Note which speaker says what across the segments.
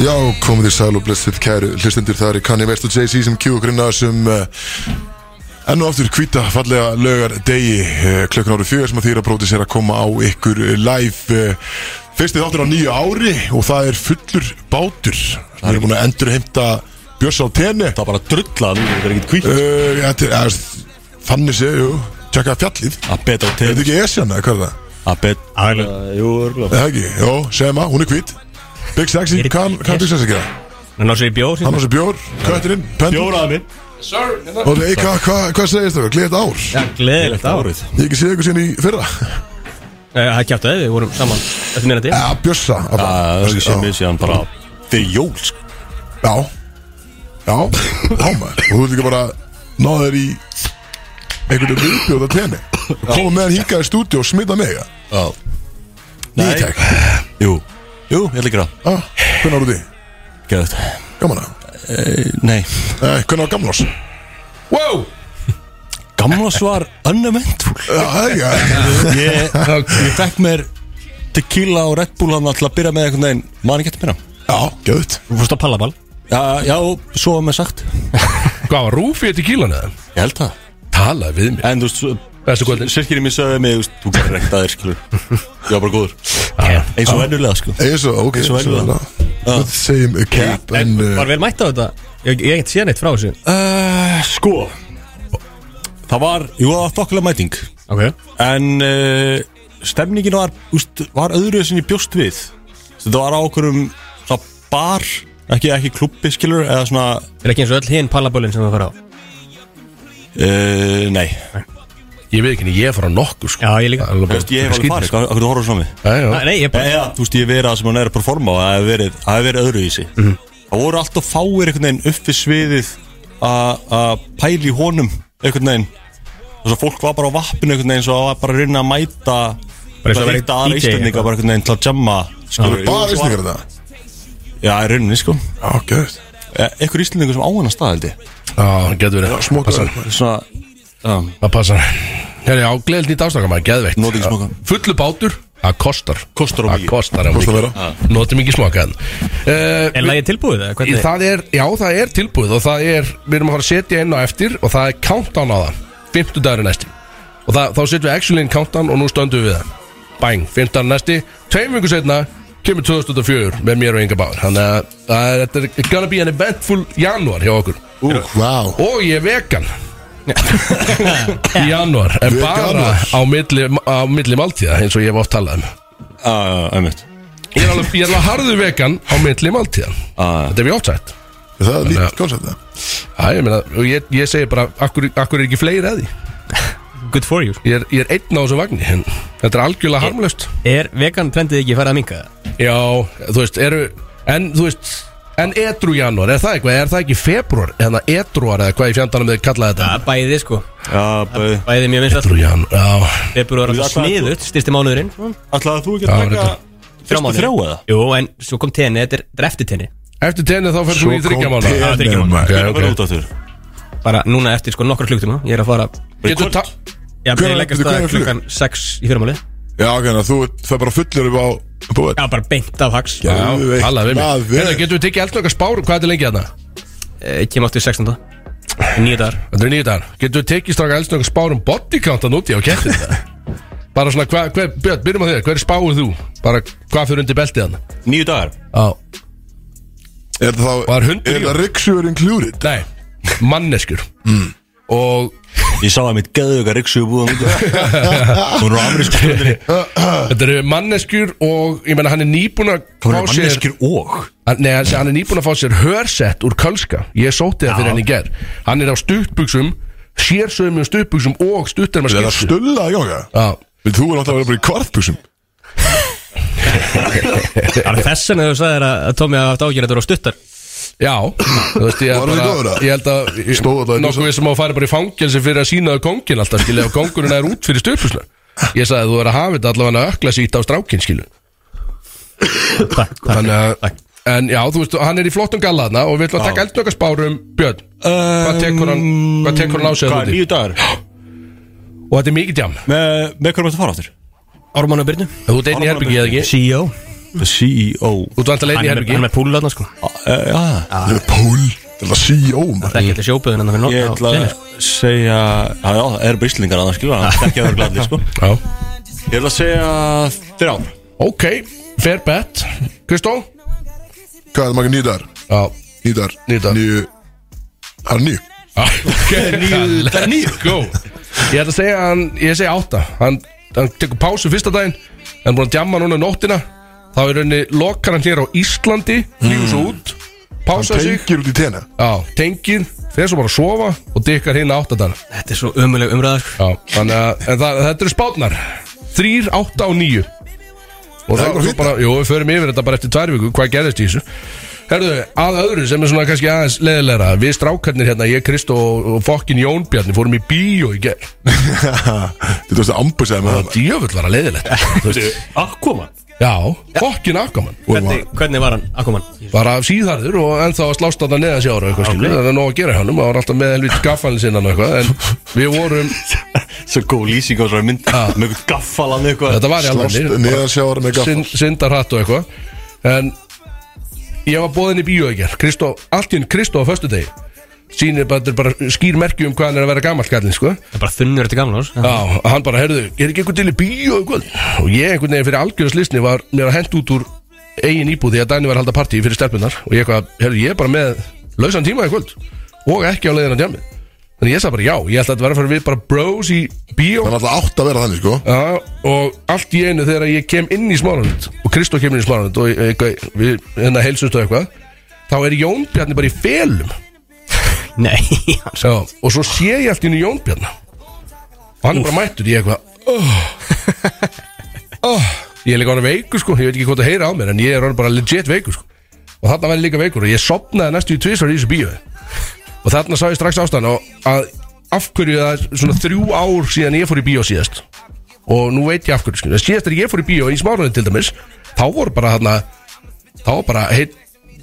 Speaker 1: Já, komið þér sæl og blessið kæru hlustendur það eru Kanye West og Jay-Z sem kjú okkur inn að sem uh, enn og aftur hvita fallega lögar degi uh, klökkun árið fjögur sem að þýra bróti sér að koma á ykkur uh, live uh, fyrsti þáttur á nýju ári og það er fullur bátur við erum búin að endur heimta Björns á tenni
Speaker 2: Það var bara drullað nú, þetta er ekkert kvík
Speaker 1: uh, þetta er- eða, þannig sé, jú tjekka fjallið, er
Speaker 2: Að beta á
Speaker 1: þetta
Speaker 2: til
Speaker 1: ekki Esjan eða hvað er það?
Speaker 2: Að beta
Speaker 3: Æglega
Speaker 4: Uh, Jú, örgulega
Speaker 1: Eða ekki, jú, segjum að, hún er hvít Big Sexy,
Speaker 3: Er-
Speaker 1: hvað hvað er Big Sexy að gera?
Speaker 3: Þannig að sér í bjór hérna?
Speaker 1: Hann á sér bjór, kötturinn, pendur
Speaker 2: Bjóraði minn
Speaker 1: Og nei, hvað hva, hva segist það? Gleðið ár?
Speaker 3: Já, gleðilegt
Speaker 2: Þetta
Speaker 3: ár
Speaker 2: árið
Speaker 1: Ég hef ekki séð ykkur síðan í fyrra
Speaker 3: Eh, Það er kjátt að við vorum saman Þetta minna til
Speaker 1: Já, bjössa að bara-
Speaker 2: Það er ekki sem við séðan bara Fyrir jól sko.
Speaker 1: Já Já, já maður Og þú ert líka bara náða þér í einhvern veginn viðbjóð að tenni Koma með hann hingað í stúdíu og smita mig ja? Nei,
Speaker 2: Nei.
Speaker 1: takk
Speaker 2: Jú Jú, ég líka það
Speaker 1: ah, Hvernig ára því?
Speaker 2: Gæðið
Speaker 1: Gaman að
Speaker 2: Nei
Speaker 1: eh, Hvernig ára gamlás? Wow
Speaker 2: Gamla svar uneventful
Speaker 1: Já, það er ekki að-
Speaker 2: Ég, ég fekk mér tequila og Red Bull hann alltaf að byrja með einhvern veginn Mani getur mér á
Speaker 1: Já, gæðut
Speaker 3: Þú fórst á pallaball
Speaker 2: Já, já, svo var mér sagt Ég
Speaker 5: Hvað var rúfið til kílan eða?
Speaker 2: held það
Speaker 5: Talaði við mig
Speaker 2: En þú veist,
Speaker 5: Bestu kvöldin
Speaker 2: sirkirinn mér sagði mig þú veist, Þú getur reynt að þér skilur Ég var bara góður Eins og vennulega sko
Speaker 1: Eða svo, ok
Speaker 2: Eins og
Speaker 1: svo
Speaker 2: venjulega.
Speaker 1: það. Same cap En eh,
Speaker 3: Var vel mætt á þetta Ég ég hef ekkert séð neitt frá þessu
Speaker 2: Uh, sko Það var, jú það var þokkilega mæting
Speaker 3: Ok
Speaker 2: En uh, stemningin var, úst, var öðru sem ég bjóst við Þetta var á okkur um bar, ekki, ekki klubbi skilur Eða svona,
Speaker 3: Er ekki eins og öll hinn pallaballin sem þú fara á
Speaker 2: uh, nei
Speaker 5: Ég veit ekki, henni, ég er frá nokkur sko
Speaker 3: Já, ég líka.
Speaker 5: Það er
Speaker 2: Þú
Speaker 5: bara-
Speaker 2: veist, Ég hef alveg
Speaker 5: skýt-
Speaker 2: farið, sko, okkur þú horfður svona við
Speaker 5: Já, já.
Speaker 3: Ah, Nei, ég bara
Speaker 2: Eða, Eh, þú veist, ég hef verið að sem hann er að performa og Það hef verið, það hef verið öðru í sig
Speaker 3: Mhm.
Speaker 2: Það voru alltaf fáir einhvern veginn upp við sviðið að að pæla í honum einhvern veginn Þess að fólk var bara á vappinu einhvern veginn Svo það var bara að reyna að mæta
Speaker 3: Bara eins og
Speaker 2: bara
Speaker 3: að vera
Speaker 2: eitt aðra
Speaker 3: DJ
Speaker 2: íslendinga
Speaker 3: eitthvað.
Speaker 2: bara einhvern veginn til að jamma skilur,
Speaker 1: Bara íslingar þetta
Speaker 2: já, í rauninni sko
Speaker 1: Já, gæðut
Speaker 2: Eh, einhver íslendingur sem á hana stað held ég
Speaker 5: Já, það getur verið
Speaker 1: Smoka
Speaker 5: Passar.
Speaker 2: svona um,
Speaker 5: Það passar Herri, á gleðild nýtt ástaka maður, geðveikt
Speaker 2: Nota ekki smoka.
Speaker 5: Já, Fullu bátur, það kostar
Speaker 2: Kostar of
Speaker 5: Það
Speaker 2: mikið.
Speaker 5: kostar of
Speaker 1: Kostar
Speaker 5: mikið. Nota mikið smoka en Eh,
Speaker 3: Er lagið tilbúið það?
Speaker 5: Í,
Speaker 3: Hvernig?
Speaker 5: það er, já það er tilbúið og það er, við erum að fara að setja inn á eftir og það er countdown á það, 50 dagur næsti og það, þá setjum við actually inn countdown og nú stöndum við það, bang, 50 dagur næsti, tveim vingur setna kemur 2004 með mér og Inga Bár þannig að það er- þetta er gonna be an eventful januar hjá okkur
Speaker 1: Wow
Speaker 5: og ég er vegan í januar, en
Speaker 1: Veganur.
Speaker 5: bara á milli, á milli máltíða eins og ég hef oft talað um
Speaker 2: uh, einmitt
Speaker 5: ég er alveg, ég er alveg harðu vegan á milli máltíða
Speaker 2: Ah.
Speaker 5: þetta er við oft sagt
Speaker 1: Það er
Speaker 5: Þannig að-
Speaker 1: líkt koncept það
Speaker 5: Já, ég meina, og ég, ég segi bara, akkur, akkur er ekki fleiri að því
Speaker 3: Good for you
Speaker 5: Ég er, ég er einn á þessu vagni, en þetta er algjörlega harmlöst
Speaker 3: Er vegan trendið ekki farið að minka það?
Speaker 5: Já, þú veist, eru, en þú veist, en edru janúar, er það eitthvað, er það ekki februar, eða edruar, eða hvað í fjandanum þið kallaði
Speaker 3: Ja,
Speaker 5: þetta?
Speaker 3: Bæði sko
Speaker 2: já, bæði
Speaker 3: Bæði mjög minnst
Speaker 5: Edru janúar, já,
Speaker 3: Februar
Speaker 2: Þú
Speaker 3: var
Speaker 2: veist, hvað-
Speaker 3: sniðut Styrsti mánuðurinn
Speaker 2: ætlaði þú ekki
Speaker 5: Já,
Speaker 2: að taka
Speaker 5: reyndar.
Speaker 3: Þrjá
Speaker 2: fyrstu
Speaker 3: mánuði.
Speaker 2: þrjá eða
Speaker 3: Jú, en svo kom tenni Þetta er drefti tenni
Speaker 5: eftir tenni þá fyrir þú í þryggja mánu
Speaker 3: Já, þetta er ekki mál.
Speaker 1: mánu
Speaker 5: Já,
Speaker 2: það verður
Speaker 5: ok
Speaker 2: út af þér
Speaker 3: Bara núna eftir sko nokkra klukktum Ég er að fara
Speaker 5: Getur ta...
Speaker 3: Já,
Speaker 1: Hvenær-
Speaker 3: ég leggast
Speaker 1: veitu,
Speaker 3: það
Speaker 1: hvenær flug?
Speaker 3: klukkan 6 í fyrramáli
Speaker 1: Já, ok, þannig að þú ert- það er bara fullir upp á búið
Speaker 3: Já, bara beint af hags
Speaker 1: Já.
Speaker 3: ja.
Speaker 5: Já,
Speaker 1: Geðveikt
Speaker 5: talaði við mig
Speaker 1: maður.
Speaker 5: Hérna, getum við tekið eldnöka spár, hvað er þetta lengi hérna? þarna?
Speaker 3: Eh, Kem áttu í 16. Nýju dagar
Speaker 5: Þetta er nýju dagar Getum við tekið stráka eldnöka spár um bodycountan úti á kettin Bara svona, hvað, hver, Björn, byrjum á þér, hver spáir þú? Bara, hvað fyrir undir beltið hann?
Speaker 2: nýju dagar
Speaker 5: Já
Speaker 1: Er það þá
Speaker 5: Var hundur í
Speaker 1: Er það ryggsjúður included?
Speaker 5: Nei, manneskur Og
Speaker 2: ég sá að mitt geðuga riksu búðan út hún er á amerísku stundinni
Speaker 5: þetta eru manneskur og ég meina hann er nýbúin að
Speaker 2: hún
Speaker 5: fá
Speaker 2: er
Speaker 5: sér
Speaker 2: manneskir og
Speaker 5: Hann- Nei, hann, hann er nýbúin að fá sér hörsett úr kölska Ég sótti það fyrir hann í ger Hann er á stuttbuxum, sérsöðum stuttbuxum og stuttar með
Speaker 1: Er það
Speaker 5: skilsu
Speaker 1: stulla í ganga?
Speaker 5: Já,
Speaker 1: Vil þú er alltaf að vera bara í kvartbuxum?
Speaker 3: Það er þess vegna þú sagðir að að Tommy hafði haft ágjörð að þú eru á stuttar
Speaker 5: já Þú veist, ég,
Speaker 1: Var
Speaker 5: er
Speaker 1: hann
Speaker 5: bara-
Speaker 1: góður, eða?
Speaker 5: ég held að ég-
Speaker 1: Stóð þetta í
Speaker 5: Nokkuð við sem á að fara bara í fangelsi fyrir að sína þau kongin alltaf skilu Og kongurinn er út fyrir stuttbuxna Ég sagði þú er að hafa þetta allavega ökla sýtt á strákin skilu
Speaker 3: Takk, takk
Speaker 5: Þannig að En já, þú veist, hann er í flottum gallaðna og við ætlum að taka eldnökkaspárum Björn, hvað tekur hann hvað tekur hann á
Speaker 2: hvað
Speaker 5: sig
Speaker 2: er
Speaker 5: þarna úti?
Speaker 2: nýju dagar
Speaker 5: Og þetta er mikið djam
Speaker 2: með, með hverjum þetta fara áttur
Speaker 3: Ármann og Byrnu
Speaker 5: Þú ert einn í herbyggi eða ekki?
Speaker 3: CEO
Speaker 5: E
Speaker 2: CEO
Speaker 5: Þú ert vantilega
Speaker 3: E Hann er með- hann
Speaker 5: einn í
Speaker 3: er
Speaker 5: herbyggi
Speaker 3: með púlu þarna sko
Speaker 2: Já, já
Speaker 1: Þetta er Pól, þetta er CEO maður.
Speaker 3: Það er ekki alltaf sjóböðun en það
Speaker 2: Ég
Speaker 3: fyrir
Speaker 2: ætla að
Speaker 3: nótt
Speaker 2: segja Já, já, það eru bara íslingar að það skilja Það er ekki að vera gladið, sko
Speaker 5: Já
Speaker 2: Ég ætla að segja þrjá
Speaker 5: Ok, fair bet Kristó
Speaker 1: Hvað er það margir nýðar?
Speaker 5: Já
Speaker 1: Nýðar
Speaker 5: Níu dagar.
Speaker 1: Nýju Það er nýju
Speaker 5: Ok, let's go Ég ætla að segja hann Ég segi átta Hann, hann tekur pásu fyrsta daginn Hann er búin að djamma núna nóttina Þá er henni lokar hann hér á Íslandi Flýgur svo út
Speaker 1: Hann
Speaker 5: Pása sig
Speaker 1: tengir út í tena
Speaker 5: Já, tengir Þeir svo bara að sofa Og dykkar hinn átta daginn
Speaker 3: Þetta er svo umuleg umræða sko
Speaker 5: Já, þannig að en það, þetta eru spátnar Þrýr, átta og níu Og
Speaker 1: Það er
Speaker 5: það
Speaker 1: bara
Speaker 5: er
Speaker 1: fínt.
Speaker 5: bara, jú, við förum yfir þetta bara eftir tvær viku Hvað gerðist í þessu? Herðu, að öðru sem er svona kannski aðeins leðilegra Við strákarnir hérna, ég, Kristó og, og fokkin Jón Bjarni Fórum í bíó í ger
Speaker 1: Þetta er það ambusæði með það
Speaker 5: Djöfull var að leðilegt
Speaker 2: Akkoman
Speaker 5: Já, fokkin afkaman
Speaker 1: Og
Speaker 3: Hvernig, hvernig var hann, Akkumann?
Speaker 5: Var af síðarður og ennþá að slást þarna neða sjára eitthvað okay. Það er nóg að gera hjá honum, það var alltaf með helvít gaffann sinna eitthvað En við vorum,
Speaker 2: Svo góð lýsing á svona mynd Með eitthvað gaffalan eitthvað
Speaker 5: þetta var í
Speaker 1: Slóst
Speaker 5: alveg
Speaker 1: neðarsjára með gaffal
Speaker 5: synd, syndarhatt og eitthvað en ég var bóðin í bíó ekkert Kristó, allt í henni Kristó á föstudegi sýnir bara, þetta er bara skýr merki um hvað hann er að vera gammal kallinn sko
Speaker 3: Það er bara þunnur eftir gamla ás
Speaker 5: Já, hann bara, heyrðu, er ekki einhvern til í bíó og eitthvað? Og ég einhvern veginn fyrir algjörðslisni var mér að henda út úr eigin íbúð því að Dani var að halda partí fyrir stelpunar og ég eitthvað, heyrðu, ég er bara með lausan tíma í kvöld og ekki á leiðin að djami Þannig ég sagði bara, já, ég ætla að þetta vera að fara við bara bros í bíó
Speaker 1: Það er alltaf átt að vera þannig sko
Speaker 5: Já, og allt í einu þegar ég kem inn í Smáralind og Kristó kemur inn í Smáralind og eitthvað, við hérna heilsust og eitthvað þá er Jón Bjarni bara í felum
Speaker 3: Nei, hann
Speaker 5: Já, og svo sé ég allt í einu Jón Bjarni og hann er bara mættur í eitthvað oh, oh. ég er líka hann veikur sko ég veit ekki hvað það heyra á mér en ég er hann bara legit veikur sko. og þarna var ég líka veikur og ég sopnaði næstu í tvisvar í þessu bíói og þarna sá ég strax ástæðan og að af hverju það er svona þrjú ár síðan ég fór í bíó síðast og nú veit ég af hverju skilur. síðast er ég fór í bíó í smárunni til dæmis þá voru bara þarna þá var bara heit,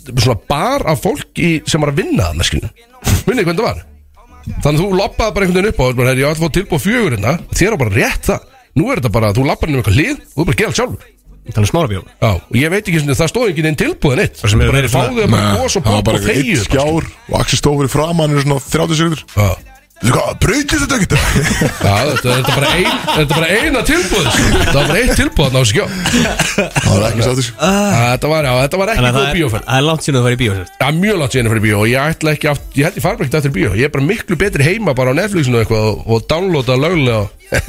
Speaker 5: svona bar af fólki sem var að vinna þarna skilur munið þið hvernig það var þannig að þú lappaði bara einhvern veginn upp á og bara, "Heyrðu, ég ætla að fá tilbúið fjögur hérna þér var bara rétt það nú er þetta bara að þú lappar inn um eitthvað hlið og þú er bara að gera allt sjálfur
Speaker 3: tala um smára bjó
Speaker 5: Já, og ég veit ekki sem það stóð ekki neinn tilbúið neitt
Speaker 3: sem hefur
Speaker 5: bara
Speaker 3: verið svona-
Speaker 5: fáðu þau bara gos og
Speaker 1: það var
Speaker 5: bók
Speaker 1: bara
Speaker 5: og
Speaker 1: eitthvað eitt
Speaker 5: þegið
Speaker 1: skjár Og Axel stóð fyrir framan í svona 30 sekundur
Speaker 5: Já.
Speaker 1: Þú veist hvað, breytist þetta ekki
Speaker 5: Já, þetta þetta er bara, ein, þetta er bara eina tilbúð Þetta var bara eitt tilbúð þarna á skjá
Speaker 1: Það er ekki sátt þessu
Speaker 5: Þetta var, já, þetta var ekki
Speaker 3: Þannig að það
Speaker 5: góð
Speaker 3: er,
Speaker 5: bíóferð
Speaker 3: það er langt síðan þú farið í bíó sérst.
Speaker 5: Já, mjög langt síðan fyrir bíó og ég ætla ekki aftur, ég held ég fara bara ekki aftur í bíó Ég er bara miklu betri heima bara á Netflixinu og eitthvað og, og downloada lögulega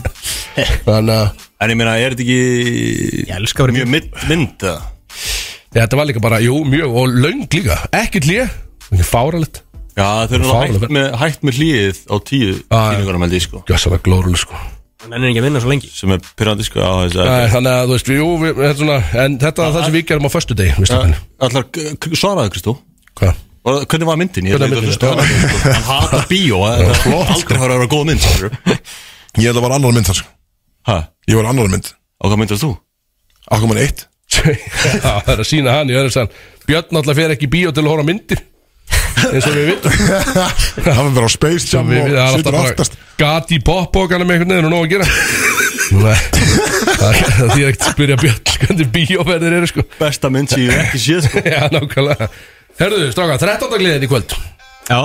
Speaker 5: Þannig að
Speaker 2: En ég meina, er þetta ekki
Speaker 3: Ég elska að vera í
Speaker 2: Mjög mynd, mynd eða?
Speaker 5: já, þetta var líka bara, jú, mjög og löng líka Ekki tlið, ekki fáralegt
Speaker 2: Já, þau eru
Speaker 5: Fárlega
Speaker 2: hægt
Speaker 5: vel.
Speaker 2: með, hægt með hlýðið á tíu
Speaker 5: já.
Speaker 2: kynningunum held ég sko
Speaker 5: Gjössalega glórul sko
Speaker 3: Hann er ekki að vinna svo lengi
Speaker 2: sem er pyrrandi sko á þess að
Speaker 5: Æ, Þannig að þú veist, jú, við, þetta er svona En þetta er það sem við gerum á föstu deg, veistu hvernig
Speaker 2: Allar, k- k- svaraðu Kristó
Speaker 5: Hvað?
Speaker 2: Var- Hvernig var myndin? Ég
Speaker 5: Hvernig
Speaker 2: veit að
Speaker 5: var myndin? sko.
Speaker 2: hlusta á hana, sko. Hann hatar bíó það er Aldrei fara að vera góð mynd skilurðu.
Speaker 1: Ég held að var annar mynd þar sko
Speaker 2: Ha,
Speaker 1: Ég var annar mynd
Speaker 2: á hvað myndast þú?
Speaker 1: Akkur mann eitt
Speaker 5: Já, það er að sína hann í öðru sann Björn náttúrulega fer ekki í bíó til að horfa á myndir eins og við vitum
Speaker 1: Það var bara á Space Jam
Speaker 5: við,
Speaker 1: og
Speaker 5: við erum
Speaker 1: situr
Speaker 5: alltaf
Speaker 1: aftast
Speaker 5: bara gati popbókana með einhvern veginn og nóg að gera Nei, það er- það er ekkert að spyrja Björn sko, hvernig bíóferðir eru sko
Speaker 2: Besta mynd sem ég hef ekki séð sko
Speaker 5: Já, nákvæmlega Herðu, stráka, 13. gleðin í kvöld
Speaker 3: Já,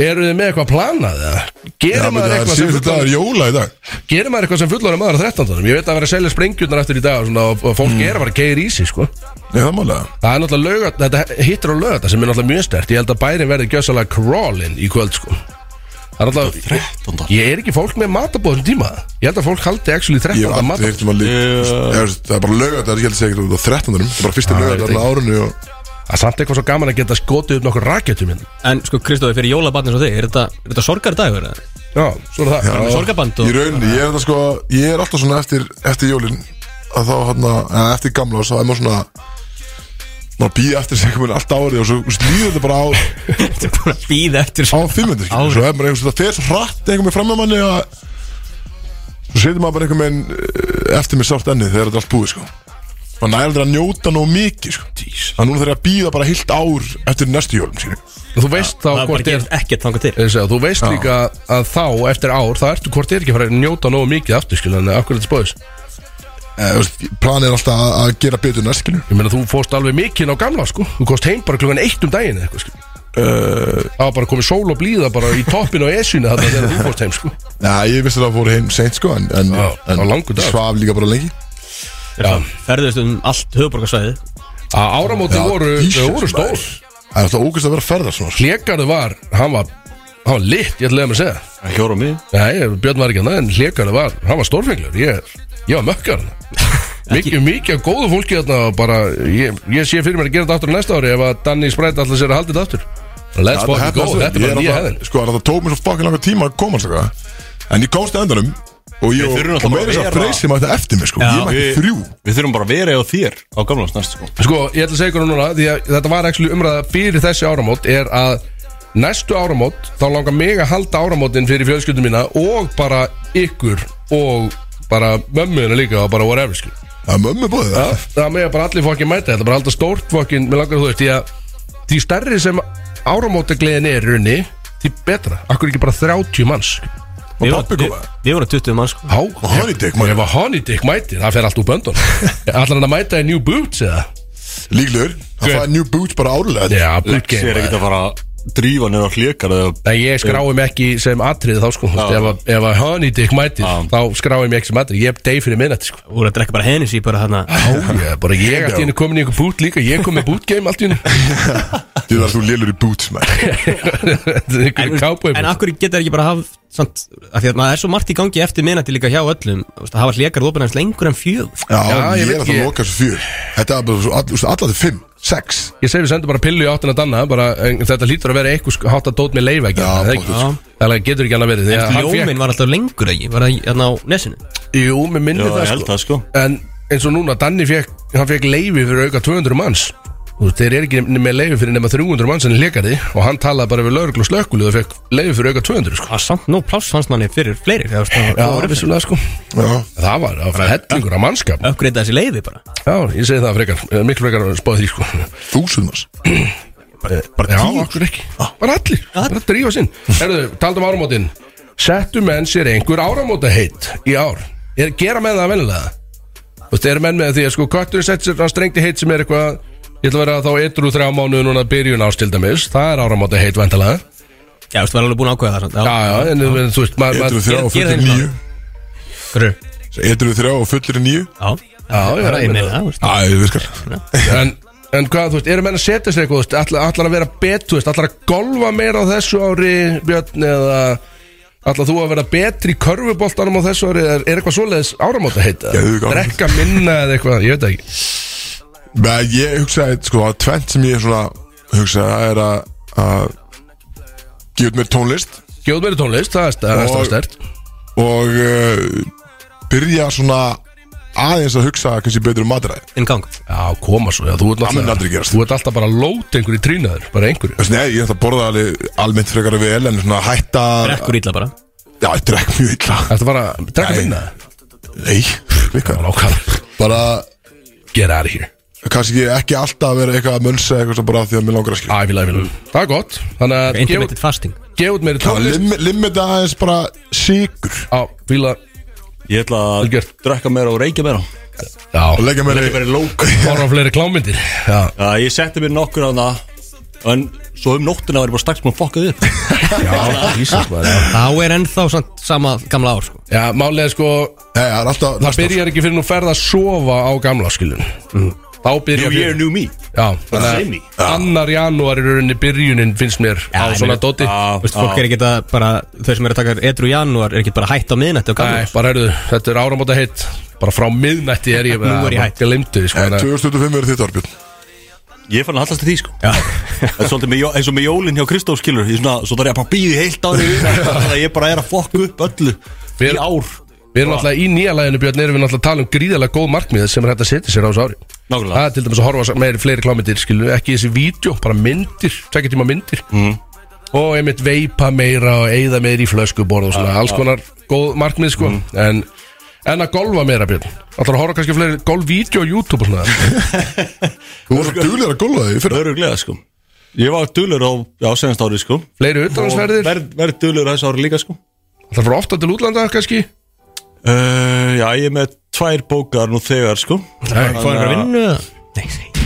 Speaker 5: Eru þið með eitthvað planað? eða?
Speaker 1: Já,
Speaker 5: Gerir
Speaker 1: menn,
Speaker 5: maður
Speaker 1: það er
Speaker 5: eitthvað sem
Speaker 1: síðustu
Speaker 5: fullorðin-
Speaker 1: dagur jóla í dag
Speaker 5: gerir maður eitthvað sem fullorðin maður á 13. Ég veit að vera að selja sprengjurnar eftir í dag og svona, og og
Speaker 1: Mm.
Speaker 5: fólk er að fara að geir í sig sko
Speaker 1: Nei, það málega
Speaker 5: Það er náttúrulega lögat, þetta hittir á lögata sem er náttúrulega mjög stert Ég held að bærin verði gjössalega crawlin í kvöld sko Það er náttúrulega,
Speaker 2: 13.
Speaker 5: ég er ekki fólk með matabóðum tíma Ég held að fólk haldi actually
Speaker 1: Ég hef
Speaker 5: 13.
Speaker 1: aldrei
Speaker 5: matabóð
Speaker 1: heyrt um að líka Það er bara lögadagur, ég held að segja ekki út á 13. Það er bara fyrsti lögadagur á árunni og
Speaker 5: Það er samt eitthvað svo gaman að geta skotið upp nokkur rakettum hérna
Speaker 3: en sko Kristófi, fyrir jólabarnir svo þig Er þetta, er þetta sorgar dagur? Það
Speaker 5: Já, svona það
Speaker 3: er sorgarband
Speaker 1: Í
Speaker 3: og
Speaker 1: rauninni, ég er þetta sko Ég er alltaf svona eftir, eftir jólin að þá hérna, eða eftir gamla þá er maður svona maður býða eftir sem komin allt árið og svo þú veist, líður þetta bara á
Speaker 3: Þetta er búin að býða eftir
Speaker 1: á 500 skilur. svo er maður einhvers veginn það fer svo hratt einhvern veginn fram með manni að svo setur maður bara einhvern veginn eh, eftir með sátt ennið þegar þetta er allt búið sko maður næri aldrei að njóta nóg mikið sko þannig núna þegar að býða bara heilt ár eftir næstu jólum skilur.
Speaker 5: Þú veist þá
Speaker 3: Það bara
Speaker 5: hvort er
Speaker 3: gerist ekkert þangað til
Speaker 5: Ég segi, Þú veist líka að þá eftir ár Það ertu hvort er ekki að fara að njóta nógu mikið aftur skilja Þannig að akkur þetta spóðis
Speaker 1: eh, þú veist, planið er alltaf að, að gera betur næst skilur
Speaker 5: Ég meina þú fórst alveg mikinn á gamla sko Þú komst heim bara klukkan eitt um daginn eða eitthvað sko
Speaker 1: Uh,
Speaker 5: Það var bara komið sól og blíða bara í toppin og esjunni Þannig að þú fórst heim sko
Speaker 1: Já, ég vissi að það fór heim seint sko En, en,
Speaker 5: Já, það var
Speaker 1: en
Speaker 5: langur dagur.
Speaker 1: svaf líka bara lengi
Speaker 5: Já.
Speaker 3: Ferðist um allt höfuborgarsvæði
Speaker 5: Að áramóti
Speaker 1: Já,
Speaker 5: voru,
Speaker 1: Jesus,
Speaker 5: þau voru stór
Speaker 1: Það er alltaf ógust að vera að ferða svona
Speaker 5: Hlekarðu var, hann var Hann var lit, ég ætlaði að maður segja
Speaker 2: Það hjóra mig
Speaker 5: Nei, Björn var ekki hann, en Hlekarðu var Hann var stórfenglur, ég, ég var mökkar Mikið, mikið af góðu fólki þarna og bara, ég, ég sé fyrir mér að gera þetta aftur á næsta ári ef að Danny Sprite alltaf sér að halda þetta aftur Let's fucking go,
Speaker 1: Ég
Speaker 5: þetta er bara nýja hefðin
Speaker 1: alltaf- Sko, það tók mér svo fucking langa tíma að koma sko. En ég komst að endanum Og ég
Speaker 2: Við þurfum
Speaker 1: og,
Speaker 2: alltaf
Speaker 1: og meira þess að
Speaker 2: að vera-
Speaker 1: freysi maður þetta eftir mig sko. Ég mætti
Speaker 2: við-
Speaker 1: þrjú
Speaker 2: Við þurfum bara að vera á þér á gamla snart sko
Speaker 5: Sko, ég ætla að segja ykkur núna Því að þetta var ekki umræða fyrir þessi áramót Er að næstu áramót Þá langar mig að halda áramótin fyrir fjölskyldum mína Og bara ykkur Og bara mömmuðina líka Og bara whatever skil
Speaker 1: Það er mömmu bóðið
Speaker 5: Það,
Speaker 1: það
Speaker 5: það með bara allir fokkin mæta Þetta er bara að halda stórt fokkin Mér langar þú veist Því að því stærri sem áramótagliðin er í Runni Því betra Akkur ekki bara 30 manns
Speaker 1: Og
Speaker 3: Við vorum-
Speaker 1: pappi
Speaker 3: við-
Speaker 1: koma
Speaker 3: Við vorum 20 mann sko
Speaker 5: Há
Speaker 1: Og hann í deg,
Speaker 5: Ef að Honey Dick mæti, það fer allt úr böndun Allar hann að mæta í New Boots eða?
Speaker 1: líklegur Það
Speaker 5: Hver?
Speaker 1: fæði New Boots bara árulega
Speaker 5: Já, boot
Speaker 2: Ég
Speaker 5: game
Speaker 2: er ekkert að fara að drífa niður á hlékar eða
Speaker 5: Nei, ég skrái mig ekki sem atrið þá sko ah. ef, að- ef að Honey Dick mætir
Speaker 2: Já.
Speaker 5: þá skrái mig ekki sem atrið, ég er deg fyrir minnætti sko
Speaker 3: Við vorum að drekka bara hennis í bara þarna
Speaker 5: Ó, ég, bara ég allt í henni komin í einhver bút líka ég kom með bút game allt í henni
Speaker 1: Því það er þú lélur í boots maður.
Speaker 5: einhver cowboy
Speaker 3: En
Speaker 5: bút
Speaker 3: akkur geta þeir ekki bara haft samt, af Því að maður er svo margt í gangi eftir minnati líka hjá öllum þú veist, að hafa hlekarð opinn hans lengur en fjög
Speaker 1: Já,
Speaker 5: Já, ég
Speaker 1: ég er
Speaker 5: veit
Speaker 1: að það
Speaker 5: ekki.
Speaker 1: loka þessu fjör Þetta er bara svo all- þú veist, allar til fimm, sex
Speaker 5: Ég segi við sendum bara pillu í áttina danna bara, en, þetta hlýtur að vera eitthvað sko, hátt að dót með leifa ekki
Speaker 1: Já,
Speaker 5: það ekki,
Speaker 1: pottur,
Speaker 5: sko. það getur ekki annað verið því að hann
Speaker 3: Ljóminn var alltaf lengur ekki Var það hérna á nesinu
Speaker 5: fékk- Jú, mér
Speaker 2: Já,
Speaker 5: minnir
Speaker 2: ég
Speaker 5: það
Speaker 2: held
Speaker 5: sko
Speaker 2: það sko
Speaker 5: En eins og núna, Danni fekk, hann fekk leifi fyrir auka 200 manns Þú veist, Þeir eru ekki ne- með leifi fyrir nema 300 manns en hlekarði og hann talaði bara við lauruglu og slökkulu og fekk leifi fyrir auka 200 sko.
Speaker 3: Það var samt nóg pláss hans manni fyrir fleiri þegar það
Speaker 5: Já,
Speaker 3: var
Speaker 5: vissulega sko
Speaker 1: Já,
Speaker 5: Það var, það var hellingur af mannskap
Speaker 3: uppgreita þessi leiði bara
Speaker 5: Já, ég segi það frekar, eh, miklu frekar að spáði því sko
Speaker 1: þúsund maður
Speaker 5: Bara sko. Já, okkur ekki, bara allir, bara að drífa sinn Herðu, taldum áramótin Settu menn sér einhver áramóta heitt í ár er, Gera menn það venilega Þú veist, eru menn með því að sko Kötturinn sett sér hann strengti heitt sem er eitthvað Ég ætla að vera þá eitru þrjá mánuð núna byrjun árs til dæmis Það er áramóta heitt væntalega
Speaker 3: Já, þú veist, var alveg búin að ákveða það samt.
Speaker 5: Já, já, en en þú veist, maður
Speaker 1: Eitru
Speaker 5: maður-
Speaker 1: þrjá og
Speaker 3: gera- gera
Speaker 1: fullir
Speaker 3: þeim
Speaker 1: nýju
Speaker 3: Hverju?
Speaker 1: Eitru þrjá og fullir nýju
Speaker 3: Já,
Speaker 5: Já, já,
Speaker 3: það er
Speaker 5: ég meina-
Speaker 3: einnig það, veist
Speaker 1: Æ, það virkar
Speaker 5: en, en hvað, þú veist, eru menn að setja sér eitthvað, þú veist, allar, allar að vera bet, þú veist, allar að golfa meira á þessu ári, Björn, eða allar þú að vera betri í körfuboltanum á þessu ári, eða er eitthvað svoleiðis áramóta heita?
Speaker 1: Geðvik áramót.
Speaker 5: Drekka minna eða eitthvað, ég veit það ekki.
Speaker 1: Nei, ég hugsaði, sko, að tvent sem ég svona hugsaði, það er að að gefa út mér tónlist
Speaker 5: Gjóð meiri tónlist, það er sta- það er
Speaker 1: Og-
Speaker 5: stað stert.
Speaker 1: og uh, byrja svona aðeins að hugsa kannski betur um matræði
Speaker 3: Inn gang
Speaker 5: Já, koma svo, já, þú ert
Speaker 1: mun aldrei gerast.
Speaker 5: þú ert alltaf bara að lóta einhverju trínaður, bara einhverju.
Speaker 1: Þessi, nei, ég ætla að borða alveg almennt frekar vel en svona hætta
Speaker 3: Brekkur ítla bara
Speaker 1: Já, ég drekk mjög illa
Speaker 5: Þetta bara, drekka
Speaker 1: Nei.
Speaker 5: minna,
Speaker 1: Nei, líka
Speaker 5: ákvæða,
Speaker 1: Bara,
Speaker 5: get out of here.
Speaker 1: kannski ekki alltaf að vera eitthvað að mönsa eitthvað sem bara af því að mér langar að skilja
Speaker 5: Æ, vil, æ, vil, það er gott, þannig að gefa út-
Speaker 3: Intermittent fasting
Speaker 5: gefa út meiri
Speaker 1: Það
Speaker 5: tónlist.
Speaker 1: lim, limita aðeins bara sigur
Speaker 5: Á, fíla,
Speaker 2: Ég ætla
Speaker 5: Vel
Speaker 2: að
Speaker 5: gert.
Speaker 2: drekka meira og reykja meira
Speaker 5: já,
Speaker 1: og leggja mér í
Speaker 2: lók
Speaker 5: horfa á fleiri klámyndir Já,
Speaker 2: Já, ég setti mér nokkur á það En svo um nóttina var ég bara strax mér að fokka því upp
Speaker 5: já, Jesus, maður, já.
Speaker 3: Þá er ennþá samt sama gamla ár sko.
Speaker 5: já málið er sko
Speaker 1: Nei, það er alltaf
Speaker 5: Það byrjar ekki fyrir nú ferð að sofa á gamla skilun
Speaker 3: Mm.
Speaker 5: Þá
Speaker 2: New
Speaker 5: byrjar
Speaker 2: year, new me
Speaker 5: Já,
Speaker 2: Same me.
Speaker 5: þannig að annar janúar í rauninni byrjunin finnst mér á
Speaker 3: ég
Speaker 5: svona
Speaker 3: meina-
Speaker 5: dóti
Speaker 2: Já,
Speaker 3: Þú veist, fólk er ekki að bara Þau sem eru að taka etru í janúar Er ekki bara hætt á miðnætti á gamla
Speaker 5: Nei, bara herðu, þetta er áramóta heitt Bara frá miðnætti er ég
Speaker 3: Nú er ég hætt.
Speaker 5: Glimtu, sko
Speaker 1: Eh,
Speaker 5: þannig að-
Speaker 1: 2025 verður þitt árbjörn
Speaker 2: Ég fann að hallast til því sko
Speaker 3: Já.
Speaker 2: Það er svolítið með, jó- eins og með jólinn hjá Kristóf skilur Ég svona, svo þarf ég að bara býði heilt ári Þannig að ég bara er að fokka upp öllu
Speaker 5: Við-
Speaker 2: Í ár
Speaker 5: Við erum náttúrulega í nýja læginu Björn erum við náttúrulega að tala um gríðalega góð markmið sem er hægt að setja sér á þessu ári
Speaker 2: Nákvæmlega.
Speaker 5: Það er til dæmis að horfa meiri fleiri klámyndir skilu, ekki þessi vídeo, bara myndir tvekja tíma myndir mm. og einmitt veipa meira og eigða meira í flöskuborð og svona, alls konar góð markmið sko, en en að golfa meira Björn, alltaf að horfa kannski á fleiri golfvídeó á YouTube og svona
Speaker 1: Þú voru svo duglegur að góla þig í fyrra
Speaker 2: Öruglega sko Ég var dölur á, á senast ári sko
Speaker 5: fleiri
Speaker 2: Og
Speaker 5: utanansverðir,
Speaker 2: verð, verð dölur þessu ári líka sko
Speaker 5: alltaf að fara ofta til útlanda kannski
Speaker 2: uh, Já, ég er með tvær bókar nú þegar sko
Speaker 3: Fáðu einhver að vinnu eða? Nei, nei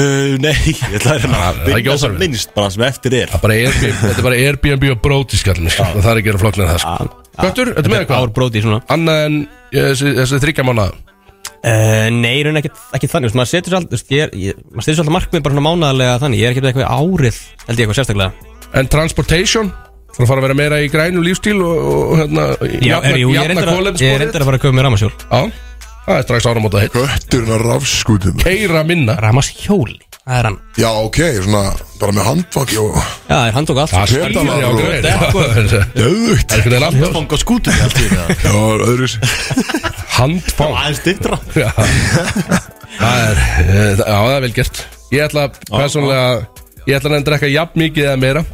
Speaker 2: uh, Nei, ég ætla að reyna að
Speaker 5: það er ekki
Speaker 2: vinna sem
Speaker 5: óþarfi.
Speaker 2: minnst bara sem eftir er
Speaker 5: Það er bara Airbnb, þetta er bara Airbnb og bróti skallinu sko. Það er ekki að flokna það sko. Göttur, ertu með
Speaker 3: Ár
Speaker 5: eitthvað?
Speaker 3: bróti svona
Speaker 5: Annað en eh, þessi, þessi þryggja mánu
Speaker 3: Uh, nei, raun ekki, ekki þannig, þú veist, maður setur sér alltaf, þú veist, ég er- ég- maður setur sér alltaf markmið bara svona mánaðarlega þannig, ég er ekki með eitthvað í árið, held ég eitthvað sérstaklega.
Speaker 5: En transportation Það er að fara að vera meira í grænum lífstíl og, og, og hérna
Speaker 3: Já, er, jú, ég er reyndar að, ég er reyndar að fara að köpa með rámasjól.
Speaker 5: Já, það er strax áramóta hitt
Speaker 1: Götturinn að rafskutum
Speaker 5: Keira minna
Speaker 3: Rámasjóli, það er hann.
Speaker 1: Já, ok, svona bara með handfaki og
Speaker 3: Já, það er handtók allt.
Speaker 5: Það
Speaker 1: Feta
Speaker 5: skýrir á
Speaker 1: maður,
Speaker 5: grein.
Speaker 1: bro.
Speaker 5: Já,
Speaker 3: sko-
Speaker 5: Það er
Speaker 1: Döðugt
Speaker 5: einhvern veginn aftur
Speaker 2: Fanga skútur Það
Speaker 1: Já, öðruvísi
Speaker 5: Handfang
Speaker 2: er stittra
Speaker 5: Já,
Speaker 3: sko-
Speaker 5: það er, eh, það- já, það er vel gert Ég ætla persónlega Ég ætla að drekka jafn mikið eða meira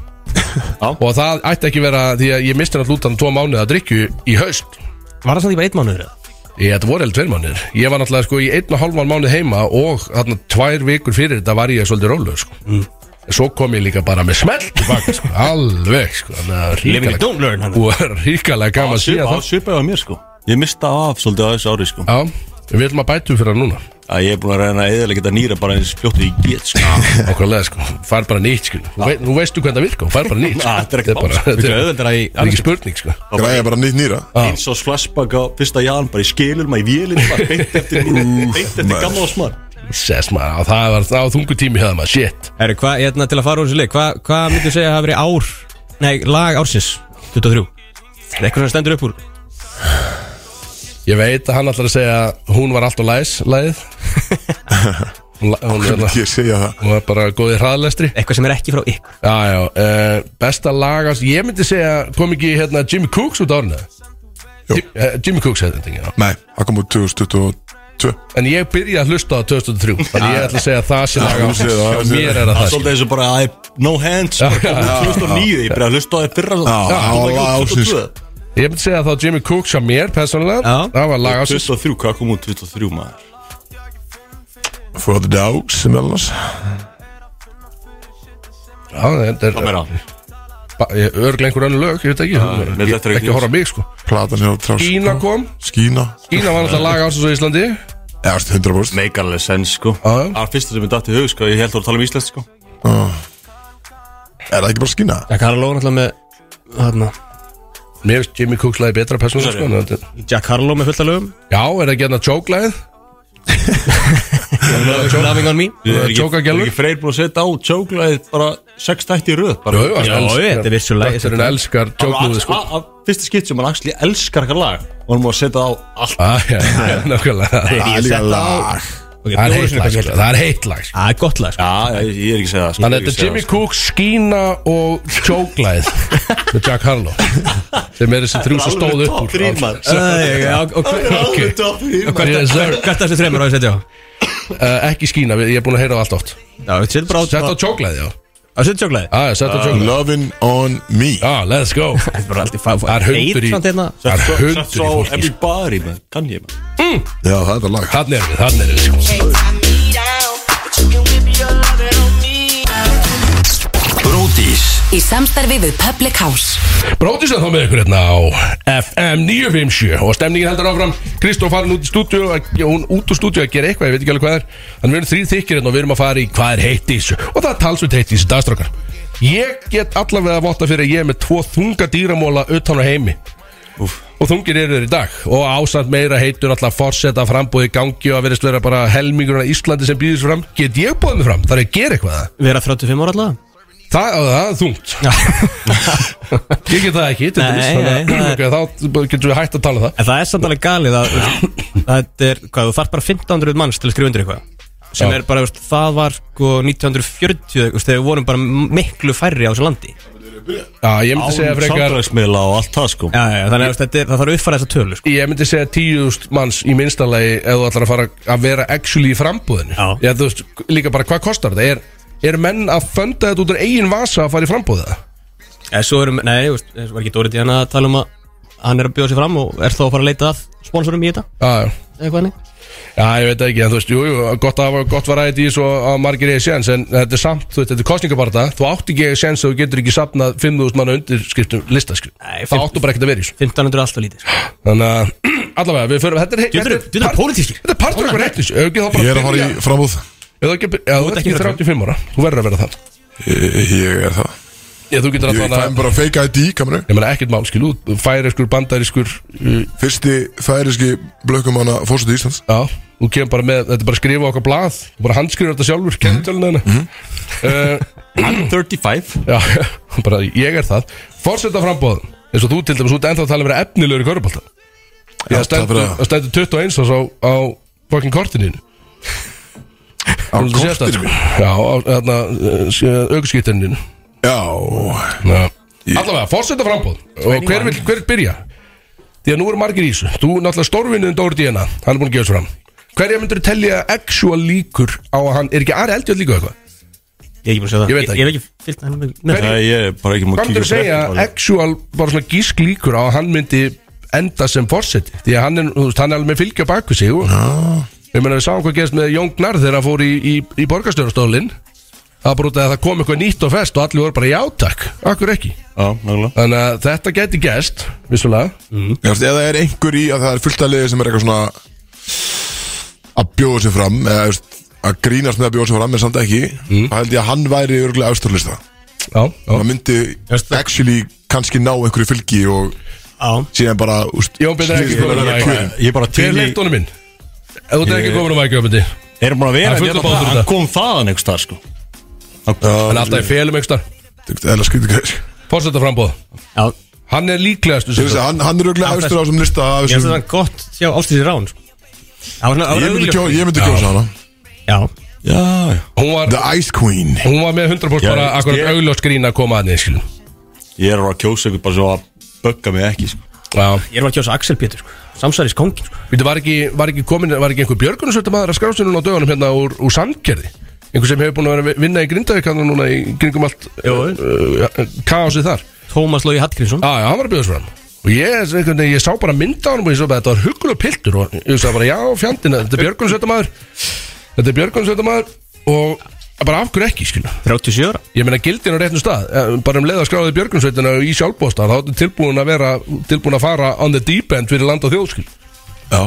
Speaker 5: Og það ætti ekki vera Því að ég misti náttúrulega út hann tvo mánuð að drikju í haust
Speaker 3: Var það samt í bara einn mánuður? eða?
Speaker 5: Ég þetta voru eða tveir mánuðir Ég var náttúrulega sko í einn og halvan mánuð heima Og þarna tvær vikur fyrir þetta var ég svolítið rólu sko. En Svo kom ég líka bara með smelt tilbaka, sko. Alveg sko. Þannig að
Speaker 3: Living it,
Speaker 5: ríkalega-
Speaker 3: don't learn hann.
Speaker 5: Og er ríkalega gaman að síða
Speaker 2: Svipa
Speaker 5: það
Speaker 2: svipaði á mér sko Ég mista af svolítið á þessu ári sko
Speaker 5: Já, við ætlum að bætu fyrir það núna
Speaker 2: að Ég er búin að reyna að eðalega geta nýra bara eins fljótt og ég get sko
Speaker 5: Okkurlega sko, fær bara nýtt sko Þú, veit, þú veistu hvernig það virkar, þú fær bara nýtt
Speaker 2: Ah, þetta er ekkert
Speaker 5: bara-
Speaker 2: mál, sko.
Speaker 5: þetta
Speaker 3: Mikið
Speaker 5: er-
Speaker 3: auðveldar að í
Speaker 5: þetta er ekki spurning sko
Speaker 1: Græja bara nýtt nýra
Speaker 2: Eins og flashback á fyrsta jan bara í skilur maður í vélinu bara beint eftir beint eftir gamla og smar
Speaker 5: Sess maður, á, það var það þungu tími hefða maður, shit
Speaker 3: Herru, hvað, ég ætla hérna til að fara úr þessu leik, hvað hva myndu segja að hafa verið ár, nei, lag ársins, 23? Er eitthvað sem stendur upp úr?
Speaker 5: Ég veit að hann ætlar að segja Hún var alltaf læs, læð Hún, la- hún, er-
Speaker 1: Ég segja það
Speaker 5: hún var bara góð í hraðlestri
Speaker 3: Eitthvað sem er ekki frá ykkur?
Speaker 5: Já, já, uh, besta lagast Ég myndi segja, kom ekki hérna Jimmy Cooks út árinu
Speaker 1: Jú.
Speaker 5: Jim, uh, Jimmy Cooks hefði þetta ekki, já
Speaker 1: Nei, það kom úr 2022
Speaker 5: En ég byrja að hlusta á 2003 Þannig ég ætla að segja að það sé
Speaker 1: þú segir það,
Speaker 5: lagast
Speaker 1: þú segir
Speaker 5: Mér er að
Speaker 2: Það
Speaker 5: það
Speaker 2: er svolítið eins og bara I, no hands
Speaker 5: Já,
Speaker 2: bara
Speaker 5: já,
Speaker 2: komið 2009 ég byrjaði að hlusta á þér fyrra
Speaker 1: Já, á
Speaker 2: það var ekki
Speaker 1: ásins.
Speaker 2: 22.
Speaker 5: Ég myndi segja þá Jimmy Cook sem mér persónulega
Speaker 3: Já.
Speaker 5: Það var lag ásins
Speaker 2: 23, hvað kom út 23 maður?
Speaker 1: For the dogs, sem alveg
Speaker 5: Já, þetta
Speaker 2: Hvað
Speaker 5: er
Speaker 2: meira?
Speaker 5: ba- ég- örugglega einhver önnur lög, ég veit ekki
Speaker 2: nei,
Speaker 5: Ég-
Speaker 2: þetta er ekki
Speaker 5: Ekki að horfa á mig sko
Speaker 1: Platan hér á trás
Speaker 5: Gína kom,
Speaker 1: Skína
Speaker 5: Gína var alltaf lag ásins á Íslandi
Speaker 1: Já, veistu, 100%
Speaker 2: Make alveg sens sko
Speaker 5: Já,
Speaker 2: Það
Speaker 5: já.
Speaker 2: var fyrsta sem ég datt í hug sko Ég held að voru að tala um Ísland sko
Speaker 1: Ah. Er það ekki bara skína?
Speaker 3: Já, Karlo náttúrulega með, hérna,
Speaker 5: Mér finnst Jimmy Cooks lagi betra persónulega sko
Speaker 2: Sorry.
Speaker 5: en þetta er-
Speaker 3: Jack Harlow með fullt af lögum,
Speaker 5: Já, er það ekki hérna joke lagið?
Speaker 3: Loving on me.
Speaker 2: Ég
Speaker 5: Það
Speaker 2: er
Speaker 5: er
Speaker 2: ekki,
Speaker 5: Joker
Speaker 2: er
Speaker 5: Gelur.
Speaker 2: ekki freyr búin að setja á tjóklaðið bara 6 tætti í röð bara.
Speaker 5: Jú, jú, hann
Speaker 3: Já,
Speaker 5: elskar-
Speaker 3: þetta er vissulega-
Speaker 5: Dökkurinn elskar
Speaker 2: Það
Speaker 5: joke
Speaker 2: var
Speaker 5: lagið sko
Speaker 2: að- að- Fyrsta skipt sem hann axli elskar eitthvað lag og hann múið að setja á allt
Speaker 5: Á, Ah, já, já, Nákvæmlega
Speaker 1: Það er líka lag
Speaker 3: Ok,
Speaker 5: Það er
Speaker 3: fjórum
Speaker 5: heitt
Speaker 3: sinnum
Speaker 5: lag
Speaker 3: kannski
Speaker 5: sko,
Speaker 3: heilt
Speaker 5: Það er heitt lag sko
Speaker 3: Það er gott lag, sko.
Speaker 2: Já, ég, ég er ekki að segja það sko. Ég
Speaker 5: Þannig að
Speaker 2: er
Speaker 5: þetta
Speaker 2: ekki að
Speaker 5: er Jimmy
Speaker 2: segja það,
Speaker 5: Cooks, Gína og joke lagið Með Jack Harlow Sem er þessi þrjú sem
Speaker 2: sko.
Speaker 5: stóð
Speaker 2: Alveg
Speaker 5: upp
Speaker 2: top
Speaker 5: úr
Speaker 2: þrír, maður.
Speaker 3: Æ, já, og- og-
Speaker 2: Alveg top þrír, maður.
Speaker 5: Yes, sir.
Speaker 3: Hvert af þessu þreymur á að setja á?
Speaker 5: Uh, ekki skína, við- ég er búin að heyra á allt oft
Speaker 3: Já, við setjum bara á
Speaker 5: Sett á tjóklaði, já Ah,
Speaker 3: Að setja sjóklaði?
Speaker 5: Já, já, sett á tjóklaði
Speaker 1: Lovin' on me
Speaker 5: Já, let's go
Speaker 3: Það er bara alltaf fá
Speaker 5: Það er hundur í
Speaker 3: Eitt samt hérna
Speaker 5: Það er
Speaker 2: Sett svo-
Speaker 5: hundur
Speaker 2: sett svo
Speaker 5: í
Speaker 2: á
Speaker 5: fólki sko.
Speaker 2: everybody maður. kann ég maður.
Speaker 1: Já, það er þetta lag
Speaker 5: Þannig er við, þannig er við sko.
Speaker 4: Í samstarfi við Public House
Speaker 5: Bróðis að þá með ykkur hérna á FM 957 Og stemningin heldur áfram Kristóf farin út í stúdíu að- já, Hún út úr stúdíu að gera eitthvað, ég veit ekki alveg hvað er Þannig við erum þrýr þykir hérna og við erum að fara í Hvað er heitt í þessu Og það er talsveit heitt í þessu dagstrákar Ég get allavega að votta fyrir að ég er með tvo þunga dýramóla utan á heimi og þungir eru þeir í dag og ásand meira heitur alltaf forseta frambúði gangi og að verðist vera bara helmingurinn að Íslandi sem býðist fram get ég búið mig fram, það er að gera eitthvað það
Speaker 3: Við erum 35 ára allavega
Speaker 5: það, það, það er þungt ég get það ekki, til
Speaker 3: Nei,
Speaker 5: dæmis,
Speaker 3: nei,
Speaker 5: þannig
Speaker 3: nei.
Speaker 5: að- ok, þá getum við hægt að tala um það
Speaker 3: En það er samt alveg galið að Þetta er, hvað, þú þarf bara 1500 manns til að skrifa undir eitthvað sem
Speaker 5: Já.
Speaker 3: er bara, veist, það var sko 1940 eða eitthvað, þegar við vorum bara miklu færri á þessu landi Já,
Speaker 5: já, ég myndi segja
Speaker 2: Án
Speaker 5: frekar
Speaker 2: samfélagsmiðla og allt það sko
Speaker 3: já, þannig að veist, þetta er, það þarf að uppfæra þessa tölu sko.
Speaker 5: Ég myndi segja tíuðust manns í minnstalagi ef þú ætlar að fara að vera actually í frambúðinu
Speaker 3: Já.
Speaker 5: Já, þú veist, líka bara hvað kostar þetta er, er menn að fönda þetta út úr eigin vasa að fara í frambúða
Speaker 3: eh, En svo erum, nei, þú veist, eins og var ekki Dóri Díana að tala um að hann er að bjóða sér fram og er þá að fara að leita að sponsorum í þetta
Speaker 5: Já, já.
Speaker 3: eða hvað hannig
Speaker 5: Já, ég veit það ekki, en þú veist, jú, jú, gott að hafa gott var aðeins í svo að margir eigi séns, en þetta er samt, þú veist, þetta er kostningabarta, þú átt ekki eigi séns að þú getur ekki safnað 5.000 manna undirskriftum listaskrift,
Speaker 3: Nei,
Speaker 5: það
Speaker 3: fimm-
Speaker 5: áttu bara ekkert að vera í þessu,
Speaker 3: 1500 er alltaf lítið sko.
Speaker 5: þannig að, allavega, við förum, þetta er,
Speaker 3: Djöfull er- djöfull er pólitískir.
Speaker 5: þetta er partur okkur réttis, ef ekki þá
Speaker 1: Ég er
Speaker 5: bara
Speaker 1: að fara
Speaker 5: byrja,
Speaker 1: í framúð
Speaker 5: ef þú ekki, ef þú ert ekki 35 ára, þú verður að vera það,
Speaker 1: Ég ég er það
Speaker 5: ég þú getur
Speaker 1: Ég
Speaker 5: að
Speaker 1: fæði
Speaker 5: þannig,
Speaker 1: bara fake ID kameru
Speaker 5: ég meina ekkert mál, skil, þú færiskur, bandariskur, uh,
Speaker 1: Fyrsti færiski blökkumanna fórsætti Íslands
Speaker 5: Já, þú kemur bara með, þetta er bara að skrifa á okkar blað Þú bara handskrifur þetta sjálfur, kentölinu mm -hmm. uh,
Speaker 2: I'm 35
Speaker 5: Já, bara ég er það Forseta frambóðum, eins og þú til dæmis út ennþá að tala um að vera efnilegur í körubólta
Speaker 1: Já,
Speaker 5: Það
Speaker 1: það
Speaker 5: stendur-
Speaker 1: fyrir að-
Speaker 5: það stendur 21 árs á, á fucking kortininu
Speaker 1: Á kortinu
Speaker 5: Já, á hérna, uh, þarna, aukurskýttininu
Speaker 1: Já
Speaker 5: Allavega, forseta frambóð Og hver vil, hver vil byrja? Því að nú eru margir í þessu Þú náttúrulega stórvinniðin Dóri Díana Hann er búin að gefa þessu fram Hverja myndur þú telja actual líkur á að hann Er ekki Ari Eldjóð líka á eitthvað?
Speaker 3: Ég er ekki búin að segja það
Speaker 5: Ég veit það
Speaker 3: Ég er ekki fyllt hann með með það
Speaker 2: Það ég er bara ekki múið
Speaker 5: Hvað myndur þú segja actual, bara svona gísk líkur á að hann myndi enda sem forseti? Því að hann er, þú veist, hann er alveg með fylgja baku sig og ég meina við sáum hvað gerst með Jón Gnar þegar hann fór í, í, í borgarstjórastólin það bara út af að það kom eitthvað nýtt og fest og allir voru bara játak, akkur ekki
Speaker 2: Já, nákvæmlega
Speaker 5: þannig að þetta geti gerst, vissulega
Speaker 1: Ég veist, Eða er einhver í að það er fullt að liði sem er eitthvað svona að bjóða sér fram eða þú veist, að grínast með að bjóða sér fram en samt ekki þá held ég að hann væri örgulega austurlista
Speaker 5: Já, já.
Speaker 1: hann myndi actually kannski ná einhverju fylgi og
Speaker 3: Já
Speaker 1: síðan bara úst,
Speaker 5: Jón Pétur
Speaker 1: slíðist
Speaker 5: Eggertsson.
Speaker 1: bara verða kjörin.
Speaker 2: Ég er bara til
Speaker 5: Hver
Speaker 2: í
Speaker 5: leitt honum inn? Ef þú ert ekki
Speaker 2: Ég-
Speaker 5: komin á mækjöfandi
Speaker 2: Erum bara að vera
Speaker 5: Það
Speaker 2: en ég
Speaker 5: er fullt
Speaker 2: ætla bara
Speaker 5: bátur
Speaker 2: að-
Speaker 5: í
Speaker 2: Hann
Speaker 5: þetta.
Speaker 2: kom þaðan einhvers staðar sko
Speaker 5: Hann er alltaf í felum einhverstað
Speaker 1: eða skrítið gæðis
Speaker 5: Fórsetta frambóð
Speaker 3: Já
Speaker 5: Hann er líklegast
Speaker 1: Ég veist að hann, hann er auðvitað
Speaker 3: Hann-
Speaker 1: austur á þessum lista af
Speaker 3: Ég finnst
Speaker 1: þessum,
Speaker 3: það gott sjá ástísi rán sko. Það var svona það var
Speaker 1: ég, myndi
Speaker 3: augljóst.
Speaker 1: kjó, ég myndi kjósa hana
Speaker 3: Já
Speaker 2: Já, já
Speaker 5: Hún var,
Speaker 1: The Ice Queen
Speaker 5: hún var með 100% bara
Speaker 2: Já,
Speaker 5: akkur
Speaker 2: ég-
Speaker 5: augljóst grín að koma að niður skilum
Speaker 2: Ég er bara að kjósa ykkur bara svo að bögga mig ekki sko
Speaker 5: Já,
Speaker 3: Ég er bara að kjósa Axel Pétur sko. Samsæris kongin sko.
Speaker 5: Býtu, var ekki, var ekki komin, var ekki einhver björgunarsvölda maður að skrása núna á dögunum hérna úr, úr sandkerði? Einhver sem hefur búin að vera að vinna í Grindavík hann núna í gringum allt
Speaker 3: Jó.
Speaker 5: uh, uh, kaosið þar.
Speaker 3: Tómas Lógi Hallgrímsson
Speaker 5: Já, já, hann var að bjóðast fram. Og ég, einhvern veginn, ég sá bara mynda á hann og ég svo bara, þetta var huggulega piltur og ég sagði bara, já, fjandina, þetta er björgunarsvölda maður, þetta er björgunarsvölda maður og bara af hverju ekki, skilja.
Speaker 3: 37 ára
Speaker 5: Ég meina gildin á réttum stað, eh, bara um leið að skráði björgunarsvöldina í sjálfbósta, þá er tilbúin að vera, tilbúin að fara on the deep end fyrir land og þjóð, skilja.
Speaker 1: Já.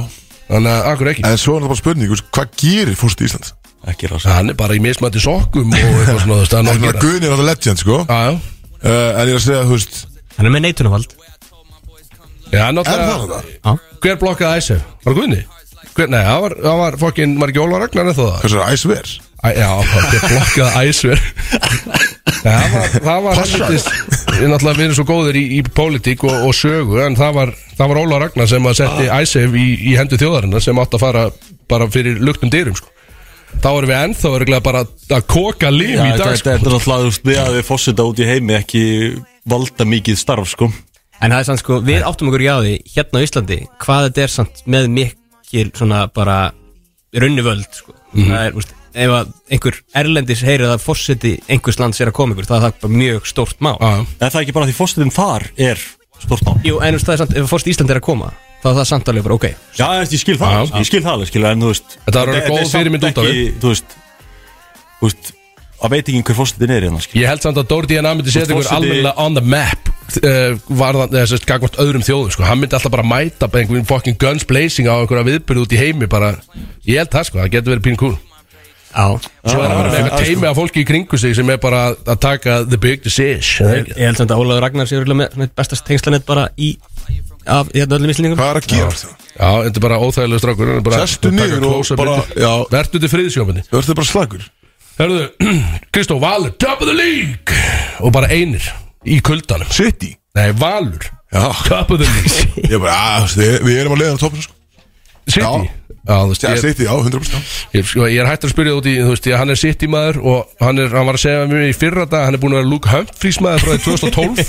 Speaker 5: Þannig að, af hverju ekki?
Speaker 1: En svo er það bara spurning, þú veist, hvað gerir fórstu Íslands?
Speaker 2: Ekki rása
Speaker 5: Hann er bara í mismætti sokkum og eitthvað svona, þú veist, hann á
Speaker 1: Það
Speaker 5: að
Speaker 1: er
Speaker 5: gera
Speaker 1: Guðin er alltaf legend, sko uh,
Speaker 5: Já, já.
Speaker 1: En ég er að segja, þú veist,
Speaker 3: Hann er með neitunafald
Speaker 5: Já, hann
Speaker 1: er
Speaker 5: náttúrulega-
Speaker 1: það það?
Speaker 3: Já
Speaker 5: Hver blokkaði æsef? Var það Guðni? Hver, nei, það var, það var fokkin, var ekki Óla Ragnar eða það?
Speaker 1: Hversu er Ice Ver?
Speaker 5: Æ, já, hver blokkaði æsef? Nei, það var, það var helvitist, ég náttúrulega verið svo góður í, í pólitík og, og sögu, en það var, það var Óla Ragnar sem að setti
Speaker 2: Ah.
Speaker 5: æsef í, í hendu þjóðarinnar sem átti að fara bara fyrir luktum dyrum, sko. Þá erum við ennþá örgulega bara að koka lim
Speaker 2: Já,
Speaker 5: í dag,
Speaker 2: þetta
Speaker 5: sko.
Speaker 2: er náttúrulega þú veist Við að við fósita út í heimi ekki valda mikið starf sko
Speaker 3: En það er sann sko Við áttum okkur í á því Hérna á Íslandi Hvað þetta er samt Með mikil svona bara Runni völd sko. Það er úst, Ef að einhver erlendis heyrið að fórseti einhvers lands er að koma ykkur Það er það bara mjög stórt mál
Speaker 5: Já, já.
Speaker 2: En það er ekki bara því fósitin þar er stort mál
Speaker 3: Jú, en þú veist, það er samt, ef fórst Íslandi er að koma þá er það samt alveg bara, ok,
Speaker 2: Já, þú veist, ég skil það,
Speaker 5: Já.
Speaker 2: ég skil það alveg, skil, en þú veist
Speaker 5: Þetta var alveg góð
Speaker 2: er samt
Speaker 5: fyrirmynd út á
Speaker 2: ekki, Þú veist, þú veist, að veit ekki hver fórsetin er hérna, skil
Speaker 5: Ég held samt að Dóri DNA myndi setja ykkur
Speaker 2: Forseti-
Speaker 5: almennilega on the map uh, varðan, eða sérst, gagvart öðrum þjóðum sko. hann myndi alltaf bara mæta bara einhvern fucking guns blazing á einhverja viðbyrðu út í heimi bara, ég held það sko, það getur verið pín kúl
Speaker 3: já
Speaker 5: Svo
Speaker 1: Ah,
Speaker 2: Já,
Speaker 5: er það bara með
Speaker 2: já,
Speaker 5: eitthvað
Speaker 2: sko.
Speaker 5: teimi af fólki í kringu sig sem er bara að- að taka the big decision
Speaker 3: Ég ég held samt að Ólaður Ragnar sé örugglega með svona eitt bestast tengslanett bara í af hérna öllum íslendingum
Speaker 1: Hvað er að gera sko? það?
Speaker 5: Já, þetta er bara óþægilega strákur hann er bara-
Speaker 1: Sestu
Speaker 5: taka
Speaker 1: niður og
Speaker 5: close-up
Speaker 1: bara-
Speaker 5: myndir.
Speaker 1: já.
Speaker 5: Vertu til friðsjófinni
Speaker 1: Þú ert bara slagur
Speaker 5: Herðu, Kristó Valur, top of the league og bara einir í kuldanum
Speaker 1: City
Speaker 5: Nei, Valur,
Speaker 1: Já,
Speaker 5: top of the league
Speaker 1: ég er bara, að, við, við erum að leiða á toppinu, sko
Speaker 5: City Já, þú veist,
Speaker 1: Já,
Speaker 5: ég-
Speaker 1: City, já, 100% já.
Speaker 5: Ég, sko, ég er hægt að spyrja út í, þú veist, ég, hann er sitt í maður og hann, er, hann var að segja mér í fyrra dag, hann er búin að vera Luke Humphreys maður frá því 2012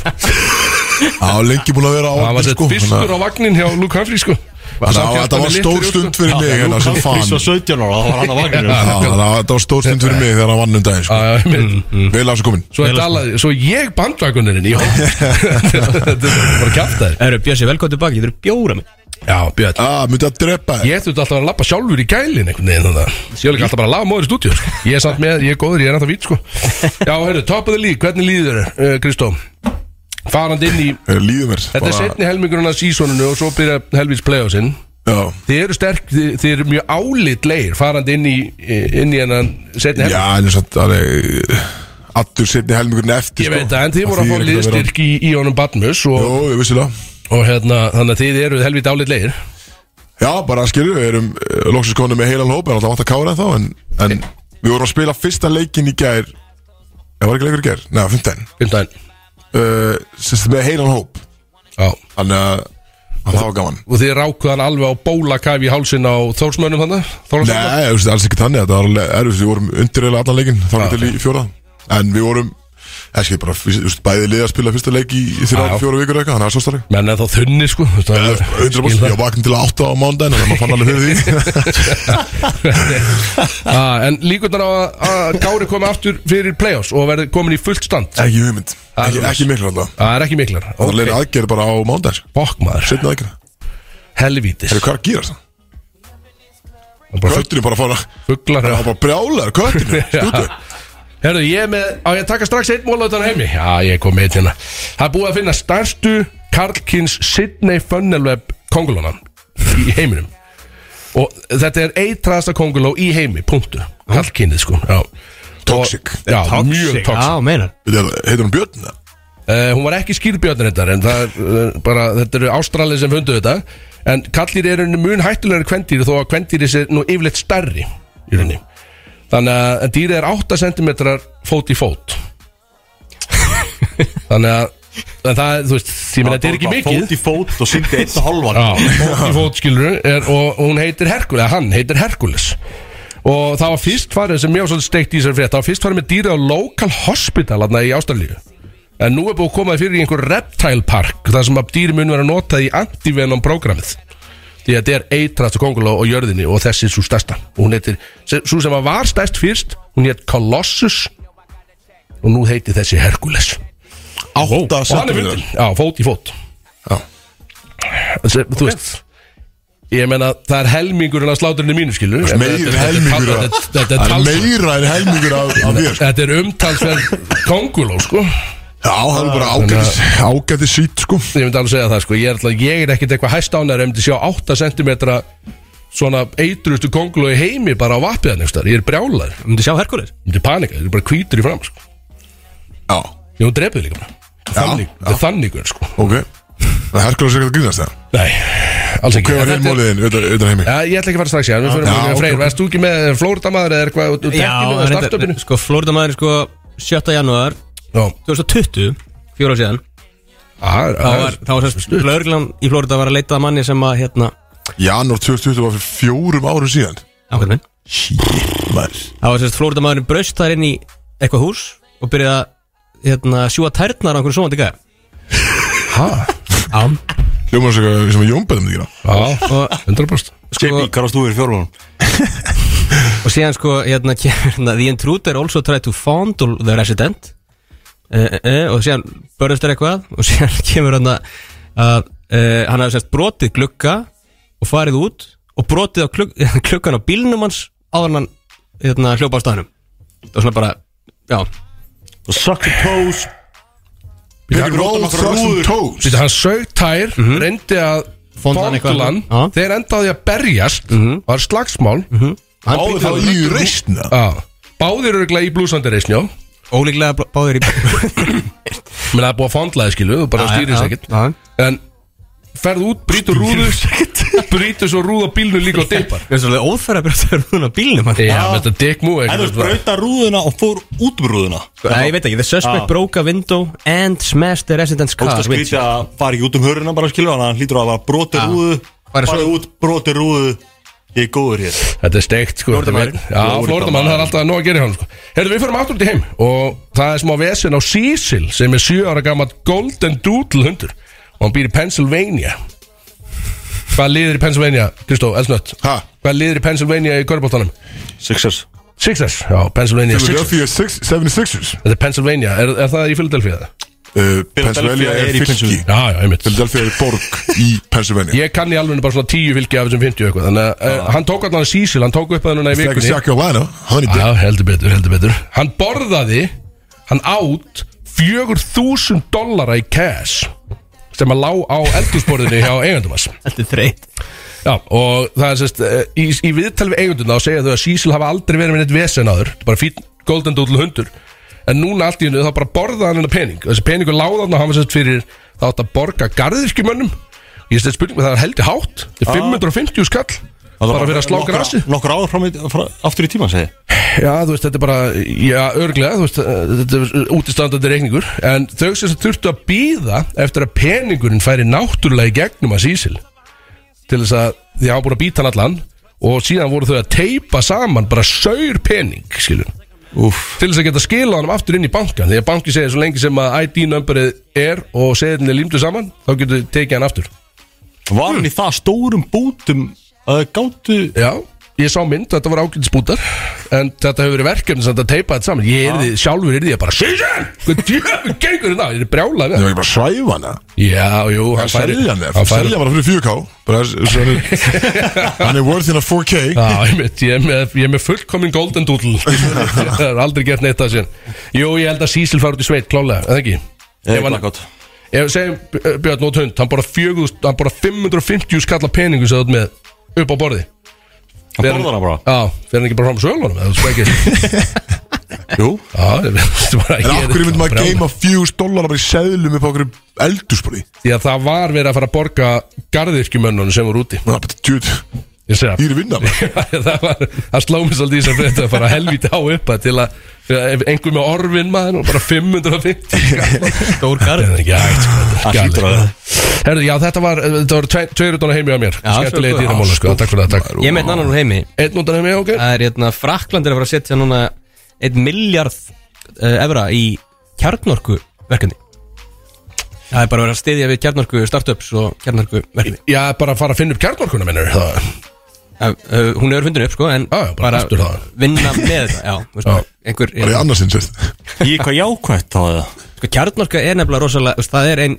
Speaker 1: Já, lengi búin að vera á
Speaker 5: hann var
Speaker 1: vagninum,
Speaker 5: sett fyrstur á
Speaker 1: þannig að-
Speaker 5: vagnin hjá Luke Humphreys sko.
Speaker 1: Þannig að hérna. þetta var stór stund fyrir mig hérna sem fan
Speaker 2: Svo 17 ára, þá var hann að vakna
Speaker 1: Já, þannig að Þetta var stór stund fyrir mig þegar hann vann um daginn sko.
Speaker 5: stund
Speaker 1: Vel afsökumin
Speaker 5: Svo, er dalað, svo ég bandvakunirinn í hóð Þetta er bara kæft þær
Speaker 3: Eru Bjössi velkvæmt tilbaki, getur bjóra mig
Speaker 5: Já, Björn
Speaker 1: Já, Ah, myndi að drepa þér
Speaker 5: Ég þurfti alltaf að vera að lappa sjálfur í gælin einhvern veginn þannig að Ég er líka alltaf bara að laga móður í stúdíu sko. Ég er samt með, ég er góður, ég er ennþá vít sko Já, heyrðu, top of the league, hvernig líður þér, uh, Kristó? Farandi inn í,
Speaker 1: Líðu mér
Speaker 5: þetta er setni helmingurinn af sísoninu og svo byrja helvits playoffsinn
Speaker 1: Já,
Speaker 5: Þið eru sterk, þið, þið eru mjög álitleir farandi inn í, eh, inn í hennan setni
Speaker 1: já en
Speaker 5: helming
Speaker 1: þess að eh, Allur setni helmingurinn eftir
Speaker 5: Ég
Speaker 1: sko.
Speaker 5: veit það, en þið
Speaker 1: Það
Speaker 5: voru
Speaker 1: þýðir
Speaker 5: að fá
Speaker 1: ekkert vera-
Speaker 5: liðstyrk í, í honum Badmus og,
Speaker 1: Jó, ég vissi það
Speaker 5: og hérna, þannig að þið eru helviti álitleir
Speaker 1: Já, bara skilju, við erum uh, loksins konum með heilan hóp, en alltaf átt að kára en þá en, en við vorum að spila fyrsta leikin í gær Það var ekki leikur í gær, neða, 15
Speaker 5: Fymtæn
Speaker 1: uh, Sérst með heilan hóp
Speaker 5: Já
Speaker 1: Þannig að að það var gaman
Speaker 5: Og þið rákuð hann alveg á bólakæf í hálsin á Þórsmönnum þannig?
Speaker 1: Nei, þú veist, alls ekki þannig þetta var alveg erfið, við vorum undirreila allan leikin þá
Speaker 5: Ah,
Speaker 1: getur í fjóra, en við vorum ekki bara, þú veist, bæði liða að spila fyrsta leik í, í
Speaker 5: Ah, Já.
Speaker 1: þrjá, fjóra vikur eða eitthvað, þannig að það er svo starri
Speaker 5: Menn er þá þunni sko þú veist, það er- skil
Speaker 1: 100%
Speaker 5: það.
Speaker 1: ég vakna til að átta á mándaginn þannig að maður fann alveg fyrir því
Speaker 5: Ah, En líkundar á að- að Kári komi aftur fyrir play-offs og verði komin í fullt stand
Speaker 1: ekki hugmynd, ekki,
Speaker 5: Alveg.
Speaker 1: ekki miklu alltaf
Speaker 5: Það er ekki miklar
Speaker 1: það er leira aðgerð bara á mándaginn
Speaker 5: Bokk maður,
Speaker 1: setna aðgerð,
Speaker 5: helvítis
Speaker 1: hefur hvað er að gera það? Kötturinn bara að fara
Speaker 5: Fuglar
Speaker 1: það var bara brjálar, kötturinn, stútu
Speaker 5: Herðu, ég er með, á ég að taka strax eitt mól á þannig heimi Já, ég kom með eitt hérna Það er búið að finna stærstu Karlkins Sydney Funnelweb kongulóna í heiminum Og þetta er eitraðasta konguló í heimi, punktu Karlkinnið sko, já
Speaker 1: Toxic.
Speaker 5: Og- Já, mjög toxic
Speaker 3: Já, meinar
Speaker 1: heitir hún Björn? eða?
Speaker 5: Uh, hún var ekki skýrbjörnir þetta en það er uh, bara, þetta eru ástralið sem fundu þetta en kallir eru mun hættulegur kvendýri þó að kvendýri sé nú yfirleitt stærri í rauninni þannig að en dýrið er 8 cm fót í fót þannig að en það, þú veist, ég meina þetta er ekki mikið
Speaker 2: Fót í fót og syndi eitt og halvan
Speaker 5: Já, fót í fót skilur er, og, og hún heitir Herkules, eða hann heitir Herkules og það var fyrst farið sem mjög svolítið steikt í sér frétt, það var fyrst farið með dýrið á local hospital aðna í Ástralíu en nú er búið að koma því fyrir í einhver reptile park þar sem að dýri mun vera notað í antivenom prógramið því að þetta er eitrastu konguló á jörðinni og þessi er svo stærsta og hún heitir, svo sem að var stærst fyrst hún heit Colossus og nú heitir þessi Herkules
Speaker 1: Átta
Speaker 5: og hann er
Speaker 1: centimetrar.
Speaker 5: fundin, já, fót í fót
Speaker 1: Já.
Speaker 5: Þessi, Þú veist Ég meina það er helmingurinn af sláturinu mínu skilur
Speaker 1: Þú veist, meira en helmingur af-
Speaker 5: Þetta- Þetta þetta er
Speaker 1: Það er
Speaker 5: talsverð-
Speaker 1: meira en helmingur af af þér sko.
Speaker 5: þetta er umtalsverð konguló sko Ég
Speaker 1: Já, það er bara ágætis, ágætis sýt sko
Speaker 5: myndi alveg segja það sko Ég er, alltaf, ég er ekkit eitthvað hæst ánæður Ég myndi sjá 8 cm Svona eitrustu konguló í heimi Bara á vappiðan einhverstaðar Ég er brjálar Ég
Speaker 3: Þú myndir sjá Herkules
Speaker 5: myndi panika Ég er bara hvítur í fram sko
Speaker 1: Já,
Speaker 5: Ég hún drepið líka bara Þannig,
Speaker 1: já.
Speaker 5: þetta er þannig gun, sko
Speaker 1: ok Það herkulega sér ekki að grínast það
Speaker 5: Nei, alls ekki
Speaker 1: Hver var
Speaker 5: En þetta
Speaker 1: hinn
Speaker 5: er-
Speaker 1: móliðin, utan heimi?
Speaker 5: Já, ég ætla ekki að fara strax í hann Við fyrir
Speaker 1: Já,
Speaker 5: að
Speaker 1: ok,
Speaker 5: freyr
Speaker 1: ok.
Speaker 5: Værst þú ekki með Flórdamaður eða eitthvað út- út tekkinu eða startupinu?
Speaker 3: reyndar- Sko, Florida maður er sko 7. janúar
Speaker 5: Já, Ah,
Speaker 3: 2020 Fjóra ár síðan
Speaker 5: það er-
Speaker 3: Þá
Speaker 5: það
Speaker 3: var,
Speaker 5: er-
Speaker 3: þá var sérst Lörglan í Florida var að leita að manni sem að hérna
Speaker 1: Janúar 2020 var fyrir fjórum árum síðan
Speaker 3: Ákveð minn
Speaker 1: Maður
Speaker 3: Það var sérst Florida maðurinn braust þar inn í eitthvað hús og byrjaði að hérna, sjúa tærnar á einhverjum svoandi gæðar Já
Speaker 1: Hljómaður sér eitthvað sem að jónbæðum þig gera
Speaker 5: Já,
Speaker 3: og,
Speaker 5: 100%
Speaker 2: Jamie, hvað varst þú fyrir fjórlunum?
Speaker 3: og síðan sko hérna kemur hérna The intruder also tried to fondle the resident uh, uh, uh, og síðan börðust þær eitthvað og síðan kemur hérna að uh, hann hafði sérst brotið glugga og farið út og brotið á glugg, gluggan á bílnum hans áður en hann hérna, hljópa á staðnum og svona bara, já
Speaker 2: Suck the toes
Speaker 1: Bigger roll thousand toes
Speaker 5: Býtu, hann sög tær, reyndi að
Speaker 3: Fonda hann eitthvað.
Speaker 5: fondlan,
Speaker 3: Já.
Speaker 5: þeir endaði að berjast mm -hmm. var slagsmál mm -hmm.
Speaker 3: Hann
Speaker 1: Áður
Speaker 3: bítur-
Speaker 1: þá í reistna
Speaker 5: Ah, báðir örgulega í blúsandireisnjó
Speaker 3: Ólíklega bl- báðir í
Speaker 5: menn það er búið að fondlaði skilu þú bara stýrir sér ekkert
Speaker 3: Það
Speaker 5: en ferð út, brýtur rúðu brýtur svo rúða bílnu líka og dippar
Speaker 3: er svolítið óþæra að byrja að það er núna bílnum hann
Speaker 5: já, þetta er dick move
Speaker 2: En þú
Speaker 5: eitthvað.
Speaker 2: brauta rúðuna og fór út brúðuna
Speaker 3: Nei, ég veit ekki, the suspect
Speaker 2: Já.
Speaker 3: broke a window and smashed the resident's car
Speaker 2: Ósta skrítið að fara ekki út um höruna bara skilur Þannig að hann hlýtur að bara broti rúðu
Speaker 3: Bara svo-
Speaker 2: Fara út, broti rúðu Ég er góður hér
Speaker 5: Þetta er steikt sko
Speaker 3: Flórdamaður.
Speaker 5: Þetta er- Já, Flóridamann, það er alltaf nóg að gera hjá hann sko. Herðu, við förum aftur út í heim Og það er smá vesen á Cecil Sem er 7 ára gammal Golden Doodle hundur Og hann býr í Pennsylvania Hvað liðir í Pennsylvania, Kristó, elsnött
Speaker 1: Ha?
Speaker 5: Hvað liðir í Pennsylvania í körbóltanum?
Speaker 2: Sixers
Speaker 5: Sixers, já, Pennsylvania Sixers
Speaker 1: Philadelphia 6- 76ers
Speaker 5: Þetta er Pennsylvania, er, er það í Philadelphia? eða?
Speaker 1: uh, Pennsylvania
Speaker 2: er
Speaker 1: er
Speaker 2: í
Speaker 1: fylki
Speaker 2: Pennsylvania.
Speaker 5: Já, já, einmitt
Speaker 1: Philadelphia er borg í Pennsylvania
Speaker 5: Ég kann í alveg bara svona tíu fylgi af þessum 50 og eitthvað Þannig að eh, hann tók allan að Cecil, hann tók upp að núna í
Speaker 1: Þegar
Speaker 5: vikunni Ah.
Speaker 1: South Carolina, honey dick
Speaker 5: Já, heldur betur, heldur betur Hann borðaði, hann átt 4.000 dollara í cash sem að lá á eldhúsborðinu hjá eigandumas
Speaker 3: Þetta er þreytt
Speaker 5: Já, og það er sérst eh, í, í viðtal við eiganduna þá segja þau að Cecil hafa aldrei verið með neitt vesen áður Þetta er bara fín golden doodle hundur en núna allt í hennu þá bara borðaði hann hennar pening þessi peningur láði hann og hann var sérst fyrir þá átt að borga garðirkjumönnum ég sérst spurning með það er heldur hátt þetta er 550 skall bara fyrir að slá grassi
Speaker 2: Nokkur áður fram, í- frá, aftur í tíma segi ég.
Speaker 5: Já, þú veist, þetta er bara, já, örglega, þú veist, eh, þetta er útistandandi reikningur En þau sem þess þurftu að býða eftir að peningurinn færi náttúrulega í gegnum að Sísil Til þess að því að hann búin að býta hann allan Og síðan voru þau að teipa saman bara saur pening, skilur
Speaker 2: Úff.
Speaker 5: Til þess að geta skila hann aftur inn í bankan Því að banki segir svo lengi sem að ID-numberið er og segirinn er límdu saman Þá getur þau tekið hann aftur
Speaker 2: Var hann í það stórum bútum að þau gáttu
Speaker 5: Já, ég sá mynd, þetta var ágætisbútar En þetta hefur verið verkefni sem þetta teipa þetta saman Ég er því, sjálfur er því að bara Síðan, hvað djöfum gengur þetta Ég er brjálað
Speaker 1: Það
Speaker 5: við
Speaker 1: var ekki bara að svæfa hana
Speaker 5: Já, jú, hann færi
Speaker 1: Selja hann
Speaker 5: hann færi-
Speaker 1: Selja bara fyrir 4K bara, s- svo hann er- Hann er worth in a 4K
Speaker 5: Já, ég, mitt, ég, er með, ég er með fullkomin golden doodle Það er aldrei gert neitt að sín Jú, ég held að Cecil fara út í sveit, klálega, eða ekki
Speaker 2: Ég
Speaker 5: Ef hann-
Speaker 2: blackout.
Speaker 5: Ef segjum B- eh, Björn Nót Hund, hann bara, 4.000 hann bara 550 skalla peningu sem þú ert með upp á borði
Speaker 2: Hann borða hana bara
Speaker 5: Já, fyrir hann ekki bara fram á sölunum eða þú spækir
Speaker 2: Jú
Speaker 5: Já, ég veit, þetta er bara-
Speaker 1: En
Speaker 5: ég
Speaker 1: af
Speaker 5: er
Speaker 1: hverju myndum að
Speaker 5: brjálaður.
Speaker 1: geima fjús dólar bara í seðlum upp á okkur eldurspori
Speaker 5: Því að það var verið að fara að borga garðirkjumönnunum sem voru úti
Speaker 1: Það er bara tjúð
Speaker 5: Ég segja
Speaker 1: Dýri vinna maður.
Speaker 5: Það var að slá mig svolítið í þess að fyrir að fara helvíti á upp að til að til að ef einhver með orfin maður og bara 550
Speaker 3: Stór garð
Speaker 5: Það er ekki hægt sko, þetta er
Speaker 2: Það hlýtur
Speaker 5: galið.
Speaker 2: að
Speaker 5: Herðu, já þetta var, þetta var tveir utan á heimi á mér
Speaker 3: Já,
Speaker 5: Skemmtilegi
Speaker 3: sko,
Speaker 5: dýramóla, sko, takk fyrir það, takk
Speaker 3: Ég meit annan úr heimi
Speaker 5: Einn utan á heimi, ok
Speaker 3: Það er hérna Frakland er að fara að setja núna 1 miljard uh, evra í kjarnorku verkefni Það er bara að vera að styðja við kjarnorku startups og kjarnorku verkefni
Speaker 5: Já, bara að fara að finna upp kjarnorkuna minnur það
Speaker 3: uh, uh, Hún er fundin upp sko en
Speaker 5: Já, já, bara aftur það.
Speaker 3: vinna með þetta Já, veist,
Speaker 5: Já.
Speaker 3: einhver
Speaker 1: Bara í annarsinn sérst
Speaker 2: Í eitthvað jákvætt þá eða
Speaker 3: sko, Kjarnorka er nefnilega rosalega veist, Það er ein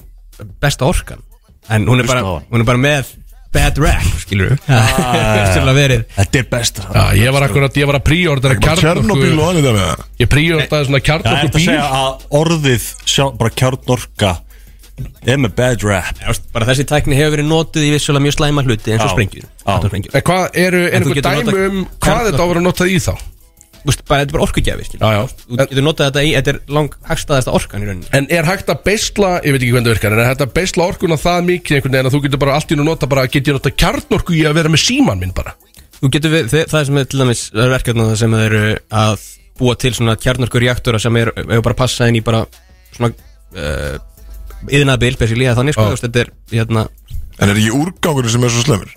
Speaker 3: besta orkan En hún er,
Speaker 2: Hlusta á
Speaker 3: bara,
Speaker 2: hana.
Speaker 3: hún er bara með bad rap skilur við Það er verið
Speaker 2: Þetta er best
Speaker 5: Já, ég var akkurat, ég var að príordera
Speaker 1: Kjarnobíl og
Speaker 5: kjarnorku
Speaker 1: annað það með það
Speaker 5: Ég príordaði
Speaker 2: Það
Speaker 5: svona
Speaker 2: er
Speaker 5: kjarnorku
Speaker 2: þetta að
Speaker 5: bíl
Speaker 2: segja að orðið sjálf, bara kjarnorka er með bad rap
Speaker 3: Já, veist, Bara þessi tækni hefur verið notuð í vissulega mjög slæma hluti eins og
Speaker 2: Já.
Speaker 3: sprengjur
Speaker 2: Já.
Speaker 3: Atómsprengjur.
Speaker 5: En hvað eru, er
Speaker 3: En þú
Speaker 5: einhver
Speaker 3: getur
Speaker 5: dæmi
Speaker 3: notað
Speaker 5: um hvað
Speaker 3: kjarnorku.
Speaker 5: þetta á að vera notað í þá?
Speaker 3: Þú veist, bara, þetta er bara orkugjafi skilur við.
Speaker 5: já
Speaker 3: Þú getur notað þetta í, þetta er lang hagstæðasta orkan í rauninni
Speaker 5: En er hægt að beisla, ég veit ekki hvernig það virkar En er hægt að beisla orkuna það mikið einhvern veginn Að þú getur bara allt í nú nota bara Get ég nota kjarnorku í að vera með síman minn bara
Speaker 3: Þú getur við, þið, það er sem er til dæmis það er verkefna það sem eru að búa til svona kjarnorkur reaktora sem er, er bara að passa inn í bara svona uh, yðnabil, basically, að þannig sko,
Speaker 5: Já.
Speaker 3: þú veist, þetta er, hérna
Speaker 1: En er ekki úrgangurinn sem er svo slemur?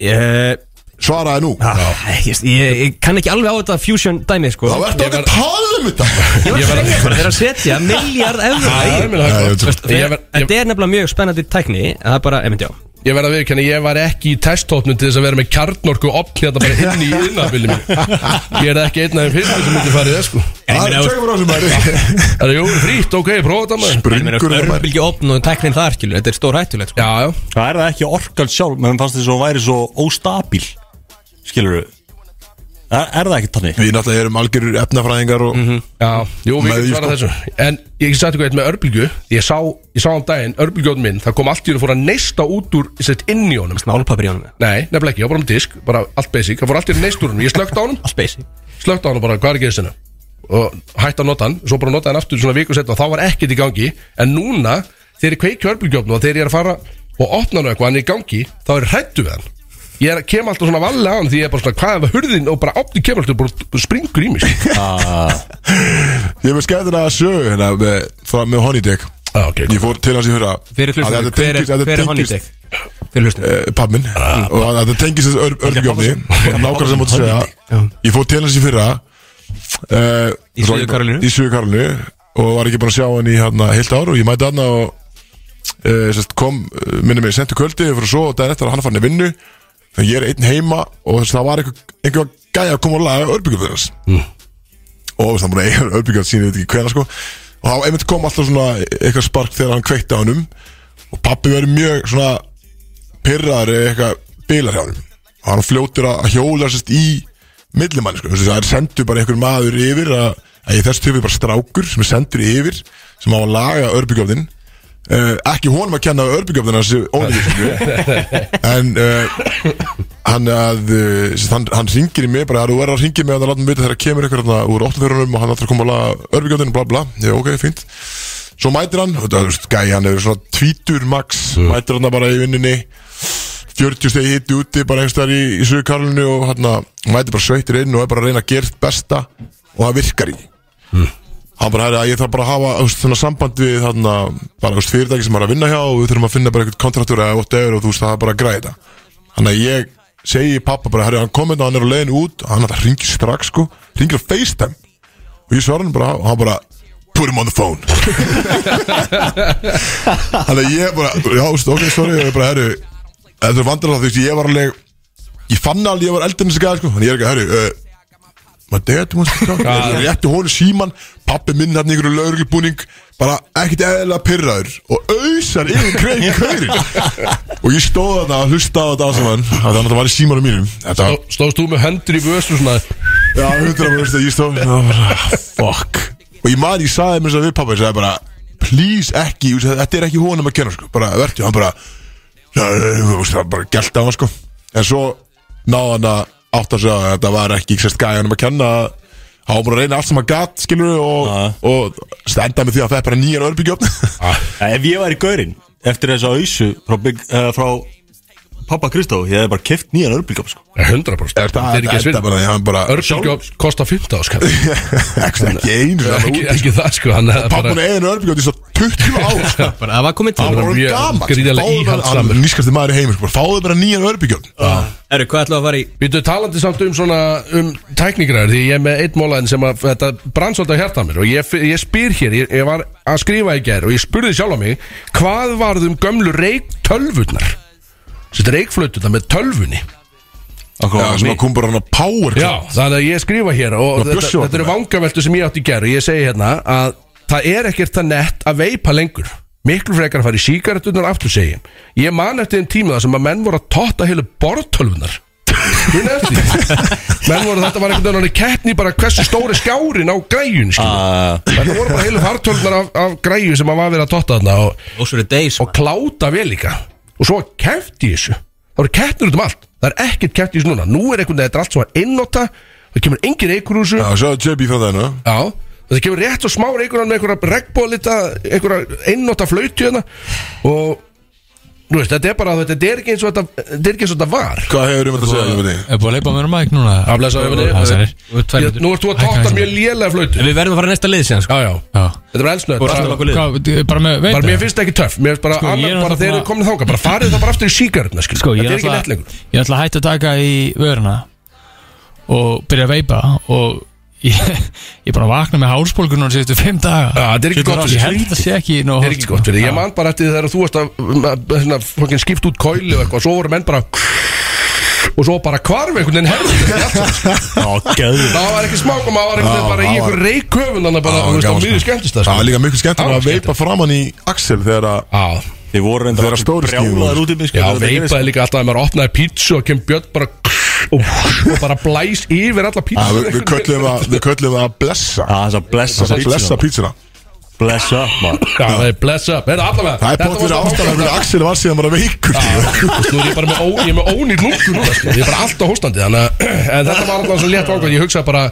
Speaker 3: ég, ah,
Speaker 1: Svaraði nú Þá
Speaker 3: ég, ég, ég kann ekki alveg á þetta fusion dæmi, sko
Speaker 1: ertu
Speaker 5: Ég
Speaker 1: okkur
Speaker 5: var-
Speaker 1: að tala um þetta
Speaker 3: Ég var að segja bara, þeir eru að setja miljard eurra
Speaker 5: Það
Speaker 3: í þetta.
Speaker 5: er mjög
Speaker 1: Já, ég
Speaker 5: hægt
Speaker 1: veit
Speaker 5: gott.
Speaker 1: svo.
Speaker 5: Ég ver- ég-
Speaker 3: Þetta er nefnilega mjög spennandi tækni, en það er bara, emitt, já
Speaker 5: ég verð að viðurkenna, ég var ekki í testhópnum Til þess að vera með kjarnorku opn Hérna bara inn í innabili mín Ég er ekki einn af þeim fyrstu sem myndi farið það sko
Speaker 1: Það er tjögum ráðum maður
Speaker 5: Það er jú, frýtt, ok, prófa þetta maður
Speaker 1: Bringur það maður
Speaker 3: Örbylgi opn og tæknin þar, skilur, þetta er stór hættulegt, sko
Speaker 5: Já, já,
Speaker 2: Það er það ekki orkan sjálf menn fannst þess að hún væri svo óstabíl skilur við er, er það ekki tannig?
Speaker 1: Við náttúrulega erum algjörur efnafræðingar og
Speaker 3: Mhm.
Speaker 5: já, jú, við
Speaker 1: Með
Speaker 5: getum
Speaker 1: í
Speaker 5: svarað þessu En ég sagði eitthvað eitt með örbylgu Ég sá, ég sá um daginn, örbylgjóðn minn Það kom allt í hún fór að neista út úr sett, inn í honum
Speaker 3: Málpapir í honum,
Speaker 5: Nei, nefnilega ekki, ég var bara með disk, bara allt basic Það fór allt í neist úr hann, ég slögt á hann
Speaker 3: allt basic
Speaker 5: Slögt á hann og bara, hvað er að gerist hérna? Og hætti að nota hann, svo bara nota hann aftur svona viku setna og þá var ekkert í gangi En núna, þegar ég kveiki örbulgjófn og þegar ég er að fara og opna hann eitthvað hann er í gangi Þá er ég hrættu við hann Ég er, kem alltaf svona vallega á hann því ég er bara svona Hvað er hurðin og bara opni kemur alltaf bara, bara springur í mig sko.
Speaker 1: Ég er með skemmtilega að sögu hérna með- frá- með Honey Dick
Speaker 5: ah, okay,
Speaker 1: Ég fór til hans í hurra
Speaker 3: Fyrir hlustunum, hver er, hver er Honey Dick? Fyrir hlustunum
Speaker 1: Pappminn eh, Og að þetta tengist þessu örgjófni Nákvæmlega sem móti segja Ég fór til hans í fyrra eh,
Speaker 3: Í
Speaker 1: svo-
Speaker 3: Suður-Karólínu?
Speaker 1: Í Suður Karolínu Og var ekki búin að sjá hann í hérna heilt ár Og ég mæti hann og uh, sest, kom, uh, minni mig, sendu kvöldi fyrir svo og daginn eftir að hann fann í vinnu þannig að ég er einn heima og þess, það var einhver, einhver gæja að koma og laga örbyggjum fyrir þess mm. og þess, það múin að eiga örbyggjum sín ég veit ekki hvena sko og þá einmitt kom alltaf svona eitthvað spark þegar hann kveitti á hannum og pappi verið mjög svona pyrraður eða eitthvað bilar hjá hann og hann fljótur að að hjóla sérst í millimann sko, þess að það er sendur bara einhver maður yfir að, að ég þess töfum bara strákur sem er sendur yfir sem á að laga örbygjöfnin uh, ekki honum að kenna örbygjöfnin hans ónýður sko. en uh, hann að uh, sérst, hann, hann ringir í mig bara þú verður að ringir mig að það láta mig vita þegar kemur ykkur þarna úr óttafjörunum og hann ætlar að koma að laga örbygjöfnin bla bla, já ok, fínt svo mætir hann, þetta, þú veist, gæi hann er svona tvítur max, mætir hann bara í vinninni 40 stegi hitti úti bara einhverstaðar í, í Suðukarlinu og hérna mæti bara sveittir inn og er bara að reyna að gera sitt besta og það virkar í hann bara herri að ég þarf bara að hafa þú veist, þennan samband við þarna bara þú veist, fyrirtæki sem er að vinna hjá og við þurfum að finna bara einhvern kontraktur eða whatever og þú veist það er bara að græða þannig að ég segi pappa bara herri hann komið og hann er á leiðin út hann hann ringir strax sko ringir á FaceTime og ég svara hann bara og hann bara put him on the phone þannig að ég bara já, þú veist, ok, sorry, og ég bara herri þetta er vandrarlega þú veist, ég var alveg ég fann alveg, ég var eldin þessi gæði sko þannig ég er ekki, herri, uh, maður degið þú veist, ég rétti honum síman pappi minn hann í einhverju lauruglubúning bara ekkert eðlilega pyrraður og auðsar yfir krein kveirinn og ég stóð þarna að hlusta á þetta allt saman af því að þetta var í símanum mínum þetta var
Speaker 5: Stóðst þú með höndur í vössu svona
Speaker 1: Já, hundra maður veist að ég stóð og bara, fuck Og ég man, ég saði mér þess að við pappa, ég sagði bara Please ekki, ég sagði, þetta er ekki honum að kenna sko. Bara, verður, hann bara Það bara gælt á hann sko En svo náði hann að átt að segja að þetta var ekki sérst gæði honum að kenna Há bara að reyna allt sem að gat, skilur og,
Speaker 2: Ja.
Speaker 1: og stenda með því að það er bara nýjan örbyggjofn
Speaker 5: Ah,
Speaker 2: Ja, Eh, Ef ég væri gaurinn eftir þessa auðsu frá, Big- eh, frá pappa Kristó ég hef bara keft nýjan örbílgjóf sko.
Speaker 5: 100%
Speaker 1: Þetta
Speaker 5: Þetta er ekki að
Speaker 1: þetta
Speaker 5: svinna
Speaker 1: bara, hann bara
Speaker 5: Örbjörg kosta 15 áskall
Speaker 1: Ekki einu sem hann
Speaker 5: ekki,
Speaker 1: úti
Speaker 5: ekki það sko hann er bara
Speaker 1: Pappun einu örbyggjofn í svo 20 ár sko.
Speaker 3: bara, það var komið
Speaker 1: Það
Speaker 3: til
Speaker 1: var
Speaker 5: mjög
Speaker 1: gaman
Speaker 5: gríðarlega
Speaker 1: Fáðu bara-
Speaker 5: íhaldssamur.
Speaker 1: hann er Nýskasti maður í heimur sko. Fáðu bara nýjan örbyggjón
Speaker 3: Erru, hvað ætlaðu að fara í
Speaker 5: Býtu talandi samt um svona um tækningræður því ég er með eitt mólæðin sem að þetta brann svolítið að hjarta á mér og ég, ég spyr hér, ég, ég var að skrifa í gær og ég spurði sjálf á mig hvað varð um gömlu reiktölvurnar Sett reikflötuna með tölvunni
Speaker 1: Já, sem að kom bara hann að power
Speaker 5: Já, þannig að ég skrifa hér
Speaker 1: Ná,
Speaker 5: og þetta,
Speaker 1: blessuðu
Speaker 5: þetta eru
Speaker 1: okkur.
Speaker 5: vangaveltu sem ég átti í gær og ég segi hérna að það er ekkert það nett að veipa lengur miklu frekar að fara í sígarettunar aftur segi ég. ég man eftir þeim tíma þar sem að menn voru að totta heilu borðtölvunar Ég nefndi því. menn voru þetta var einhvern veginn keppni bara hversu stóri skjárin á græjun
Speaker 3: Ah.
Speaker 5: skilur.
Speaker 2: uh,
Speaker 5: þetta voru bara heilu fartölvunar af, af græju sem að var verið að totta þarna og,
Speaker 3: Ósvöru Days
Speaker 5: og kláta vel líka og svo kefti í þessu það voru keppnir út um allt það er ekkert kefti í þessu núna nú er einhvern veginn þetta er allt svo að innota það kemur engin reykur úr þessu
Speaker 1: Já, svo að JB frá það hérna
Speaker 5: já það kemur rétt og smá reykuran með einhverja regnbólita einhverja innota flautu hérna og nú veist þetta er bara þetta er ekki eins og þetta þetta er ekki eins og þetta var
Speaker 1: Hvað hefur um þetta að segja, Jóni?
Speaker 6: Er búið að leipa mér um mæk núna?
Speaker 5: að blessa
Speaker 6: Það
Speaker 5: öfunni
Speaker 6: sælir
Speaker 5: nú ert þú að tóta mjög lélega flautu
Speaker 3: En við verðum að fara í næsta lið síðan sko.
Speaker 5: já já
Speaker 6: Já
Speaker 5: þetta var elsnöð
Speaker 3: okkur lið.
Speaker 6: Hvað, þið- bara með veit
Speaker 5: bara mér finnst það ekki töff mér finnst bara
Speaker 6: Sko, ég er
Speaker 5: annað bara
Speaker 6: náttúrulega
Speaker 5: þeir eru
Speaker 6: búin að-
Speaker 5: komin þáka bara farið það bara aftur í síkaruna
Speaker 6: Sko,
Speaker 5: þetta er
Speaker 6: ég er
Speaker 5: ekki
Speaker 6: alltaf-
Speaker 5: nett lengur
Speaker 6: Ég ætla að hætta að taka í vöruna Og byrja að veipa Og ég, ég er bara að vakna með hálsbólgunar Sýttu fimm daga
Speaker 5: Já, þetta er ekki gott fyrir
Speaker 6: Ég held að það sé ekki nóg
Speaker 5: Það sko. er ekki gott fyrir, því. ég man bara eftir þegar þú varst að um, að, svona, fucking skipt út kóli og eitthvað, svo voru menn bara og svo bara hvarf einhvern veginn herður
Speaker 2: Já, gæður
Speaker 5: sko. það var ekki smák og maður var
Speaker 1: Já,
Speaker 5: einhvern veginn
Speaker 1: það var-
Speaker 5: bara í einhver reiköfun þannig bara, þú veist, á miður skemmtist sko. það
Speaker 1: sko. Það var líka miklu skemmtilega
Speaker 5: Já,
Speaker 1: að veipa framann í Axel þegar að
Speaker 5: Já,
Speaker 2: Þið voru
Speaker 1: Það
Speaker 2: reyndar
Speaker 1: er að stóru stígur.
Speaker 2: brjálaðir út í mig sko,
Speaker 5: já
Speaker 2: þegar þetta gerðist.
Speaker 5: veipaði líka alltaf að maður opnaði pítsu og kem Björn bara og, og bara blæs yfir alla pítsu
Speaker 1: að við- við köllum að- við köllum það að blessa
Speaker 2: Já, Ah, þess að blessa
Speaker 1: Að blessa pítsuna
Speaker 2: Blessa, maður
Speaker 5: Já, það er bless up, er það allavega
Speaker 1: Það er
Speaker 5: Þetta
Speaker 1: bótt fyrir
Speaker 5: var svona-
Speaker 1: ástæðan fyrir Axel var síðan bara veikur
Speaker 5: Nú er ég bara með, ó, ég er með ónýr lungu núna sko. Ég er bara alltaf hóstandi Þannig að en þetta var alltaf svo létt ákvæm Ég hugsaði bara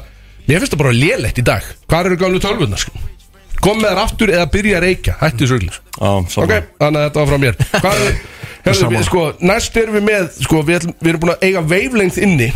Speaker 5: Mér finnst það bara lélegt í dag Hvar eru gamlu tölvurnar sko? Kom með þær aftur eða byrja að reykja Hætti þessu öll
Speaker 2: Já, um
Speaker 5: Ok,
Speaker 2: saman
Speaker 5: þannig að þetta var frá mér Hvað er Hefðu, við, sko, Næst erum við með sko, við, ætlum, við erum búin að eiga veiflengð inni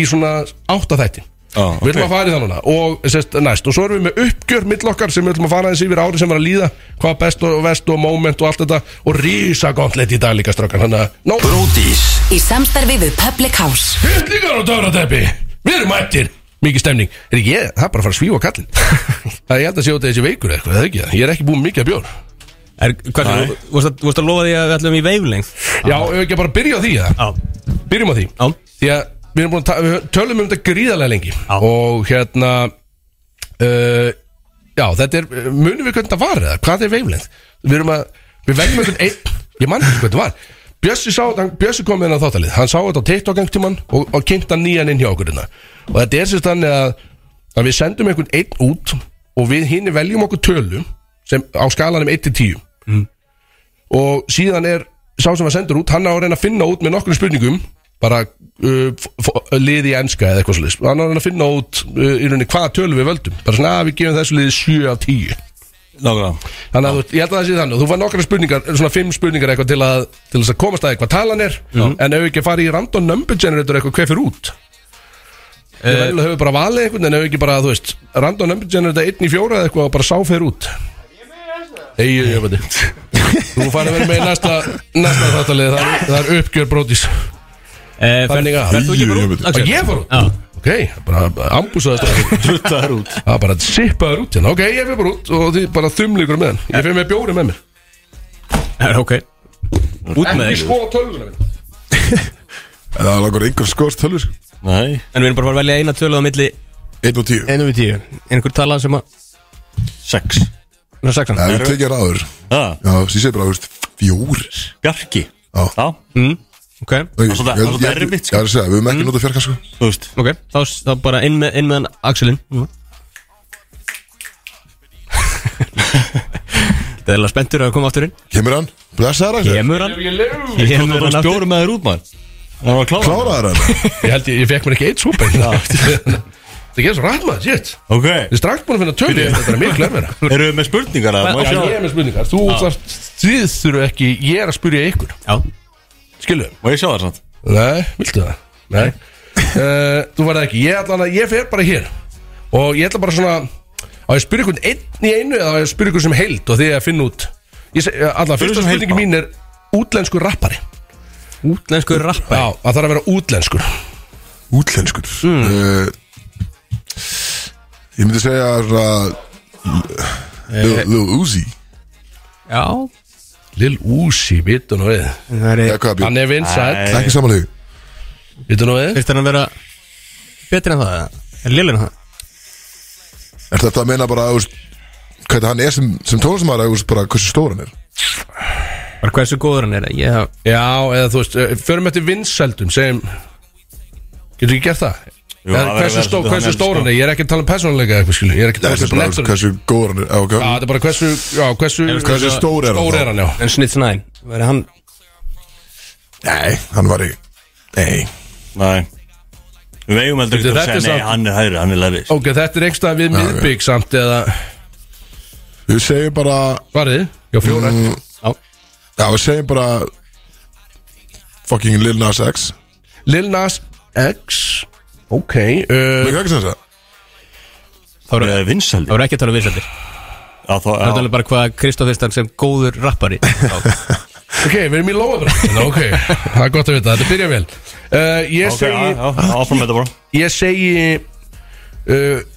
Speaker 5: Í svona áttaþætti
Speaker 2: Já,
Speaker 5: Við ætlum
Speaker 2: ok.
Speaker 5: að fara í það núna og, sest, næst, og svo erum við með uppgjör mill okkar sem við ætlum að fara aðeins yfir ári sem var að líða Hvað best og vest og moment og allt þetta Og rísa gauntlet í dag líka strákan Þannig að nóg
Speaker 4: Brótis Í samstarfi við Public House
Speaker 5: Fyrlingar og töfrateppi Við erum mættir Mikið stemning Er ekki ég? Það er bara að fara að svífa kallin Það er ég held að sjá þetta þessi veikur eða eitthvað eða ekki Ég er ekki búin mikið að bjór
Speaker 3: Er, hvað,
Speaker 2: Nei.
Speaker 3: þú- þú varst að- þú varst að lofa því að við ætlum í veiflengð
Speaker 5: Já, ef við ekki bara byrja á því eða?
Speaker 3: Já,
Speaker 5: Byrjum á því
Speaker 3: já,
Speaker 5: Því að við erum búin að ta- við tölum um þetta gríðarlega lengi
Speaker 3: Já.
Speaker 5: Og hérna uh, Já, þetta er eh, Munum við hvernig þetta var eða? Hvað er veiflengd? Við erum að Við veljum einhvern einn Ég man ekki hvernig þetta var Bjössi, sá, hann, Bjössi kom inn á þáttalið Hann sá þetta á TikTok einhvern tímann Og, og kynnti hann nýjan inn hjá okkur hérna Og þetta er sérst þannig að, að Við sendum einhvern einn út Og við hinni veljum okkur tölum sem, Á skalanum 1-10 og síðan er sá sem var sendur út, hann á að reyna að finna út með nokkrum spurningum bara uh, f- f- liði í enska eða eitthvað svolítið hann á að reyna að finna út uh, í rauninni hvaða tölu við völdum bara svona að við gefum þessu liði 7 af 10
Speaker 2: Nákvæmlega
Speaker 5: þannig að þú, ég held að það sé þannig og þú var nokkra spurningar, svona 5 spurningar eitthvað til að til þess að komast að eitthvað talan er en ef við ekki farið í random number generator eitthvað hver fyrir út
Speaker 3: Eh.
Speaker 5: ég verður að höfum bara valið einhvern en ef ekki bara, þú veist, random number generator 1 í 4 eða eitthvað og bara sá fyrir út Egi, ég veit Þú farið að vera með í næsta, næsta þáttalið það, er- það er uppgjör brótis
Speaker 3: Eh, fer-
Speaker 5: Þannig að-
Speaker 3: ferð þú ekki bara út,
Speaker 1: Jú, jú,
Speaker 5: Og
Speaker 3: Axel?
Speaker 5: ég fór út
Speaker 3: Já.
Speaker 5: Ok, bara ambúsaðast
Speaker 2: Truttaður út
Speaker 5: Það var bara sippaður út hérna Ok, ég fyrir bara út og þið bara þumlíkur með hann Ég fyrir með bjóri með mér
Speaker 3: Já, Eh, ok Út með
Speaker 5: Ekki
Speaker 3: þig
Speaker 5: sko tölvuna minn
Speaker 1: Það langar einhver skort tölur
Speaker 2: Nei
Speaker 3: En við erum bara að fara að velja eina tölu á milli
Speaker 1: 1 og 10
Speaker 3: Einu við tíu Einhver tala sem að
Speaker 2: Sex
Speaker 3: Ná, sexan
Speaker 1: Það er tekið ráður
Speaker 2: Já,
Speaker 1: Já, því segir bara, þú veist, fjór
Speaker 2: Bjarki
Speaker 1: Já.
Speaker 2: Já,
Speaker 3: mm, Ok,
Speaker 1: Það
Speaker 2: svolítið- það er svolítið erfitt, sko.
Speaker 1: sko Já, það er við höfum ekki notað fjarka, sko
Speaker 2: þú veist
Speaker 3: ok Þá, þá bara inn með, inn með hann Axelin Þetta er alveg spenntur að koma aftur inn
Speaker 1: Kemur hann, blessaðar hann
Speaker 3: Kemur hann
Speaker 5: Ég lef
Speaker 3: Kemur hann aftur
Speaker 2: Bjórum með þér út maður Það var að klára
Speaker 1: Kláraðar hann
Speaker 5: Ég held ég, ég fekk mér ekki eitt súpa hérna. Það gerði svo rætt maður, shit
Speaker 2: Ok
Speaker 5: Þið er strax búin að finna tölu Þetta er miklu erfira
Speaker 2: Eru við með spurningar að
Speaker 5: Já, ég
Speaker 2: það?
Speaker 5: er með spurningar Þú þarft, þið þurfu ekki Ég er að spyrja ykkur
Speaker 3: Já,
Speaker 5: Skilu
Speaker 2: Má ég sjá það samt?
Speaker 5: Nei, viltu það? Nei uh, Þú verður ekki, ég ætla að ég fer bara hér Og ég ætla bara svona Á ég að spyrja ykkur einn í einu Eða á ég að spyrja ykkur sem heild og þið að finna út Ég seg- eh, Alla,
Speaker 2: Spyrðu
Speaker 5: fyrsta
Speaker 2: sem heild, bara.
Speaker 5: spurningi mín er Útlenskur rappari
Speaker 3: útlensku rappa
Speaker 5: Já, það þarf að vera útlenskur
Speaker 1: Útlenskur
Speaker 2: Mm.
Speaker 1: Eh, Ég myndi segja svona, Lil- Lil Uzi
Speaker 2: Eh,
Speaker 3: Já
Speaker 5: Lil Uzi, vitu nú við
Speaker 3: Það er
Speaker 1: Eða hvað, Björn?
Speaker 5: Hann er vinsæll,
Speaker 1: Ekki samanlegu
Speaker 5: vitu nú við
Speaker 3: Fyrst hann að vera betri en það eða? Er lillin það?
Speaker 1: Er þetta að meina bara, þú veist Hvernig hann er sem, sem tónlistamæður, þú veist, bara hversu stór hann er
Speaker 3: Bara hversu góður hann er Ég hef
Speaker 5: Já, eða þú veist, eh, förum eftir vinsældum Segjum Getur ekki gert það?
Speaker 2: Jú,
Speaker 5: Eða
Speaker 2: það verður
Speaker 5: Eh, hversu
Speaker 2: að vera
Speaker 5: stó-
Speaker 2: svolítið
Speaker 5: hversu
Speaker 2: þannig,
Speaker 5: stór
Speaker 2: sko.
Speaker 5: hann er? Ég er ekki að tala um persónuleika eitthvað skilu Ég er ekki að
Speaker 1: Það
Speaker 5: tala
Speaker 1: er
Speaker 5: um hversu
Speaker 1: þetta bara, þú
Speaker 5: nefnir
Speaker 1: veist, hversu góður hann er á, hvað- Hversu stór
Speaker 5: Já, þetta er bara hversu, já, hversu
Speaker 1: er hann
Speaker 5: Stór
Speaker 1: þá?
Speaker 5: er hann, já
Speaker 3: En Snitch 9 Verði hann
Speaker 1: Nei, hann var í Nei
Speaker 2: Nei Við eigum heldur ekki að
Speaker 5: Þetta er
Speaker 2: segja Nei,
Speaker 5: samt-
Speaker 2: hann er hægri, hann er læri
Speaker 5: Ok, þetta er einhverstað við miðbygg samt eða
Speaker 1: Við segjum bara
Speaker 5: Svarið? Já, fjóra
Speaker 1: mm,
Speaker 3: Já.
Speaker 1: Já, við segjum bara Fucking Lil Nas X
Speaker 5: Lil Nas X Ok
Speaker 2: Eh,
Speaker 5: uh,
Speaker 1: Mér ekki sem það
Speaker 3: Þá
Speaker 2: Það
Speaker 3: eru-
Speaker 2: er vinsæli
Speaker 3: þá eru ekki að tala um vinsættir
Speaker 2: Já, þá
Speaker 3: Það er
Speaker 2: já.
Speaker 3: alveg um bara hvað Kristoff Vistan sem góður rappari
Speaker 5: Ok, við erum í lóðabræð hérna, Ok, það er gott að vita, þetta byrja vel uh, Ég
Speaker 2: Ok, já,
Speaker 5: segi
Speaker 2: já, áfram með þetta bara
Speaker 3: Eh,
Speaker 5: Ég segi uh,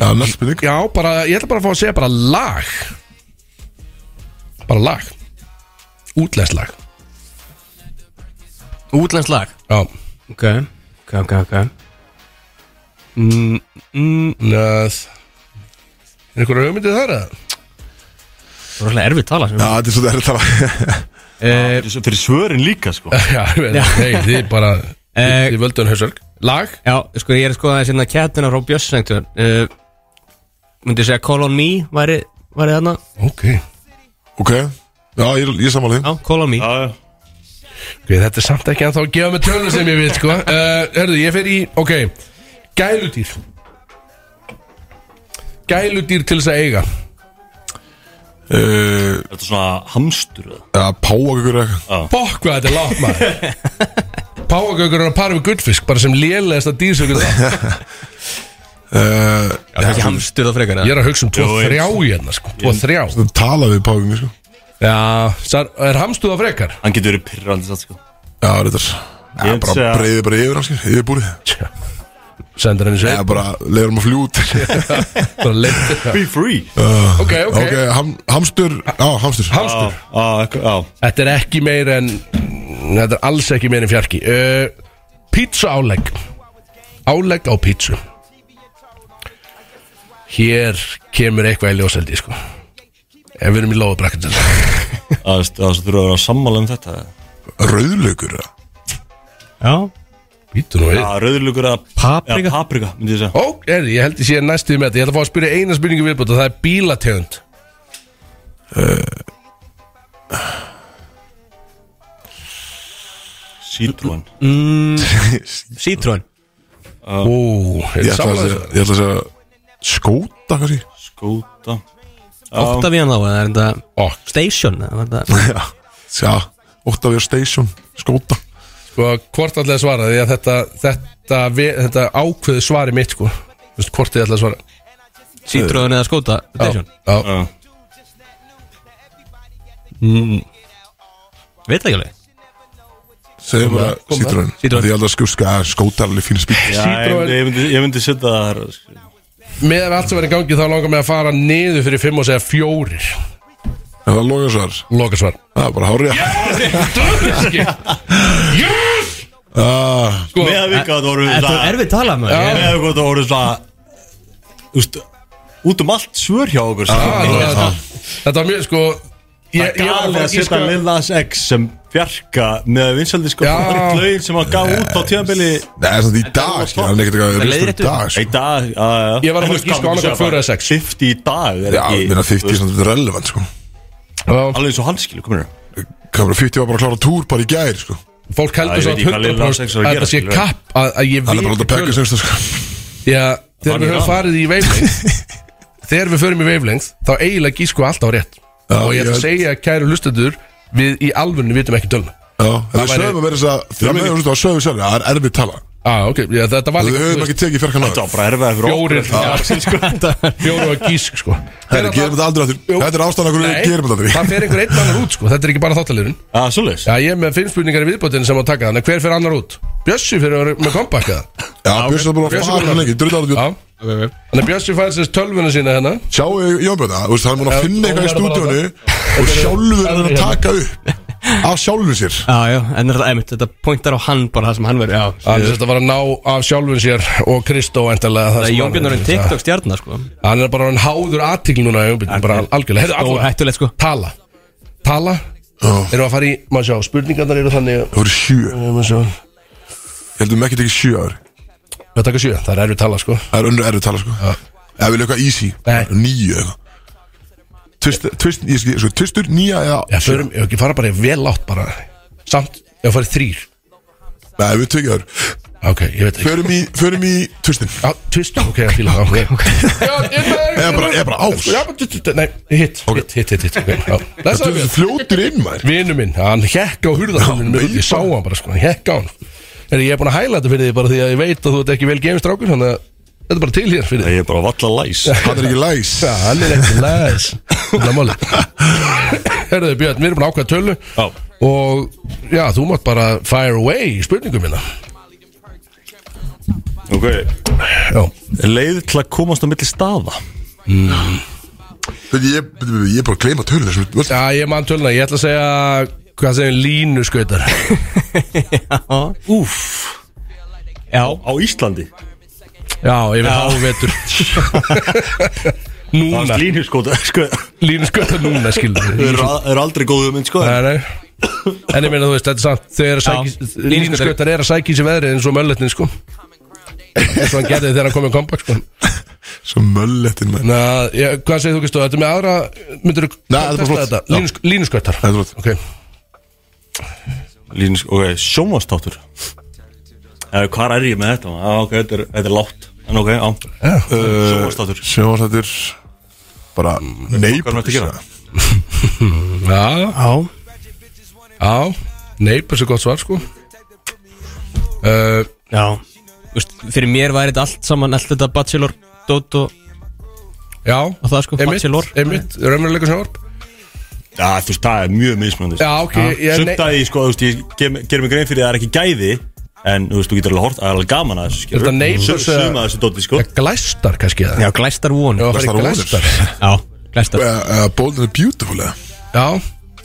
Speaker 1: Já, næst spurning
Speaker 5: Já, bara, ég ætla bara að fá að segja bara lag Bara lag Útlæst lag
Speaker 3: Útlensk lag
Speaker 5: Já
Speaker 3: Ok, ok, ok, ok mm, mm,
Speaker 5: Næð Er einhverja hugmyndið þar eða?
Speaker 3: Það er alveg erfitt tala sem
Speaker 1: Já, þetta er svo þetta er það
Speaker 3: uh,
Speaker 2: Fyrir- Fyrir svörin líka, sko
Speaker 5: Já, ég veit það. nei, þið bara
Speaker 3: Eh,
Speaker 5: Þið völdu hann hausverk Lag?
Speaker 3: Já, sko ég er sko aðeins hérna kettina frá Bjössengtur uh, Myndi segja Call on Me væri, væri þarna
Speaker 5: Ok
Speaker 1: Ok Já, ég, ég samanlega
Speaker 3: Já, Call on Me
Speaker 2: Já, já
Speaker 5: Ok, þetta er samt ekki að þá að gefa mig tölur sem ég veit, sko uh, Herðu, ég fer í, ok Gæludýr Gæludýr til þess að eiga
Speaker 1: uh,
Speaker 2: Er Þetta svona hamstur eða?
Speaker 1: Já, páagökur eitthvað
Speaker 5: Bokk hvað þetta er látt maður Páagökur er að para við gullfisk Bara sem lélegasta dýr sem við það
Speaker 1: uh,
Speaker 3: Það er ekki hamstur það frekar
Speaker 5: Ég er að hugsa um tvo
Speaker 2: Jú,
Speaker 5: þrjá hérna, sko Tvo þrjá
Speaker 1: Það tala við páagökur, sko
Speaker 5: Já, sar, er hamstuða frekar?
Speaker 2: Hann getur verið pyrrandi satt sko
Speaker 1: Já, þetta er Já,
Speaker 2: Ég
Speaker 1: bara
Speaker 2: segja-
Speaker 1: breyði bara yfir hann, sko Yfir búrið
Speaker 5: sendir henni
Speaker 1: Ég
Speaker 5: sveit
Speaker 1: bara leiður hann að fljút
Speaker 5: bara leitt
Speaker 2: Be free
Speaker 5: ok, ok,
Speaker 1: Ok, ham, hamstur Á, hamstur
Speaker 5: hamstur
Speaker 2: Já, já,
Speaker 5: þetta er ekki meir en þetta er alls ekki meir en fjarki uh, pizza álegg álegg á pizza hér kemur eitthvað í ljóseldi sko ef við erum í lóðabrakkin
Speaker 2: það þess að þú eru að vera sammála um þetta
Speaker 1: Rauðlaukur eða?
Speaker 3: Já
Speaker 5: býtu nú við
Speaker 2: Já, Ah, rauðlugur að
Speaker 3: Eh. Paprika?
Speaker 2: Já, paprika, myndi ég segja
Speaker 5: Ó, er, ég held ég sé næstu með þetta Ég ætla að fá að spyrja eina spurningu viðbútt og það er bílategund
Speaker 2: Citroen
Speaker 3: Mm. Citroen
Speaker 5: Ó, er
Speaker 1: Ég ætla
Speaker 5: það
Speaker 1: að
Speaker 5: samanlega
Speaker 1: segja- ég ætla að segja Skóta kannski
Speaker 2: Skóta
Speaker 3: Ótt af hérna þá eða er þetta
Speaker 5: Ó,
Speaker 3: Station eða var þetta
Speaker 1: Já, já Óttavíu Station Skóta
Speaker 5: sko, hvort ætla að svara því að þetta, þetta, við, þetta ákveðu svari mitt, sko Þú veist, hvort þið ætla að svara
Speaker 3: Citroen eða skóta Station
Speaker 5: Já,
Speaker 2: Já,
Speaker 3: Veit það ekki alveg
Speaker 1: Segðu bara Citroen
Speaker 3: Citroen.
Speaker 1: Því ég held að skjóska Skóta er alveg fín spýt
Speaker 2: Já, ég myndi- ég myndi- ég myndi setja það þar sko.
Speaker 5: með að allt sem er í gangi þá langar mig að fara niður fyrir fimm og segja fjórir
Speaker 1: En það loga svar
Speaker 5: Loka svar
Speaker 1: Það er bara hárið Ah.
Speaker 5: Sko,
Speaker 2: Með að við hvað það voru
Speaker 3: Eh, Þetta er erfið tala maður
Speaker 2: Með að við hvað það voru svona Þú veist Út um allt svör hjá okkur sko.
Speaker 3: Ah,
Speaker 5: að, Ah, þetta, þetta var mjög, sko Ég, ég var að
Speaker 2: Galið
Speaker 5: fara
Speaker 2: að
Speaker 5: að
Speaker 2: setja
Speaker 5: gíska-
Speaker 2: Lillas X sem bjarga með vinsaldi sko
Speaker 5: Já.
Speaker 2: hlögin sem hann gaf út á tíðanbili
Speaker 1: Nei, það er samt í dag skilur, Það er ekkert eitthvað ristur
Speaker 3: leiðréttu.
Speaker 1: í dag
Speaker 2: í
Speaker 1: sko.
Speaker 2: dag uh,
Speaker 5: Ég var að fara að gíska á annað hvort fjóra eða sex.
Speaker 2: 50 í dag er
Speaker 1: Já,
Speaker 2: ekki
Speaker 1: ég meina 50 er samt relevant sko
Speaker 5: Já,
Speaker 2: alveg eins og hérna. hann skilur kominu
Speaker 1: Kamera 50 var bara að klára túr bara í gær sko
Speaker 5: Fólk
Speaker 2: Já,
Speaker 5: heldur
Speaker 2: ég
Speaker 5: svo
Speaker 2: veit ekki hvað Lilla sex er að gera,
Speaker 5: að
Speaker 2: sko.
Speaker 5: þetta sé
Speaker 2: skilur.
Speaker 5: kapp að, að ég
Speaker 1: Hann er bara
Speaker 5: viti
Speaker 1: alltaf að pekka
Speaker 5: tölur.
Speaker 1: semst sko
Speaker 5: Já, þegar
Speaker 2: Fann
Speaker 5: við
Speaker 2: ég
Speaker 5: höfum
Speaker 2: það?
Speaker 5: farið í veiblengð Þegar við förum í veiblengð Þá eiginlega gísku alltaf rétt
Speaker 1: Já,
Speaker 5: Og ég ætla að
Speaker 1: ég-
Speaker 5: segja kæru hlustendur Við í alvörinu vitum ekki tölna
Speaker 1: Já, en
Speaker 5: Það
Speaker 1: við
Speaker 5: væri-
Speaker 1: sögum að vera þess að
Speaker 2: Þrjú
Speaker 1: Það meðum þetta að sögum sjálf Það er erfið tala
Speaker 5: ah, ok, já, Þetta var
Speaker 1: Við höfum
Speaker 5: líka
Speaker 1: ekki tekið fjarkan á
Speaker 2: þetta var bara erfið fyrir
Speaker 5: fjórir Fjóru að gísk sko.
Speaker 1: Þetta er gerum þetta
Speaker 5: það,
Speaker 1: aldrei aftur
Speaker 5: Jú.
Speaker 1: Þetta er ástæðan okkur við gerum þetta
Speaker 5: það
Speaker 1: aftur
Speaker 5: fer einhver einn annar út sko. Þetta er ekki bara þáttalirun
Speaker 2: Já, svoleiðis
Speaker 5: Já, ég er með fimm spurningar í viðbótinu sem á að taka Þannig að hver fer annar út? Bjössi fyrir að vera með kompakka
Speaker 1: Já, Björnsson er búin að
Speaker 5: Bjössi
Speaker 1: fara
Speaker 5: búinn að-
Speaker 1: lengi Drull ára
Speaker 5: Já Þannig að Björsi fær sérst tölvuna sína hérna
Speaker 1: Sjáu Jón Björn það, þú veist, hann er búin
Speaker 5: Já,
Speaker 1: að finna eitthvað í
Speaker 5: hún er bara
Speaker 1: stúdíónu Og sjálfur er að taka upp Af sjálfur sér
Speaker 3: Já, já, en þetta, einmitt, þetta pointar á hann bara það sem hann verður Já,
Speaker 5: Hann er sérst að fara að ná af sjálfun sér Og Kristó endalega
Speaker 3: það er Jón Björn orðin TikTok stjarnar sko
Speaker 5: Hann er bara hann háður aðtíkl núna Jón Björn, bara algjörlega Heyrðu,
Speaker 3: Og
Speaker 5: allavega,
Speaker 3: hættulegt sko
Speaker 5: Tala Tala
Speaker 1: Já.
Speaker 5: Erum við að fara í, maður sjá, spurningarnar eru þannig
Speaker 1: Það voru sjö Ég
Speaker 5: Maður sjá Við
Speaker 1: heldum ekki tekið sjö ár
Speaker 5: taka sjö, það er erfið tala sko
Speaker 1: Það er önnur erfið tala sko Ef við lögum easy
Speaker 5: Nei.
Speaker 1: Níu eitthvað Tvist- tvist- ég skil- sko, Tvistur, nýja eða
Speaker 5: Já, förum, ef ekki fara bara í vel átt bara Samt, ef farið þrýr
Speaker 1: Nei, við tökum það
Speaker 5: Ok, ég veit ekki
Speaker 1: Förum í, förum í tvistin
Speaker 5: Já, tvist, ok, ég fíla það ok. Já, ég
Speaker 1: Eða bara, eða bara ás
Speaker 5: Já, bara, tut, tut, nei, hitt, hitt, hitt, hitt, hitt ok, já. Blessaður,
Speaker 1: Þetta
Speaker 5: Björn.
Speaker 1: er fljótur inn maður
Speaker 5: Vinur minn, hann hekk á hurðarhundinu minn Ég sá hann bara sko, hann hekk á hann Er ég er búin að hæla þetta fyrir því bara því að ég veit að þú ert ekki vel geimist rákur Þannig að þetta er bara til hér fyrir því
Speaker 2: ég er bara valla læs
Speaker 1: Hann er ekki læs
Speaker 5: Já, hann er ekki læs Það er málið Herðu Björn, við erum búin að ákvæða tölu
Speaker 2: Já.
Speaker 5: Og já, þú mátt bara fire away í spurningum minna
Speaker 2: ok
Speaker 5: Já,
Speaker 2: leið til að komast á milli staða
Speaker 1: Þetta ég, ég, ég er bara að gleyma tölu þessum völd.
Speaker 5: já ég man töluna, ég ætla að segja Hvað segir línu skautar
Speaker 2: úf
Speaker 3: Já,
Speaker 2: á Íslandi
Speaker 5: Já, ég vil hafa vetur Núna,
Speaker 2: slínu sko það
Speaker 5: línu skautar núna skilur við.
Speaker 2: er aldrei góðu mynd sko
Speaker 5: Nei, nei En ég meina þú veist, þetta er samt Þau eru að
Speaker 3: Já.
Speaker 5: sækja Línuskautar eru að sækja í sér veðrið eins og mölletnin sko eins og hann gerði þegar hann kom í kompakt sko
Speaker 1: Svo möllettin maður
Speaker 5: Na, ég, Hvað segir þú Kristó, þetta er með aðra myndir
Speaker 1: Nei, þetta er bara flott. Já.
Speaker 5: þetta Línuskautar
Speaker 1: Þetta er flott.
Speaker 5: Ok,
Speaker 2: Línus, ok, sjónvastáttur Eða hvað er ég með þetta? Já, ok, þetta er, þetta er látt En ok, Eh, já, sjónvastáttur
Speaker 1: Sjónvarsættir Bara
Speaker 2: Hvað er
Speaker 1: neighbors
Speaker 2: þetta að gera?
Speaker 5: já,
Speaker 3: já
Speaker 5: já Neighbors er gott svar sko uh,
Speaker 3: Já Þú veist, Fyrir mér væri þetta allt saman Allt þetta bachelor, dot og,
Speaker 5: Já,
Speaker 3: og það sko Bachelor
Speaker 5: emitt, emitt Raunveruleika sjónvarp
Speaker 2: Já, þú veist, það er mjög mismunandi
Speaker 5: Já, ok, ég,
Speaker 2: Sumt
Speaker 5: nei,
Speaker 2: að ég, sko, þú veist, ég ger, ger mig grein fyrir að það er ekki gæði En þú veist, þú getur alveg hort, það er alveg gaman að þessu skilur
Speaker 5: Þetta neitar
Speaker 2: Sum-
Speaker 5: sig-
Speaker 2: Suma að þessu dóti sko
Speaker 5: Það glæstar kannski eða?
Speaker 3: Já, glæstar von
Speaker 5: Já,
Speaker 3: Já,
Speaker 5: það er
Speaker 1: Glæstar vonir.
Speaker 5: glæstar
Speaker 3: glæstar
Speaker 1: uh, Bold and Beautiful eða?
Speaker 5: Já, er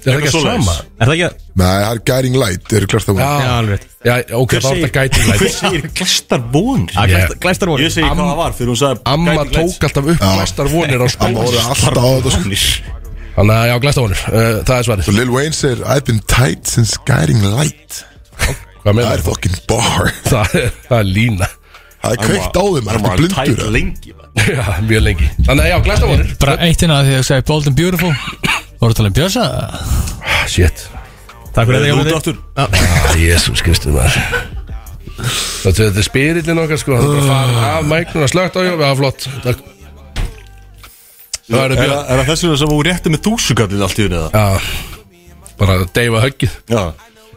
Speaker 5: það ekki að
Speaker 2: svoleiðis.
Speaker 5: sama?
Speaker 3: Er það ekki að
Speaker 1: Nei, það er Guiding Light Eru glæstar vonir
Speaker 3: Já, alveg rétt.
Speaker 5: Já, ok, þá er um þetta gæting
Speaker 2: Hver
Speaker 5: light
Speaker 2: segir glæstar vonir?
Speaker 3: Já,
Speaker 5: Ég-
Speaker 3: glæstar- Glæstar von
Speaker 2: Ég segi hvað það var fyrir hún sagði um
Speaker 5: Amma
Speaker 2: Guiding Lights.
Speaker 5: tók alltaf upp glæstar vonir á
Speaker 1: Það
Speaker 5: skóla
Speaker 1: voru alltaf á þetta sko.
Speaker 2: Vonir.
Speaker 5: Þannig að já, glæstar vonir, uh, það er svarið
Speaker 1: Svo Lil Wayne segir I've been tight since Guiding Light
Speaker 5: Hvað
Speaker 1: Það er
Speaker 5: meður það?
Speaker 1: fucking bar
Speaker 5: Það er, það er lína
Speaker 1: Það er kveikt á þeim, það er
Speaker 2: var alveg
Speaker 1: blindur
Speaker 2: tæt
Speaker 1: eða?
Speaker 2: lengi maður.
Speaker 5: Já, mjög lengi Þannig að já, glæstar vonir
Speaker 6: Bara eitt hérna að því að ég segi Bold and Beautiful Voru að tala um Björsa
Speaker 5: Ah, Shit,
Speaker 3: Takk fyrir
Speaker 2: Það er
Speaker 3: þetta, Jóhann
Speaker 2: út
Speaker 3: Þór.
Speaker 2: aftur
Speaker 5: jésús Kristi maður Þetta þetta er spirillin okkar sko Það er bara farin af mæknuna, slögt á já, já, flott Takk Það
Speaker 2: Er
Speaker 5: er björn
Speaker 2: það- er það þessu sem þú rétti með þúsugallin allt í unni það?
Speaker 5: Já, bara að deyfa höggið
Speaker 2: Já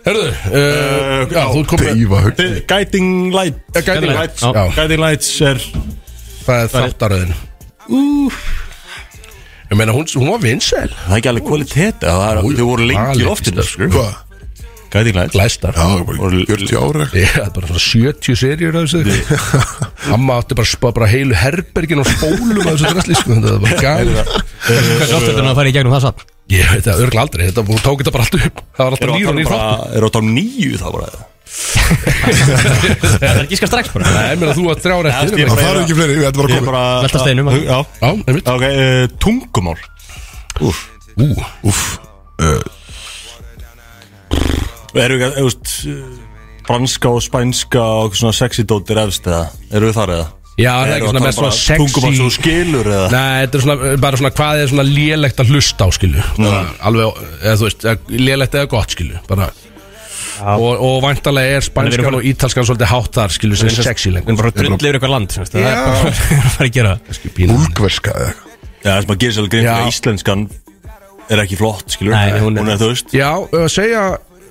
Speaker 5: Herðu, uh, já, þú ert komið
Speaker 1: Eh, Deyfa högt
Speaker 2: Þið- Eh, Guiding Light
Speaker 5: Já, Guiding
Speaker 2: Lights
Speaker 5: Lights, já.
Speaker 2: Guiding Lights er
Speaker 5: Það er þáttaröðin Ég meina, hún, hún var vinsæl
Speaker 2: Það er ekki alveg kvalitet eða það er- Þau voru lengi í
Speaker 5: alveg
Speaker 2: loftinu
Speaker 5: víst,
Speaker 2: skilur.
Speaker 1: Hvað?
Speaker 2: Guiding Lights
Speaker 5: Glæstar
Speaker 1: Já, það er bara
Speaker 2: Og-
Speaker 1: 40 ára
Speaker 5: Ég það er bara svona 70 serjur af þessu Amma átti bara, bara, bara heilu herbergin og spólum af þessu drasli sko, þetta var bara gæð
Speaker 3: Hversu oft þetta er að fara í gegnum það satt
Speaker 5: Ég veit það örgla aldrei, þetta, hún tók þetta bara alltaf upp Það var alltaf
Speaker 2: Eru að
Speaker 5: nýr
Speaker 2: tala um
Speaker 5: og nýr
Speaker 2: bara-
Speaker 5: þáttur
Speaker 2: Eru að tala um nýju þá bara
Speaker 3: Það er ekki skar strax bara
Speaker 5: Nei, ég meina þú var þrjár
Speaker 2: Það
Speaker 5: eftir
Speaker 2: er
Speaker 5: ég meina-
Speaker 1: Það fara ekki fleiri, við ætlum bara að
Speaker 2: Ég er
Speaker 1: koma
Speaker 2: bara
Speaker 3: Velta steinum, að-
Speaker 2: Já
Speaker 5: Já, einmitt
Speaker 2: Ok, eh, tungumál
Speaker 5: Ú,
Speaker 1: Úff uh,
Speaker 2: Erum við ekki, eðust eh, Franska og spænska og eitthvað svona sexy dót er efst eða Erum við þar eða?
Speaker 5: Já, það er
Speaker 2: Erum
Speaker 5: ekki
Speaker 2: við
Speaker 5: svona
Speaker 2: að
Speaker 5: með
Speaker 2: tala
Speaker 5: svona
Speaker 2: bara sko. Tungumál sem þú
Speaker 5: sexy
Speaker 2: skilur eða
Speaker 5: Nei, þetta er svona, bara svona hvað er svona lélegt að hlusta á skilu Alveg, eða þú veist, eða lélegt eða gott skilu Bara Og, og væntalega er
Speaker 3: erum
Speaker 5: spænskan og ítalskan svolítið hátt þar skilu sem sexy lengur
Speaker 3: En bara drull yfir eitthvað land sem sagt, Það er bara það er að fara að gera það.
Speaker 1: Úlgverska eða eitthvað.
Speaker 2: Já, það sem að gera sérlega grein fyrir
Speaker 5: Já.
Speaker 2: að íslenskan er ekki flott, skilur
Speaker 3: Nei, hún er-
Speaker 2: hún er þú veist
Speaker 5: Já, að segja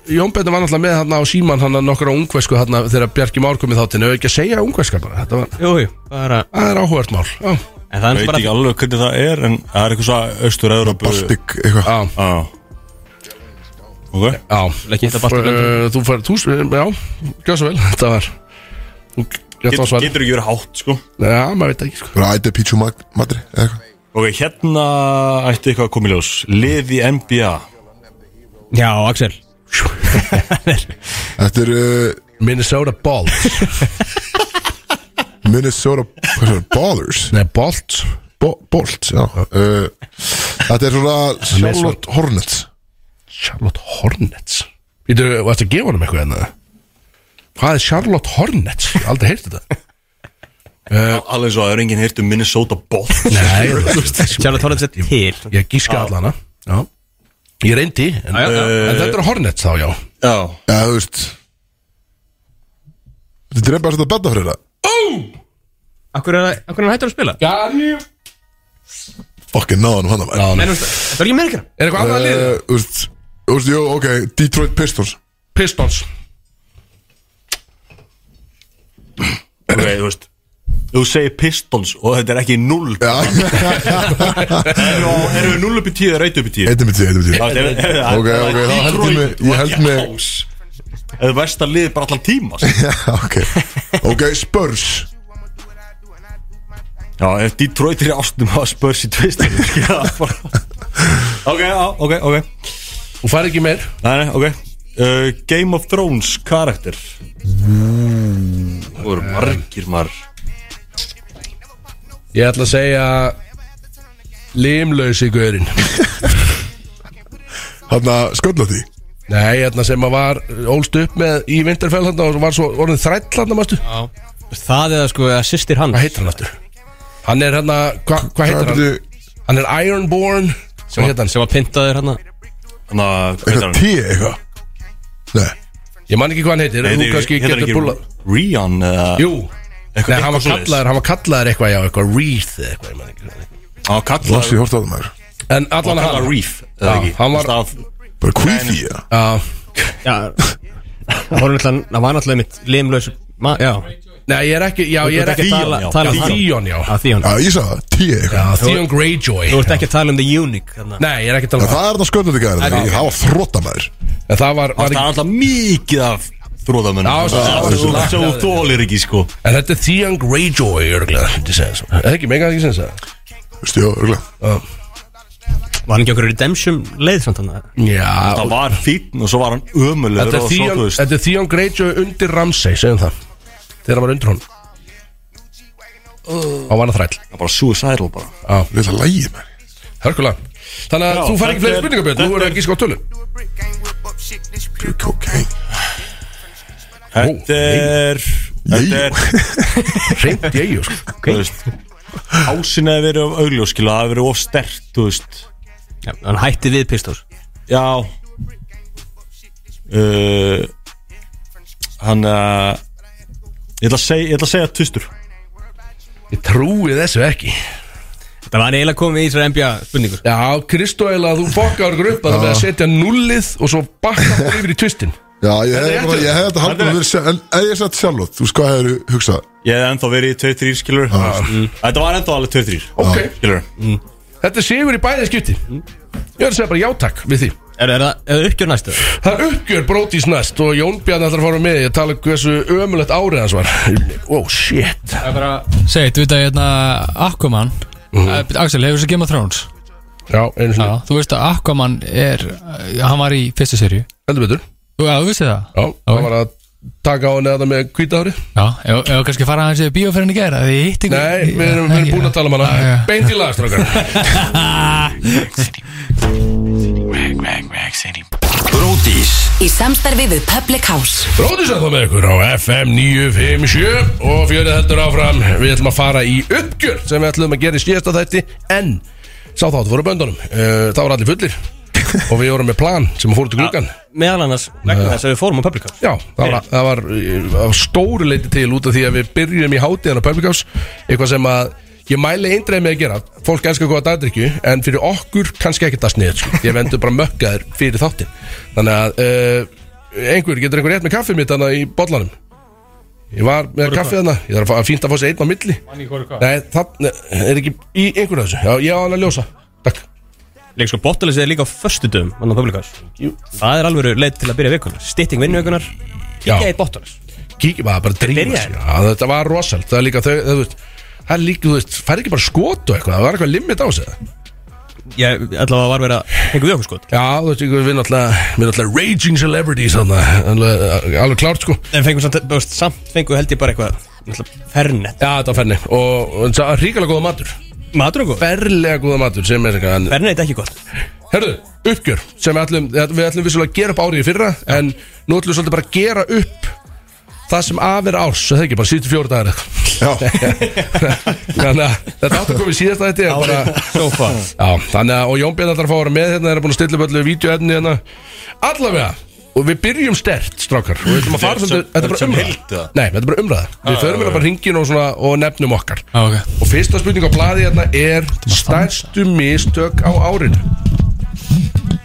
Speaker 5: Jón Bjarni var náttúrulega með þarna á síman hann nokkra ungvesku þarna þegar Bjarki Már komið þáttinn ef ekki að segja ungveska bara, þetta var
Speaker 3: Jú, jú, bara
Speaker 5: það er áhugart mál Já,
Speaker 3: En það
Speaker 2: Ég
Speaker 3: er
Speaker 2: veit
Speaker 3: bara
Speaker 2: ekki alveg hvernig það er en það er eitthvað svo austur Európu
Speaker 1: Baltic eitthvað
Speaker 5: já,
Speaker 2: Já Ok
Speaker 5: já.
Speaker 3: Ekki hitta Baltic löndin.
Speaker 5: Uh, Þú fær, þú, já, gjör svo vel þetta var þú, Get,
Speaker 2: Get,
Speaker 5: var
Speaker 2: Getur ekki verið hátt, sko
Speaker 5: Já, maður veit ekki sko.
Speaker 1: Bara ætti pítsu madri eða eitthvað
Speaker 2: Ok, hérna ætti eitthvað að koma í ljós Lið í NBA
Speaker 3: Já, Axel
Speaker 1: Þetta er uh,
Speaker 5: Minnesota Bolts
Speaker 1: Minnesota hvað er það? Ballers
Speaker 5: Nei, Bolts
Speaker 1: Bo Bolt, já uh, Þetta er svona Charlotte Hornets
Speaker 5: Charlotte Hornets Þú veist að gefa hann eitthvað hérna Hvað er Charlotte Hornets? Ég hef aldrei heyrti þetta
Speaker 1: Eh.
Speaker 2: Alveg eins og það er enginn heyrt um Minnesota Bolts
Speaker 5: Nei, þú veist
Speaker 3: Sjálfur tónlega sér til
Speaker 5: Ég gíska allana Já Ég reyndi En,
Speaker 3: já, já.
Speaker 5: en þetta er Hornets þá, já
Speaker 2: Já
Speaker 1: Já, þú veist Þetta er bara að setja betta fyrir það
Speaker 3: Akkur er það- af hverju er hann hættur að spila?
Speaker 1: Fucking náðan um hann að væri
Speaker 3: Nei, þú veist, Þetta er ekki meira
Speaker 5: Er eitthvað annað að liða?
Speaker 1: Eh, Þú veist, þú veist, jú, ok Detroit Pistons
Speaker 5: Pistons
Speaker 2: Ok, þú veist Þú segir Pistons og þetta er ekki 0
Speaker 1: Já,
Speaker 2: Erum erum við 0 upp í 10 eða 1 upp í 10
Speaker 1: eittum við tíu, eittum við tíu
Speaker 2: Ok,
Speaker 1: Ok, ok, þá held ég mig- ég held mig-
Speaker 2: Það er versta liðið bara allan tíma sko.
Speaker 1: Já, ok Ok, Spurs
Speaker 2: Já, ef Detroit er í ástum að spörs í tvist Ok, já, ok, ok
Speaker 5: Þú fær ekki meir
Speaker 2: Nei, nei, ok uh, Game of Thrones karakter Þú eru margir marg
Speaker 5: Ég ætla að segja Limlausi guðurinn
Speaker 1: Hanna, skölla því
Speaker 5: Nei, hérna sem að var Ólst upp með í vinterfell hérna Og var svo orðin þræll hérna, mástu
Speaker 3: eitthvað Það eða sko að sýstir hann
Speaker 5: Hvað heitir hann aftur? Hann er hérna hva- Hvað heitir hann? Hann er Ironborn hérna- Hvað heitir hann?
Speaker 3: Sem að pyntaður hérna. hann
Speaker 2: Þannig að, hvað
Speaker 1: Eitthvað
Speaker 2: heitir hann?
Speaker 1: tíu eitthvað Nei,
Speaker 5: Ég man ekki hvað hann heitir en Þú kannski
Speaker 2: Heitir hann
Speaker 5: getur
Speaker 2: ekki
Speaker 5: búla
Speaker 2: Rion eða
Speaker 5: Jú
Speaker 2: Eitthvað-
Speaker 5: Nei, hann var
Speaker 2: eitthvað svoleiðis.
Speaker 5: kallaður Hann var kallaður eitthvað Já, eitthvað Wreath eða eitthvað Ég man ekki hvað hann heitir.
Speaker 2: Á, kallaður
Speaker 1: Lassi, hort á það maður
Speaker 5: En allan
Speaker 2: Hann
Speaker 5: hann
Speaker 2: var Reef, eða
Speaker 5: Já,
Speaker 2: ekki
Speaker 5: hann var-
Speaker 2: Staf,
Speaker 1: Bara kvífi, já
Speaker 5: Já
Speaker 3: Já Það var náttúrulega Það var náttúrulega mitt limlaus ma- Já
Speaker 5: Nei, ég er ekki Já, ég er
Speaker 3: ert ekki
Speaker 5: ekki
Speaker 3: að tala-
Speaker 5: Já,
Speaker 3: tala um hann.
Speaker 5: Theon, já
Speaker 3: Að því hann
Speaker 1: Já, ég sagði það, tíu eitthvað
Speaker 5: Já, Theon Greyjoy
Speaker 3: Þú ert ekki að tala um the eunuch þarna.
Speaker 5: Nei, ég er ekki að
Speaker 1: En
Speaker 5: tala um
Speaker 1: Það er það skölla því gæðin Það var þrótta maður
Speaker 5: það En það var, var
Speaker 2: Það er
Speaker 5: ekki,
Speaker 2: alltaf mikið af bróðamenn
Speaker 5: Já, svo-
Speaker 2: svo Svo þú þólir ekki sko
Speaker 5: En þetta er Theon Greyjoy örgulega Þetta segja svo Er Það ekki mega ekki segja það
Speaker 1: Veistu, já, örgulega
Speaker 3: Var hann ekki okkur redemption leið samt hann
Speaker 5: Já
Speaker 2: Það var fín og svo var hann ömulegur
Speaker 5: Þetta
Speaker 2: og
Speaker 5: er
Speaker 2: svo,
Speaker 5: Theon
Speaker 2: þú veist,
Speaker 5: Þetta er Theon Greyjoy undir Ramsey Segjum það Þegar hann var undir honum Og var hann þræll
Speaker 2: það er bara suicidal bara
Speaker 1: Þetta er lægið, menn
Speaker 5: Hörkulega Þannig að
Speaker 2: Já,
Speaker 5: þú fær
Speaker 2: þetta
Speaker 5: ekki fleiri
Speaker 2: er-
Speaker 5: spurningar Björn Nú
Speaker 2: þetta
Speaker 5: er
Speaker 2: er-
Speaker 5: það ekki sko tölum
Speaker 1: Pure cocaine
Speaker 2: Þetta er Þetta er,
Speaker 5: Reynd ég jú sko
Speaker 2: þú veist Ásin hefði verið af augljóskila, það hefði verið of stert, þú veist
Speaker 3: Já, hann hætti við Pistós
Speaker 2: Já uh, Hann uh, Ég ætla að segja, ég ætla að segja tvistur
Speaker 5: Ég trúi þessu ekki
Speaker 3: Þetta var eiginlega komið í þessar NBA spurningur
Speaker 5: Já, Kristó eða þú fokkar okkur upp að það með að setja nullið og svo bakka okkur yfir í tvistin
Speaker 1: Já, ég hefði bara- ég hefði þetta
Speaker 2: Þetta er-
Speaker 1: haldið að vera sjálf En ef ég sett sjálfot, þú veist hvað hefur hugsað
Speaker 2: Ég hef ennþá verið í 2-3 skilur mm. Þetta var ennþá alveg 2-3
Speaker 5: Ok,
Speaker 2: Skilur
Speaker 5: þetta er sigur í bæði skipti Ég er að segja bara játak við því
Speaker 3: Er, er það er það uppgjör næstu?
Speaker 5: Það er uppgjör brótis næst og Jón Bjarni ætlar að fara með Ég tala um hversu ömulegt árið hans var Oh shit
Speaker 3: Það er bara
Speaker 6: Segið, þú veit að hérna Aquaman mm. Axel, hefur þessu Game of Thrones
Speaker 5: Mhm. Já, einu
Speaker 6: Já,
Speaker 5: sinni,
Speaker 6: þú veist að Aquaman er eh, hann var í fyrstu serju
Speaker 5: heldur betur
Speaker 6: Þú, já, þú vissi það?
Speaker 5: Já, það var að taka á henni þetta með hvítári
Speaker 6: Já, ef ef við kannski fara aðeins yfir bíóferðin í gera því ég hitt ykkur
Speaker 5: Nei, við erum, við erum búin að tala um
Speaker 6: Já,
Speaker 5: hana
Speaker 6: já.
Speaker 5: Beint í lagastrákar
Speaker 4: Í samstarfi við Public House
Speaker 5: Brótis er það með ykkur á FM 957 Og fjörið heldur áfram Við ætlum að fara í uppgjör sem við ætlum að gera í síðasta þætti En sá þáttu fóru böndunum Eh, Það var allir fullir Og við vorum með plan sem fóru til gluggan
Speaker 3: Meðal annars vegna þess að við fórum á Public House
Speaker 5: Já, það var, það var uh, að stóru leiti til út af því að við byrjum í hátíðan á Public House eitthvað sem að ég mæli eindreið með að gera fólk elskar góða dagdrykju en fyrir okkur kannski ekki það sniður sko. ég vendur bara mökkaður fyrir þáttin þannig að uh, einhver getur einhver rétt með kaffið mitt þannig í bollanum ég var með kaffið þannig ég þarf að fá- fínt að fá sér einn á milli Nei, það er ekki í einhverju af þessu Já, ég á hann að ljósa Takk
Speaker 3: Líka sko Bottalist er líka á föstudum á Public House Það er alveg leið til að byrja vikunar Stitting vinnuvikunar
Speaker 5: Já.
Speaker 3: Kíkja í Bottalist
Speaker 5: kíkja bara, bara drífa
Speaker 3: byrjaði.
Speaker 5: sig Já, þetta var rosalt, það er líka þau, þau veist, það er líka, þú veist, fær ekki bara skot og eitthvað, það var eitthvað limit á sig
Speaker 3: Ég allavega var verið að hengu við okkur sko. skot
Speaker 5: Já, þú veist, við erum alltaf, við erum alltaf raging celebrities þarna, alveg, alveg klárt sko
Speaker 3: En fengum samt, þú veist, samt fengu held ég bara eitthvað náttúrulega Fernet
Speaker 5: Já, þetta var fenni, og og það er ríkala góða matur
Speaker 3: Matur og góð
Speaker 5: Berlega góða matur, sem er eitthvað en-
Speaker 3: Fernet er ekki gott
Speaker 5: Herðu, uppgjör, sem við ætlum, við ætlum vissulega að gera upp árið í fyrra En nú ætlum við svolítið bara að gera upp það sem af er árs, það er ekki bara 74 dagar eitthvað
Speaker 1: Já,
Speaker 5: Þannig að þetta áttu komið síðast að þetta er bara
Speaker 3: Sofa
Speaker 5: Já, þannig að, og Jón Björn ætlar að fá að vera með hérna, þeir eru búin að stilla upp öllu vídeoefni hérna Allavega, og við byrjum stert, strákar Og við ætlum að fara
Speaker 2: Sem-
Speaker 5: svolítið, þetta er bara
Speaker 2: sem
Speaker 5: umræða
Speaker 2: heild, eða?
Speaker 5: Nei, þetta er bara umræða Við förum hérna bara hringin og svona, og nefnum okkar
Speaker 6: Já, ok
Speaker 5: Og fyrsta spurning á blaði hérna er Stærstu mistök á árinu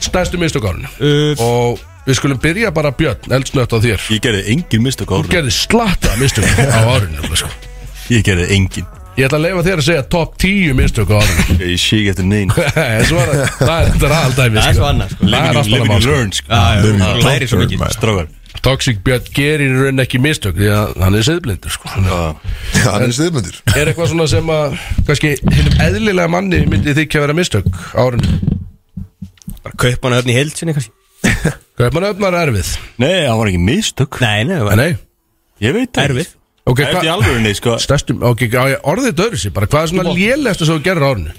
Speaker 5: Stærstu mistök á árinu
Speaker 3: uh,
Speaker 5: Og við skulum byrja bara Björn, eldsnött á þér
Speaker 2: Ég gerði engin mistök á
Speaker 5: Þú
Speaker 2: árinu
Speaker 5: gerði slatta mistök á árinu sko.
Speaker 2: Ég gerði engin
Speaker 5: Ég ætla að leifa þér að segja top 10 mistök á árinu
Speaker 2: Ég sé ekki eftir neyn
Speaker 5: Svo er það- það er þetta aðaldæmi
Speaker 3: Það er svo annað, sko.
Speaker 5: Það er allt annað
Speaker 2: Living
Speaker 5: mál,
Speaker 2: and
Speaker 5: sko.
Speaker 2: learn sko
Speaker 3: Living and learn.
Speaker 2: Læri svo mikið
Speaker 1: maður.
Speaker 2: Strágar
Speaker 5: Toxic Björn gerir í rauninni ekki mistök því að hann er siðblindur sko.
Speaker 1: Já, hann er stiðmyndir
Speaker 5: Er eitthvað svona sem að kannski hinnum eðlilega manni myndi þykja að vera mistök árinu
Speaker 3: Bara kaup hann öfni hérna í heild sinni kannski
Speaker 5: Hvað mann öfnar erfið?
Speaker 2: Nei, það var ekki mistök
Speaker 3: Nei, nei,
Speaker 5: Nei, nei
Speaker 2: Ég veit það
Speaker 3: Erfið.
Speaker 5: Ok,
Speaker 2: Það er ekki
Speaker 5: hvað
Speaker 2: alveg nei sko
Speaker 5: Stærstum, ok, á ég- orðið döður sér bara Hvað er svona lélegasta sem þú gerir árinu?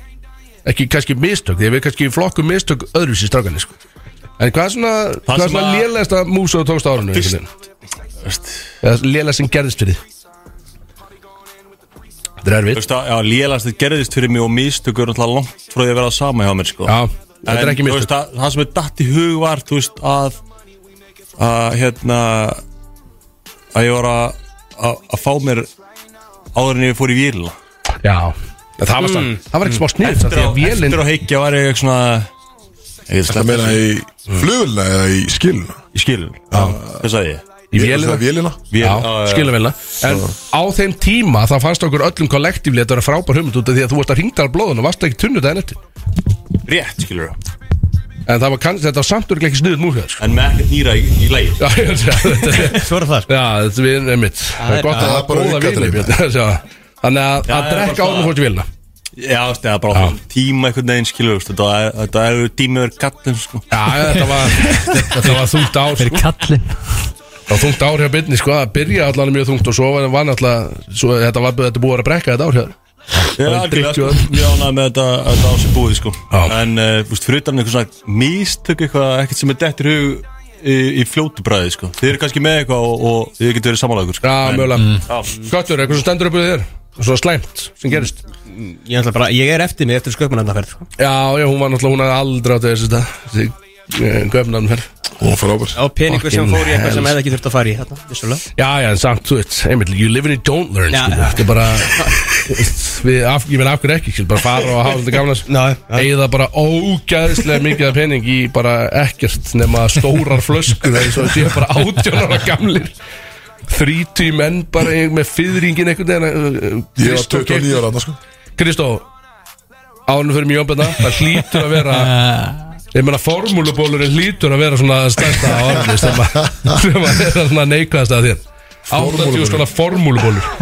Speaker 5: Ekki kannski mistök, því að við kannski flokkum mistök öðru sér strákanir sko. En hvað er svona, hvað er
Speaker 2: sem
Speaker 5: svona
Speaker 2: að-
Speaker 5: lélegasta mús sem þú tókst á árinu?
Speaker 2: Fyrst-
Speaker 5: einhvern veginn? Eða lélegasta sem gerðist fyrir því? Þetta er
Speaker 2: Þú
Speaker 5: erfið
Speaker 2: veist að, já, lélast þetta gerðist fyrir mig og mistök eru alltaf langt frá því að vera sama hjá mér sko
Speaker 5: Já, þetta er
Speaker 2: En,
Speaker 5: ekki
Speaker 2: þú
Speaker 5: mistök.
Speaker 2: veist að, Það sem er datt í hug var, þú veist að að hérna að ég var að að að fá mér áður en ég fór í vélina
Speaker 5: Já En Það var, mm. það var ekki smá snið Því að vélinn
Speaker 2: Eftir á heikja var ég eitthvað svona Ég veit
Speaker 1: Það
Speaker 2: sleppt
Speaker 1: meina í
Speaker 5: Mm.
Speaker 1: flugulina eða í skiluna
Speaker 2: í skilun Hvað sagði ég?
Speaker 5: Í vélina
Speaker 1: Vélina
Speaker 2: Vél,
Speaker 5: Já, skilum vélina En á þeim tíma þá fannst okkur öllum kollektífli Þetta var frábær hugmynd út af því að þú varst að hringdala blóðun Og varst ekki tunnu daginn eftir
Speaker 2: Rétt skilur
Speaker 5: En það var kann, þetta var samt örglega ekki sniðut múlhjóð sko.
Speaker 2: En með ekkert nýra í, í lægir
Speaker 5: Já, ég veit það, þetta er-
Speaker 3: Svo er það sko
Speaker 5: já, þetta er vinn einmitt Það
Speaker 3: er-
Speaker 5: er gott að
Speaker 1: það er
Speaker 5: það er
Speaker 1: bara
Speaker 5: góða
Speaker 1: aukaatriði.
Speaker 5: vinni Þannig að,
Speaker 2: Já, það
Speaker 5: að
Speaker 2: er
Speaker 5: drekka
Speaker 2: bara
Speaker 5: ánum
Speaker 2: svona-
Speaker 5: fórst vilna
Speaker 2: Já, veist, eða bara á tíma einhvern veginn skilur veist, Þetta er- þetta er tími verið gallin sko.
Speaker 5: Já, þetta var, þetta var þungt ár sko.
Speaker 6: kallinn
Speaker 5: Það var þungt ár hjá byrni sko, að byrja allan mjög þungt og svo var, var náttúrulega svo, þetta var þetta er búið að vera að brekka þetta ár hjá þér.
Speaker 2: Já,
Speaker 5: er
Speaker 2: algjörlega, sko.
Speaker 5: drykkjuöld.
Speaker 2: Mjög ánægð með þetta að þetta á sig búið sko.
Speaker 5: Já.
Speaker 2: En uh, veist, fyrir utan einhvern svona mistök eitthvað, ekkert sem er dettur í hug í, í fljótu bræði sko. Þið eru kannski með eitthvað og, og þið getur verið samanlagur sko.
Speaker 5: Já, mögulega
Speaker 2: Já.
Speaker 5: Köttur, eitthvað sem stendur upp við þér Svona slæmt sem gerist
Speaker 3: Ég, ætla bara, ég er eftir mig eftir sköpunarnaferð sko.
Speaker 5: Já, já, hún var náttúrulega, hún hafði aldrei átt að þessi þetta Göfnarn hér
Speaker 1: Og frábær
Speaker 3: Á peningur sem
Speaker 5: Fucking
Speaker 3: fór í eitthvað sem
Speaker 5: hell.
Speaker 3: hefði ekki þurft að fara í þarna, vissulega
Speaker 5: Já, já, en samt, þú veit, einmitt, you live in it, don't learn
Speaker 3: Já.
Speaker 5: skilur. Þetta er bara þú veist, Við, af, ég meina af hverju ekki, skil, bara fara og hafa þetta gamla
Speaker 3: Ná,
Speaker 5: Eða bara ógæðislega mikið af pening í bara ekkert nema stórar flöskur eins og þetta er bara átjónara gamlir Þrítí menn bara í- með fyrringin einhvern veginn uh,
Speaker 1: Ég var
Speaker 5: Kristó
Speaker 1: 29 ára annars sko
Speaker 5: keypti- Kristó, ánum fyrir mjög ombyrna Það hlýtur að vera Ég meina formúlubólurinn hlýtur að vera svona stærsta á orðinu sem að sem að vera svona neikvæðast að þér 80
Speaker 1: Formúlubólur.
Speaker 5: skona formúlubólur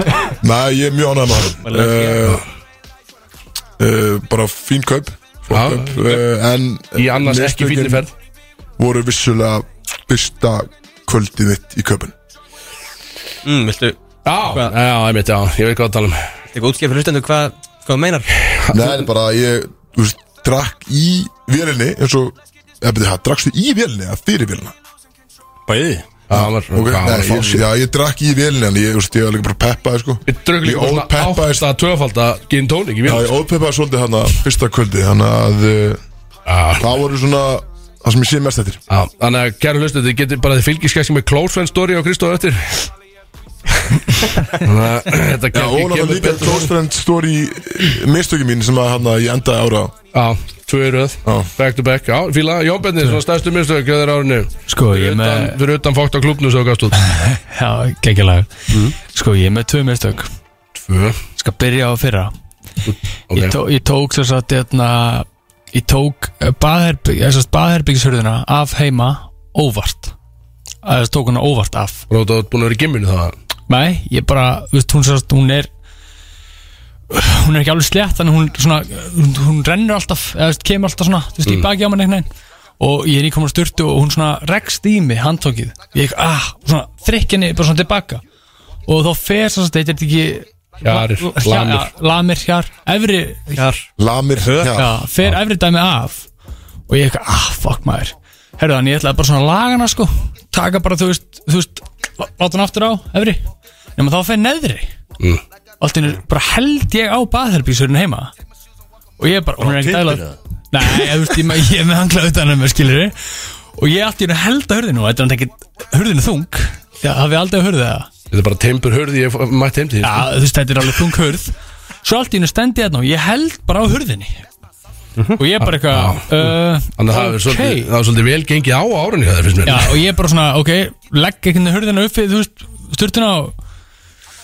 Speaker 1: Nei, ég er mjög ánægð með hann uh, uh, Bara fín kaup
Speaker 5: Já.
Speaker 1: Flott kaup uh, En
Speaker 5: í annars ekki fínni
Speaker 1: mistökin
Speaker 5: ferð
Speaker 1: Voru vissulega fyrsta kvöldið mitt í kaupin
Speaker 3: mm, Viltu
Speaker 5: Já, já, einmitt, já, ég veit hvað að tala um
Speaker 3: eitthvað útskýra fyrir hlustendur hvað hvað þú meinar?
Speaker 1: Nei, það er bara að ég þú veist, Drakk í vélinni eins og eh, Eða beti það, drakkstu í vélinni eða fyrir vélina
Speaker 2: Bæði
Speaker 5: Já, hann var-
Speaker 1: Ok,
Speaker 5: já, hann var
Speaker 1: nei, ég,
Speaker 5: fáséð.
Speaker 1: já, ég drakk í vélinni En ég, þú veist, ég var líka bara peppaði sko
Speaker 5: Við drögum
Speaker 1: Ég
Speaker 5: líka
Speaker 1: óð
Speaker 5: bara svona
Speaker 1: peppaði
Speaker 5: átta tvöfalda gin tónik
Speaker 1: Já,
Speaker 5: í vélum
Speaker 1: ég óðpeppaði svolítið hann að fyrsta kvöldi Þannig að uh,
Speaker 5: Já.
Speaker 1: það voru svona Það sem ég sé mest eftir
Speaker 5: Já, Þannig að kæra hlustu, þið getur bara þið fylgis kannski með Close Friend Story á Kristóð eftir Þannig að Þetta
Speaker 1: Já, og
Speaker 5: kemur
Speaker 1: náttúrulega líka
Speaker 5: betur
Speaker 1: close friend story mistöki mín sem að hann að ég endaði ára á
Speaker 5: Já, tvö í röð,
Speaker 1: Já.
Speaker 5: back to back Já, fíla, Jón Benni, svona stærstu mistök Það er árinu,
Speaker 6: Sko, ég er
Speaker 5: Fyrir
Speaker 6: með
Speaker 5: utan- fyrir utan fókt á klubnu svo gafst út
Speaker 6: Já, geggjalag
Speaker 5: Mm.
Speaker 6: Sko, ég er með tvö mistök
Speaker 5: Tvö,
Speaker 6: Skal byrja á fyrra
Speaker 5: ok
Speaker 6: ég, tó, ég tók þess að hérna, Ég tók eh, baðherbyggisörðuna Af heima óvart Þess að tók hana óvart af
Speaker 5: Róta, þú ert búin að vera í gimminu það
Speaker 6: Nei, ég bara, þú veist, hún sérst, hún er hún er ekki alveg slett þannig hún svona, hún, hún rennur alltaf eða þú veist, kemur alltaf svona, þú veist, í baki á mann einhvern veginn og ég er nýkomin að sturtu og hún svona rekst í mig, handtókið ég, ah, og svona, þrykk henni bara svona tilbaka og þá fer sérst, þetta er ekki
Speaker 5: Hjarir, lamir.
Speaker 6: hjar, lamir, hjar efri, hjar,
Speaker 1: Lamir, já,
Speaker 6: já, fer efri dæmi af og ég eitthvað, ah, fuck maður herðu þannig, ég ætlaði bara svona að laga hana sko taka bara, þú veist, þú veist lá- láta hana aftur á, efri nema þá fer neðri
Speaker 5: Mm.
Speaker 6: allt í einu bara held ég á baðherbísurinn heima og ég bara, hún er ekki
Speaker 2: Tinder
Speaker 6: dæla nei, ég, veist, ég, með- ég er með hangla utan um mér, skilur og ég allt í einu held að hurðinu og þetta er ekki hurðinu þung því að hafi aldrei að hurði það
Speaker 5: Þetta er bara tempur hörði, ég mætti heim til sko. því
Speaker 6: Já, þú veist, þetta er alveg þung hurð Svo allt í hennu stendi ég þarna og ég held bara á hurðinni Og ég bara eitthvað
Speaker 5: Þannig að það
Speaker 6: uh,
Speaker 5: hefur
Speaker 6: Ok
Speaker 5: svolítið- það hefur svolítið vel gengið á árinu það finnst mér
Speaker 6: Já, og ég bara svona, ok, legg ekki hurðina upp við, þú veist, sturtuna og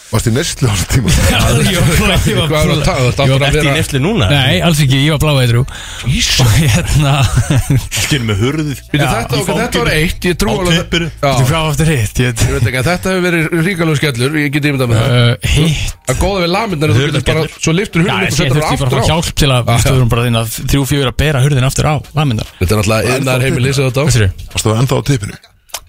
Speaker 1: varst í neyslu á þessu tíma
Speaker 6: Já, ég var bara, ég
Speaker 5: Hvað er að
Speaker 6: var bara
Speaker 5: tala, þetta áttur að
Speaker 3: Ertu í
Speaker 5: vera
Speaker 3: nefslu núna?
Speaker 6: Nei, alls ekki, ég var blá eitrú Og hérna Þú
Speaker 2: Skilur með hurðið
Speaker 5: Býtu, þetta,
Speaker 6: Já, í
Speaker 5: ok, þetta var
Speaker 6: fanginu.
Speaker 5: eitt, ég trú
Speaker 2: Á
Speaker 5: alveg
Speaker 2: tippinu.
Speaker 5: Já, ég
Speaker 6: hvað áttu hitt, ég veit
Speaker 5: veit ekki, en þetta hefur verið ríkalegu skellur, ég get ímyndað með það
Speaker 6: Uh, Hitt
Speaker 5: Að góða við lamirnar, er þú getur bara, svo liftur
Speaker 6: Já,
Speaker 5: hurðin upp
Speaker 6: ég
Speaker 5: og
Speaker 6: sé, þú
Speaker 5: setur hann
Speaker 6: veist, ég bara
Speaker 5: aftur
Speaker 6: fá
Speaker 5: á
Speaker 6: hjálp til
Speaker 5: Já,
Speaker 6: að
Speaker 5: já.
Speaker 6: Þú veist, bara þín að þrjú, fjör að bera hurðin aftur á Lamindar,
Speaker 5: Þetta er náttúrulega innar heimilið sem þú
Speaker 6: hvað
Speaker 5: tók
Speaker 6: sér
Speaker 1: Varst það ennþá á tipinu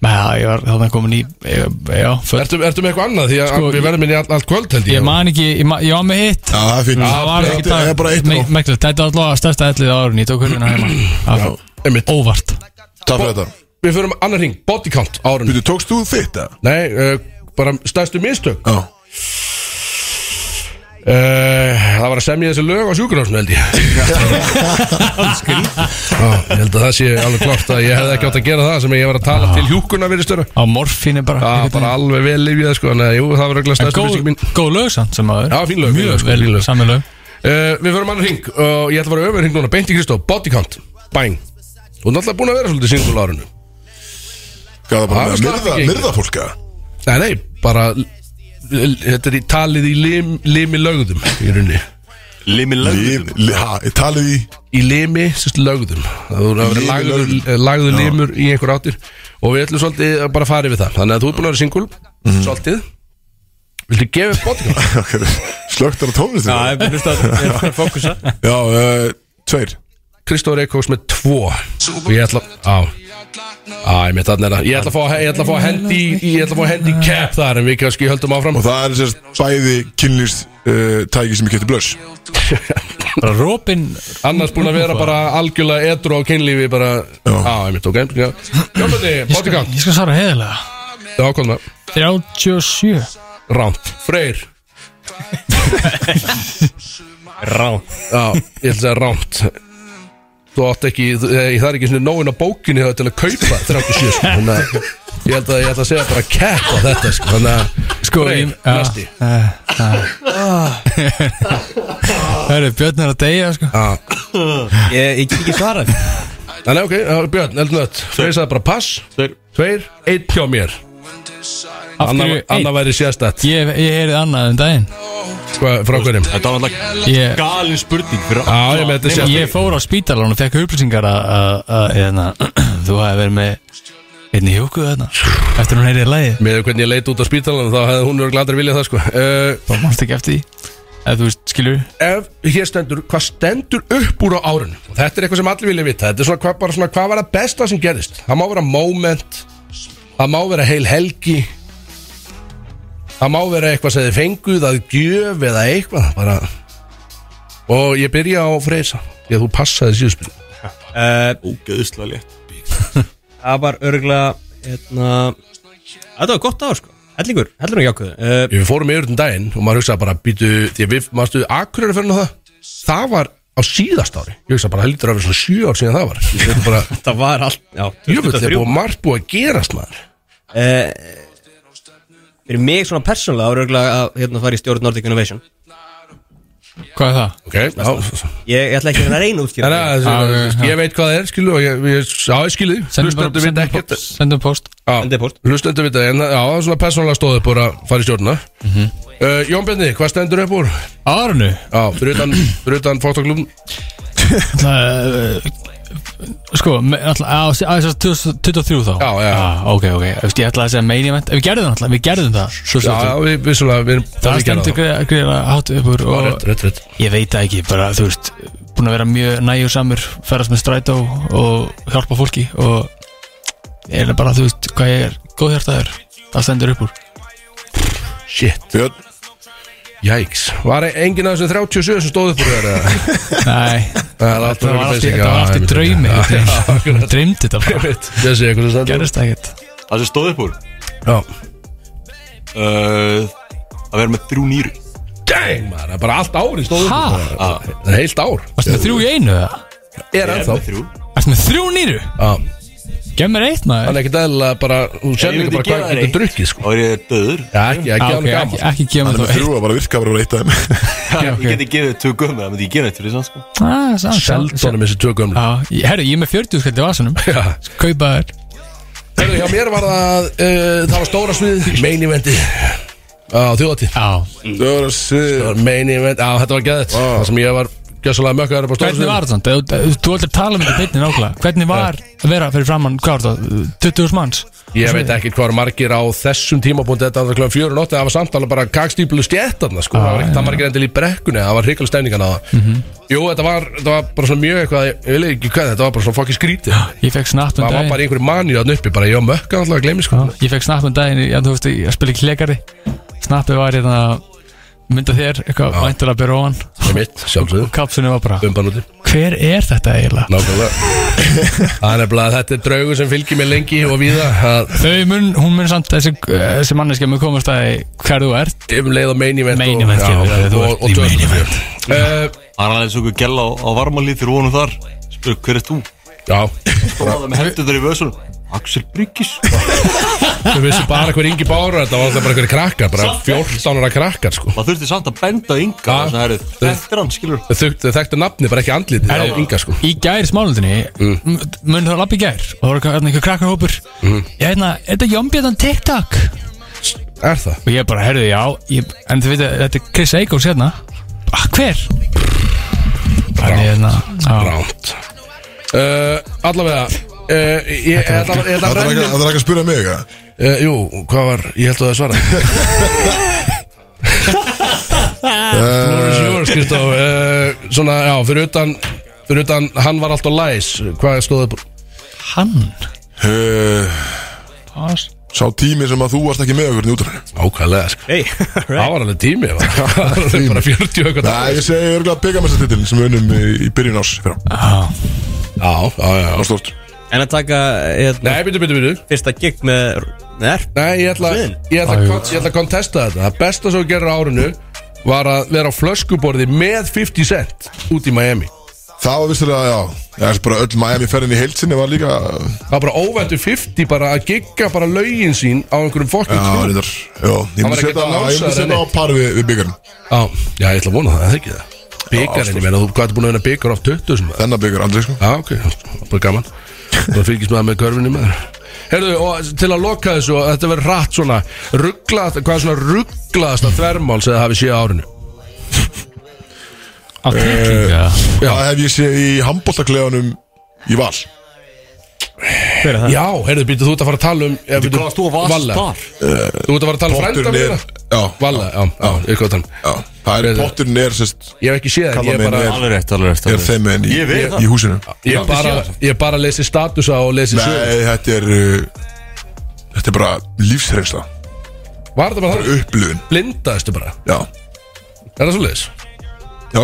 Speaker 6: Nei, já, ég var þarna komin í ég- Já, föt
Speaker 5: Ertu ertu með eitthvað annað, því að
Speaker 6: Sko,
Speaker 5: við verðum inn í allt allt kvöld held
Speaker 6: Ég
Speaker 5: ég
Speaker 6: man ekki, ég, man, ég var með hitt
Speaker 1: Já, það er fínt
Speaker 6: Það var ekki
Speaker 1: Það er bara eitt
Speaker 6: Me-
Speaker 1: nóg
Speaker 6: Merkilegt, þetta var allavega stærsta ellið á árun Ég tók hurðina heima Af-
Speaker 5: Einmitt.
Speaker 6: Óvart
Speaker 1: Takk fyrir þetta
Speaker 5: Við förum annar hring, body count á árinu
Speaker 1: Býtu, tókst þú þitt eða?
Speaker 5: Nei, uh, bara stærstu mistök
Speaker 1: Já
Speaker 5: uh, Það var að semja þessi lög á sjúkurásnu held ég Já, Ég held að það sé alveg klart að ég hefði ekki átt að gera það sem ég var að tala til hjúkurna virðistöru
Speaker 6: Á morfínu bara
Speaker 5: Já,
Speaker 6: einhvern
Speaker 5: bara
Speaker 6: veginn.
Speaker 5: alveg vel lifið sko, en, jú, það var regla
Speaker 6: En
Speaker 5: stærstu mistök mín
Speaker 6: Góð, góð lög samt sem aður
Speaker 5: Já, fín lög, fín lög,
Speaker 6: Mjög
Speaker 5: sko, fín
Speaker 6: vel
Speaker 5: lög.
Speaker 6: saman lög
Speaker 5: Uh, við förum annar hring og ég ætla að fara öfur hring núna Beint í Kristó, body count, bang Þú er náttúrulega búin að vera svolítið singul á árinu
Speaker 1: Gaf það
Speaker 5: Já,
Speaker 1: bara
Speaker 5: slapp
Speaker 1: myrða,
Speaker 5: ekki.
Speaker 1: myrða fólk eða?
Speaker 5: Nei, nei, bara l- l- Þetta er í talið í lim, limi lögðum Í rauninni
Speaker 2: Limi
Speaker 1: Lim,
Speaker 2: lögðum
Speaker 1: li, ha, talið í
Speaker 5: í limi, sérst lögðum það voru að vera
Speaker 1: Limi
Speaker 5: lagður, eh,
Speaker 1: lögðum.
Speaker 5: lagður limur í einhver áttir og við ætlum svolítið að bara fara yfir það þannig að þú er búin að vera singul,
Speaker 1: Mhm.
Speaker 5: svolítið viltu gefa upp podcast?
Speaker 1: Slögt hann á tónlistinu
Speaker 3: Já, ég hlusta að ég er að fókusa
Speaker 1: Já, uh, tveir
Speaker 5: Kristóð Reykjós með tvo og ég ætla á á, ég mitt þarna er það ég ætla að fá- ég ætla að fá hendi ég ætla að fá hendi cap þar en við kannski höldum áfram
Speaker 1: Og það er sérst bæði kynlýst uh, tæki sem ég kefti blöss
Speaker 6: bara rópin
Speaker 5: annars búin að vera bara algjörlega edru á kynlífi bara,
Speaker 1: Já.
Speaker 5: á, ég mitt, ok Jónbjörni,
Speaker 6: ég skal,
Speaker 5: podcast,
Speaker 6: ég skal svara heiðilega
Speaker 5: það ákvæðum það
Speaker 6: 37
Speaker 5: ránt, freyr
Speaker 3: Rá
Speaker 5: Já, ég ætla að segja rámt Þú átt ekki, þú- eh, það er ekki svona nóin á bókinni það til að kaupa 37 sko Þannig að ég held að, ég ætla að segja bara kepp á þetta sko Þannig að
Speaker 6: Sko,
Speaker 5: Freyr,
Speaker 6: ég- já.
Speaker 5: næsti
Speaker 6: það eru björn er að deyja sko.
Speaker 3: Ég ég get ekki svarað
Speaker 5: Þannig ok, já, Björn, heldur nött Freyr sagði bara pass
Speaker 2: Tveir.
Speaker 5: Tveir, einn hjá mér
Speaker 6: af
Speaker 5: Anna,
Speaker 6: hverju
Speaker 5: Anna
Speaker 6: einn
Speaker 5: væri sérstætt
Speaker 6: ég, ég heyrið annað um daginn
Speaker 5: Hvað, frá hverjum?
Speaker 2: Þetta var náttúrulega
Speaker 6: ég,
Speaker 2: galin spurning fyrir
Speaker 5: Já, ég með þetta
Speaker 6: Ég
Speaker 5: sérstætt
Speaker 6: fór á spítalan og fekk upplýsingar að- að að, hérna, þú hafi verið með einni hjókuð þarna eftir hún heyrið lægi
Speaker 5: Með hvernig ég leit út á spítalanum þá hefði hún verið gladri viljað það sko uh,
Speaker 6: þá mannst ekki eftir því eða þú veist, skilur
Speaker 5: ef hér stendur, hvað stendur upp úr á árun og þetta er eitthvað sem allir vilja vita þetta er svona hvað, bara svona hvað var það besta sem gerðist það má vera moment það má vera heil helgi það má vera eitthvað sem þið fenguð að gjöf eða eitthvað bara og ég byrja á freysa því að þú passaði síðuspil
Speaker 3: Eh,
Speaker 2: Ógeðslega létt
Speaker 3: Það var örgulega Hérna Þetta var gott ár sko Hellingur, hellingur jákuðu uh,
Speaker 5: við fórum yfir um daginn og maður hugsaði bara býtu því að við mástu akkurir að fyrir það það var á síðast ári ég hugsaði bara það lítur af svona sjö ár síðan það var ég veit bara
Speaker 3: Það var allt Já,
Speaker 5: Jöfull, það
Speaker 3: 23.
Speaker 5: er búið margt búið að gerast maður
Speaker 3: Eh, Fyrir mig svona persónulega Það var örgulega að hérna, fara í stjórn Nordic Innovation
Speaker 6: hvað er það?
Speaker 5: Ok, já,
Speaker 3: Ég, ég ætla ekki að reyna að útskýra
Speaker 5: Nei,
Speaker 3: það.
Speaker 5: nei,
Speaker 6: Já,
Speaker 5: þessi-
Speaker 6: já, já.
Speaker 5: ég veit hvað það er, skilu og ég, ég, já, ég skilu,
Speaker 6: Sendum bara-
Speaker 5: hlustendur vita
Speaker 6: sendum
Speaker 5: ekkert
Speaker 6: po- sendum post
Speaker 5: Já,
Speaker 3: Sendið póst.
Speaker 5: Hlustendur vita, en já, það er svona persónulega stóð upp úr að fara í stjórna
Speaker 6: Mhm.
Speaker 5: uh, Jón Bjarni, hvað stendur upp úr?
Speaker 6: Árunu
Speaker 5: Já, fyrir utan, fyrir utan fótoklubn
Speaker 6: Það, eh, sko, me- náttúrulega á- á- á- á- 2023 þá
Speaker 5: Já, já.
Speaker 6: ok, ok, Þú veist, ég ætlaði að segja main event við gerðum það, náttúrulega, við gerðum það svo,
Speaker 5: Já,
Speaker 6: svo,
Speaker 5: já,
Speaker 6: svo.
Speaker 5: við, við svona, við erum
Speaker 6: það stendur greiða greiða hátt upp úr og
Speaker 5: Rett, rett, rett
Speaker 6: ég veit það ekki, bara þú veist búin að vera mjög nægjur samur ferast með strætó og hjálpa fólki og ég er bara þú veist hvað ég er góðhjartaður það stendur upp úr
Speaker 5: Shit,
Speaker 1: Björn,
Speaker 5: jæks Var e- enginn af þessum 37 sem stóð upp úr þér? eða?
Speaker 6: Nei,
Speaker 5: Það er alltaf
Speaker 6: það var
Speaker 5: verið
Speaker 6: allt í-
Speaker 5: basic,
Speaker 6: þetta var
Speaker 5: já,
Speaker 6: allt í
Speaker 5: einmitt.
Speaker 6: draumi
Speaker 5: Já,
Speaker 6: einhvern
Speaker 5: já,
Speaker 6: veginn.
Speaker 5: akkurat.
Speaker 6: Ég dreymdi þetta bara,
Speaker 5: Þessi, eitthvað sem stendur
Speaker 6: gerðist það ekkert
Speaker 2: Það sem stóð upp úr
Speaker 5: Já.
Speaker 2: uh, Að vera með þrjú nýru
Speaker 5: Dang, maður, það er bara allt árið stóð upp
Speaker 6: Ha?
Speaker 5: úr bara. Það er heilt ár
Speaker 6: Varst með þrjú í einu eða?
Speaker 5: Er
Speaker 2: Ég er
Speaker 5: ennþá
Speaker 2: með þrjú
Speaker 6: Varst með þrjú nýru?
Speaker 5: Já.
Speaker 6: Gef mér eitt
Speaker 5: Hann
Speaker 6: maður
Speaker 5: er ekkert eðlilega bara, hún sér
Speaker 2: Ég
Speaker 5: líka
Speaker 2: myndi
Speaker 5: bara hvað
Speaker 2: gefa
Speaker 5: hann
Speaker 2: þér
Speaker 5: getur drukkið sko.
Speaker 2: Þá er ég döður
Speaker 5: Já, ekki, ekki
Speaker 6: Ah,
Speaker 5: á hann
Speaker 6: okay,
Speaker 5: gaman.
Speaker 6: ekki, ekki gef
Speaker 1: hann er
Speaker 6: mér þá
Speaker 1: með
Speaker 6: eitt
Speaker 1: þrjú að bara virka bara úr eitt af þeim
Speaker 6: ok.
Speaker 2: Ég geti gefið tvö gömur Það myndi ég gefa þetta fyrir sann sko
Speaker 6: Ah, samt, samt,
Speaker 5: Sjaldónum
Speaker 6: samt.
Speaker 5: þessi tvö gömlu.
Speaker 6: Já, ég- Herru, ég er með 40 skall í vasanum
Speaker 5: Já.
Speaker 6: Kaupa þér
Speaker 5: Herðu, hjá mér var það, uh, það var stóra svið, main eventi á þjóðatíð.
Speaker 6: Já,
Speaker 1: Dóra Sif
Speaker 5: Það var main event, á þetta var gæðið.
Speaker 1: Vá.
Speaker 5: Það sem ég var gjössalega mökkaður upp á stóra
Speaker 6: Hvernig var það? Þú, þú, þú aldrei tala um þetta beinni nákvæmlega Hvernig var að vera fyrir framann, hvað var það? 20.000 manns?
Speaker 5: Ég veit ekki hvað var margir á þessum tímapunkti þetta var klokkan fjögur og nótti, það var samtala bara kakstýplu stjættarna sko, það var ekkert að margir endil í brekkunni, það var hrikalega stefningan á það. Jú, þetta var, þetta var bara svona mjög eitthvað, ég vil ekki hvað, þetta var bara svona fokki skrítið.
Speaker 6: Ég fekk snapp
Speaker 5: Það
Speaker 6: um
Speaker 5: var
Speaker 6: daginn
Speaker 5: bara einhverju manið þarna uppi, bara ég var mökka alltaf að gleymi sko.
Speaker 6: Já, Ég fekk snapp um daginn, já, þú veist, ég að spila í klekari Snappið var hérna mynda þér, eitthvað væntulega byrja ofan
Speaker 5: Það er mitt,
Speaker 6: og
Speaker 5: sjálfsögðu
Speaker 6: kapsunni var bara
Speaker 5: Bumbanúti,
Speaker 6: Hver er þetta eiginlega?
Speaker 5: nákvæmlega Það er nefnilega að þetta er draugur sem fylgir mér lengi og víða að
Speaker 6: Þau mun, hún mun samt, þessi, þessi manneskja mun komast að því hver þú ert
Speaker 5: um leið og main event
Speaker 6: Main
Speaker 5: og-
Speaker 6: event,
Speaker 5: já,
Speaker 6: kemur,
Speaker 5: og-
Speaker 6: þú
Speaker 5: og-
Speaker 6: ert
Speaker 5: og
Speaker 6: í main
Speaker 5: dögum.
Speaker 6: event.
Speaker 5: Eh,
Speaker 2: Það er aðeins okkur gæla á, á varmalið fyrir vonum þar Spyr, hver er þú?
Speaker 5: Já,
Speaker 2: Stóða með hendur í vöðsunum Axel Bryggis
Speaker 5: við vissum bara hver Ingi Bára þetta var alltaf bara einhverju krakkar, bara 14 ára krakkar sko
Speaker 2: Það þurfti samt að benda á Inga
Speaker 5: Ja.
Speaker 2: Þess að herrið Þetta er hann, skilur
Speaker 5: Þau þekktu- þau þekktu nafni, bara ekki andlitið á Inga sko
Speaker 6: Í gær smálundinni mm. Mun það lappi í gær Og það var eitthvað- hérna einhver krakkarhópur mm. Ég hérna, er þetta Jónbjörn TikTok?
Speaker 5: Er það?
Speaker 6: Og ég bara, herðu, já ég, En þið veit að þetta er Chris Eikos hérna ah, Hver? Þannig hérna, já.
Speaker 5: Ránt uh, Allavega Uh, ég, þetta var- þetta
Speaker 1: Það
Speaker 5: var
Speaker 1: er ekki
Speaker 5: rennir
Speaker 1: það er ekki að spura mig eða?
Speaker 5: uh, Jú, hvað var, ég held að það svara Floor is yours, Kristof uh, Eh, Svona, já, fyrir utan Fyrir utan, hann var alltaf læs Hvað stóð upp úr?
Speaker 6: Hann
Speaker 1: Eh,
Speaker 6: Pass
Speaker 1: Sá tími sem að þú varst ekki með okkur í útafinu
Speaker 5: Ákvæðlega, sko
Speaker 3: Hey,
Speaker 5: Það
Speaker 3: right.
Speaker 5: var alveg tími það var alveg Bara 40 og eitthvað
Speaker 1: Nei, ég segi örgulega byggamestatitilin sem við unnum í- í byrjun ás fyrir á.
Speaker 5: Já, já, já
Speaker 1: Það var stort
Speaker 3: En að taka hérna,
Speaker 5: Nei, byrju, byrju, byrju
Speaker 3: fyrsta gig með nerp
Speaker 5: Nei, ég ætla,
Speaker 3: Sviðin?
Speaker 5: ég, ætla, kon- ég ætla að kontesta þetta Það besta sem þú gerir á árinu Var að vera á flöskuborði með 50 cent Út í Miami
Speaker 1: Það var vissilega, já Það er bara öll Miami ferðin í heilsinni var líka
Speaker 5: Það var bara óvæntu 50 bara að gigga bara lögin sín Á einhverjum
Speaker 1: Já,
Speaker 5: fokkin
Speaker 1: reyndar Já, ég
Speaker 5: var
Speaker 1: myndi
Speaker 5: ekkert
Speaker 1: setja
Speaker 5: að
Speaker 1: ég myndi
Speaker 5: lánsa
Speaker 1: setja á
Speaker 5: þér,
Speaker 1: par við, við byggarinn
Speaker 5: Já, já, ég ætla að vona það, það er ekki það Byggarinn, ég meina, þú hvað ertu búin að vinna byggar af 20 sem það
Speaker 1: Þennan byggar aldrei, sko
Speaker 5: Já, ok, bara gaman Það fylgist með það með körfinni með Herðu, og til að loka þessu, og þetta verður rætt svona Rugglaðast, hvað er svona rugglaðast að þvermál sem það hafi séð á árinu
Speaker 6: Á tilklinga
Speaker 5: Já.
Speaker 1: Það hef ég séð í handbóltakleganum í val
Speaker 3: Hver er það?
Speaker 5: Já, herðu, býttu, þú ert að fara að tala um ja, býttu,
Speaker 2: Hvað varst þú að vasta
Speaker 5: Valle.
Speaker 2: þar?
Speaker 5: Þú ert að fara að tala um frænda
Speaker 1: Potturinn er
Speaker 5: mína
Speaker 1: Já,
Speaker 5: Valla, já, já, ég er hvað að tala um
Speaker 1: já Það er potturinn er, sérst
Speaker 5: Ég hef ekki séð það,
Speaker 1: Kalla
Speaker 5: ég er
Speaker 1: mig
Speaker 5: bara
Speaker 1: nef.
Speaker 2: Alveg rétt, alveg rétt
Speaker 1: Er þeim en í,
Speaker 2: Ég veit
Speaker 1: í húsinu
Speaker 5: Ég er bara, ég bara lesi statusa og lesi sögur
Speaker 1: Nei, þetta er uh, Þetta er bara lífsreynsla
Speaker 5: Var það bara það?
Speaker 1: Upplifun
Speaker 5: Blindaðistu bara
Speaker 1: Já,
Speaker 5: Er það svo leiðis?
Speaker 1: já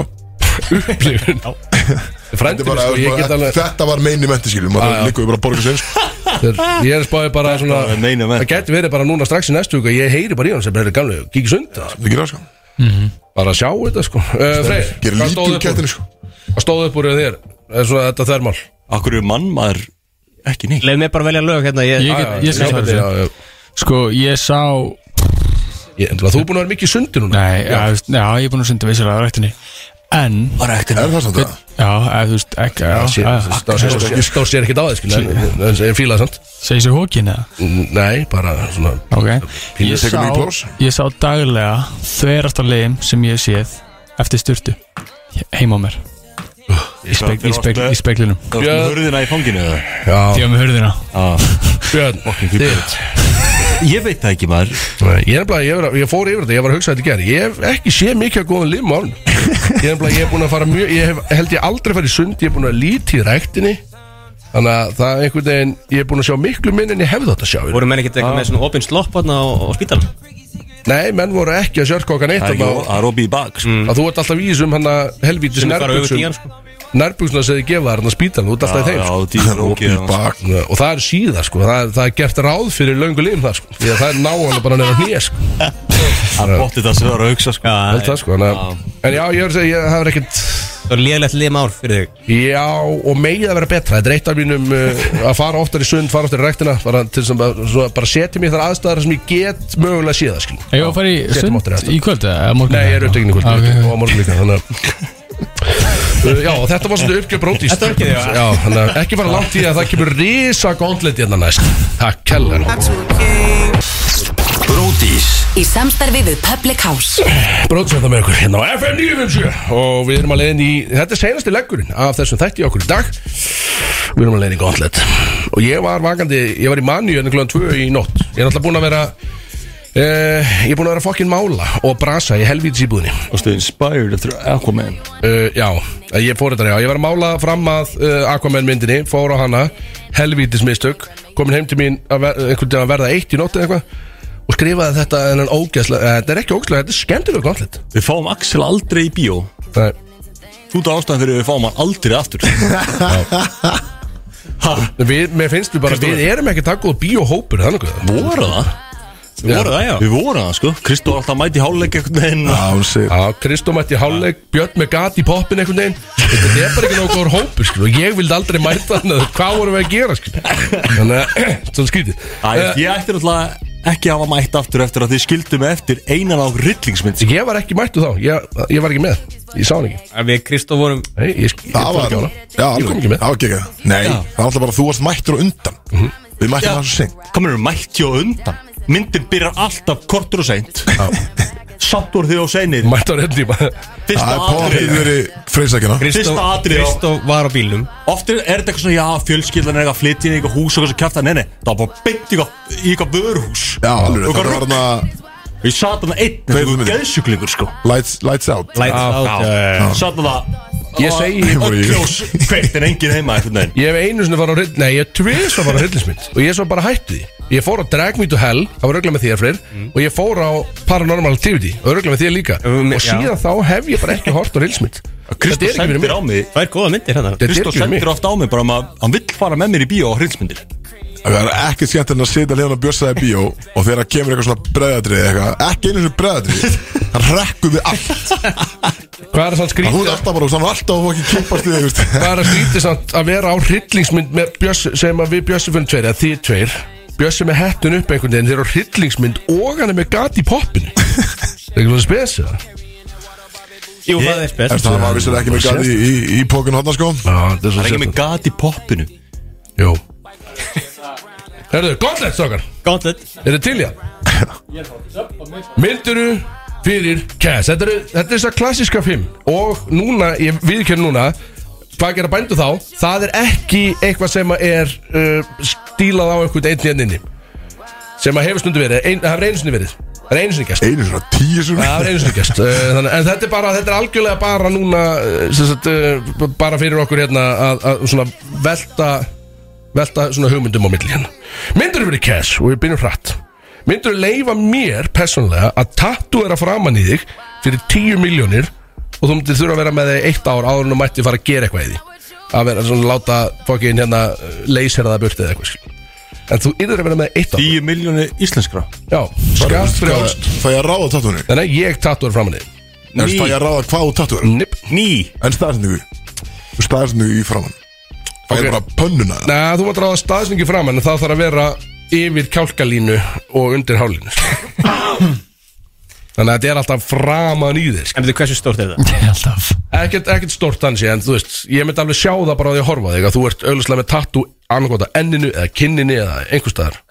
Speaker 5: Upplifun
Speaker 1: Þetta,
Speaker 5: Frændi
Speaker 1: er
Speaker 5: mín,
Speaker 1: bara,
Speaker 5: sko, ég get alveg
Speaker 1: þetta var meini menti skiljum Það
Speaker 5: já.
Speaker 1: liggur við bara að borga sko. sér
Speaker 5: þeir- Ég er spáðið bara svona
Speaker 2: var meina mennt.
Speaker 5: Það gæti verið bara núna strax í næstu viku Ég heyri bara í hann sem er gamlega Kíkis undan
Speaker 1: Það gerir það sko
Speaker 5: Bara að sjá þetta sko Eh, Freyr,
Speaker 1: Gerir
Speaker 5: hvað
Speaker 1: lítið
Speaker 5: stóð
Speaker 1: úr
Speaker 5: upp úr?
Speaker 1: kettinu sko
Speaker 5: Hvað stóð upp úr hjá þér? Eh, Svona þetta þvermál
Speaker 2: Akkur er mann maður ekki neitt
Speaker 3: Leif mig bara að velja lög hérna Ég,
Speaker 6: Ég
Speaker 3: ég,
Speaker 6: get, ég skal svara
Speaker 5: Já,
Speaker 6: þessu
Speaker 5: já, já.
Speaker 6: Sko, ég sá
Speaker 5: Ég- Þú er búin að vera mikið sundi núna
Speaker 6: Nei, já, þú veist, já, ég er búin að sunda vissulega á rættinni En,
Speaker 2: Bara ekkert
Speaker 1: Er það samt það?
Speaker 6: já, eða þú veist, ekki, já, já, já.
Speaker 5: Stór sér ekkert á þig skilja En ég fíla það samt
Speaker 6: Segir sér hókin eða?
Speaker 5: Nei, bara svona
Speaker 6: Ok
Speaker 5: Pínu
Speaker 6: Ég
Speaker 1: tekur
Speaker 6: sá,
Speaker 1: mig í plás.
Speaker 6: ég sá daglega þverasta legin sem ég hef séð Eftir styrtu Heima á mér Í, spek, í, spek, í speklinum
Speaker 2: Það var
Speaker 5: Björn.
Speaker 2: hörðina í fanginu eða?
Speaker 5: Já,
Speaker 6: Því að með hörðina
Speaker 5: Björn þitt.
Speaker 2: Ég veit það ekki maður
Speaker 5: Nei, Ég er bara, ég, var- ég fór yfir þetta, ég var að hugsa þetta í gerð Ég hef ekki séð mikið að góðan lim á hann Ég er bara, ég er búin að fara mjög Ég hef, held ég aldrei farið í sund, ég er búin að vera lítið í ræktinni Þannig að það er einhvern veginn Ég er búin að sjá miklu minn en ég hefði þetta að sjá
Speaker 3: voru menn ekkert
Speaker 2: Ah.
Speaker 3: eitthvað með svona opinn slopp hérna á, á spítal
Speaker 5: Nei, menn voru ekki að sjörkokkan eitt
Speaker 2: Það er
Speaker 5: að,
Speaker 2: ekki
Speaker 5: að,
Speaker 2: að robi í bak sko.
Speaker 5: að þú ert alltaf í þessum hann að helvítis
Speaker 3: mm. sem er bara auðvitað í
Speaker 5: nærbuksum
Speaker 3: hann sko
Speaker 5: Nærbuksuna sem þið gefa þarna spítan, þú ert alltaf í þeim
Speaker 2: Já,
Speaker 5: sko.
Speaker 2: dýr og
Speaker 1: Opið
Speaker 2: geðan.
Speaker 1: bak
Speaker 5: Nö, og það er síða sko, það er, það er gert ráð fyrir löngu lim það sko, því að það er náanlega bara nefnir hnýja sko,
Speaker 2: Það er bóttið það sem það er að hugsa sko.
Speaker 5: allt það sko, þannig að en já, ég verður að segja, ég- það er ekkert
Speaker 3: Það var liðlegt liðum ár fyrir þig
Speaker 5: já, og megið að vera betra, þetta er eitt af mínum uh, að fara oftar í sund, fara oftar í rektina bara til sem bara, svo, bara setja mér þar aðstæðar sem ég get mögulega séð það sko
Speaker 6: Ég var að fara í
Speaker 5: Setjum áttir
Speaker 6: stund
Speaker 5: þetta.
Speaker 6: í kvöld eða morgun
Speaker 5: nei, ég er upptekinn í kvöld,
Speaker 6: Ah,
Speaker 5: ég er upptekinn
Speaker 6: ok.
Speaker 5: og á morgun líka þannig að Uh, já, og þetta var svona uppgjöf brótist
Speaker 3: Þetta var ekki þig,
Speaker 5: Já, þannig að ekki fara langt í að það kemur risa gondlet hérna næst Takk, kellar
Speaker 2: Brótis
Speaker 4: Í samstarfi við Public House
Speaker 5: Bróðsönda með okkur hérna á FM 957 og við erum að leiðin í, þetta er senasti leggurinn af þessum þætti í okkur í dag við erum að leiðin í gondlet og ég var vakandi, ég var í manni en kljóðan 2 í nótt, ég er alltaf búinn að vera Uh, ég er búinn að vera fokkin mála og brasa í helvítis íbúðinni
Speaker 2: Og stuð inspired eftir Aquaman
Speaker 5: uh, Já, ég fór þetta já Ég var að mála fram að uh, Aquaman myndinni Fór á hana, helvítis mistök Komin heim til mín að ver, einhvern veginn að verða eitt í nótt eða eitthvað Og skrifaði þetta en hann ógæslega Þetta er ekki ógæslega, þetta er skemmtilega gondlet
Speaker 2: Við fáum Axel aldrei í bíó
Speaker 5: Það er
Speaker 2: Þú ert ástæðan fyrir að við fáum hann aldrei aftur
Speaker 5: Við, mér finnst við bara,
Speaker 2: Kristófer.
Speaker 5: við erum ekki takkuð bíóhópur, það er nokkuð
Speaker 2: Voru það?
Speaker 3: Við voru það, já
Speaker 2: Við voru það sko Kristóð alltaf mæti háluleik eitthvað neginn
Speaker 1: Já, hún segir
Speaker 5: Já, Kristó mætti í hálfleik, Björn með gat í poppin einhvern veginn Þetta er bara ekki nógu góður hópur, skil Og ég vildi aldrei mæta hann, hvað vorum við að gera, skil Þannig að, svona skrítið
Speaker 2: Ég ætti náttúrulega ekki að hafa mætt aftur eftir að þið skildu mig eftir einan á rillingsmynd
Speaker 5: Eh, Ég var ekki mættu þá, ég, ég var ekki með Ég sá hann ekki
Speaker 3: Að Við Kristóf vorum
Speaker 5: Nei, ég, ég, ég
Speaker 1: Það
Speaker 5: fór
Speaker 1: var
Speaker 5: ekki á hana
Speaker 1: Já,
Speaker 5: Ég kom ekki með Mhm.
Speaker 1: Það var ekki ekki Nei, það var alltaf bara að þú varst mættur og undan Við mættum það svo sent
Speaker 2: Komur eru mætti og undan Myndin byrjar alltaf kortur og seint samt úr því á seinir
Speaker 5: Mætt á rétt tíma
Speaker 1: Það
Speaker 2: Fyrsta
Speaker 1: er
Speaker 2: atrið
Speaker 1: pottið verið freysækina
Speaker 2: Fyrsta atrið á-
Speaker 3: Kristó var á bílnum
Speaker 2: Oft er, er þetta eitthvað svona, já, fjölskyldan er eitthvað að flytja inn í eitthvað hús og eitthvað sem kjæftar, nei, nei, það var bara beint í eitthvað- í eitthvað vöruhús.
Speaker 1: Já, alveg,
Speaker 2: Og
Speaker 1: þetta var
Speaker 2: eitthvað
Speaker 1: þarna
Speaker 2: rugl. Ég sat hann einn,
Speaker 1: Tveir
Speaker 2: þetta var
Speaker 1: minni.
Speaker 2: geðsjúklingur, sko.
Speaker 1: lights, lights out
Speaker 3: Lights out
Speaker 2: Já,
Speaker 3: já, já, já.
Speaker 2: sat hann það.
Speaker 5: Ég segi-
Speaker 2: Öll ljós, kveikt en enginn heima, eitthvað neginn.
Speaker 5: Ég hef einu sinni farið á hryllis Nei, ég tvist að fara á hryllismitt Og ég svo bara hætti því Ég fór á Drag Me to Hell Það var örgulega með þér frir
Speaker 2: Mm.
Speaker 5: Og ég fór á Paranormal Activity Örgulega með þér líka
Speaker 3: Um,
Speaker 5: Og
Speaker 3: já.
Speaker 5: síðan þá hef ég bara ekki hort á hryllismitt
Speaker 2: Kristó sendir á mig,
Speaker 3: Það er góða myndir hérna
Speaker 5: Þetta er
Speaker 2: Kristó
Speaker 5: ekki fyrir mig
Speaker 2: sendir ofta á mig bara um að hann vill fara með mér í bíó á hrinsmyndir.
Speaker 1: Það er ekki skemmt en að sitja hljóðan að bjösa í bíó og þegar það kemur eitthvað svona breðadrið eitthvað, ekki einu svona breðadrið hann rekkur við allt
Speaker 5: Hvað er það
Speaker 1: Þú er
Speaker 5: skrítið?
Speaker 1: alltaf bara, hann er alltaf að fá ekki kippast við þú veist.
Speaker 5: Hvað er það skrítið samt að vera á hryllingsmynd með Bjössi Sem að við Bjössi fyrir tveir Eða þið tveir Bjössi með hettun upp einhvern veginn Þeir eru á hryllingsmynd Og hann er með gat í poppinu Það er ekki svona spes eða?
Speaker 3: Jú, það er
Speaker 1: En
Speaker 3: spes
Speaker 1: það var vissir ekki með gæði í, í, í pókun hotna sko
Speaker 5: Já,
Speaker 2: Það er
Speaker 5: það er svo
Speaker 2: ekki með
Speaker 5: sérstakt.
Speaker 2: gat í poppinu.
Speaker 5: Jú. Herðu, gauntlet, strákar.
Speaker 3: Gauntlet
Speaker 5: Er þið til já? Mynduru fyrir cash Þetta eru þetta er þess að klassiska fimm Og núna, ég viðkjör núna Hvað gera bændu þá? Það er ekki eitthvað sem að er uh, stílað á einhvern einn í enninni Sem að hefur stundu verið ein, Það er einu sinni verið Það er einu sinni gæst
Speaker 1: Einu svona tíu svona
Speaker 5: Það er einu sinni gæst uh, þannig, En þetta er bara, þetta er algjörlega bara núna uh, sem sagt, uh, Bara fyrir okkur hérna Að, að svona velta velta svona hugmyndum á milli hérna myndur verið cash og við byrjum hratt myndur leifa mér persónulega að tatuera framann í þig fyrir 10 miljónir og þú myndir þurfa að vera með þig eitt ár áður en þú mætti fara að gera eitthvað í því að vera svona láta fokkin hérna leysera það burtið eða eitthvað skil. en þú yfir að vera með þig eitt ár
Speaker 2: 10 miljónir íslenskra.
Speaker 5: já, skattfrjálst
Speaker 1: Það er að ráða tattunni
Speaker 5: þannig að ég tatuera framann í þig
Speaker 1: En það er að ráða hvað þú tattur
Speaker 5: Nip.
Speaker 2: Ný.
Speaker 1: En staðsendingu Staðsendingu í framann Það
Speaker 5: Ok.
Speaker 1: er bara pönnuna
Speaker 5: Nei, þú mátt ráða staðsningi framann en það þarf að vera yfir kjálkalínu og undir hálínu þannig að þetta er alltaf framann í þig skil.
Speaker 3: En veitu hversu stórt er það?
Speaker 6: Alltaf
Speaker 5: ekkert, ekkert stórt þannig sé, en þú veist ég myndi alveg sjá það bara á því að horfa á þig að þú ert auðvitað með tattu annarkota enninu eða kinninu eða einhver staðar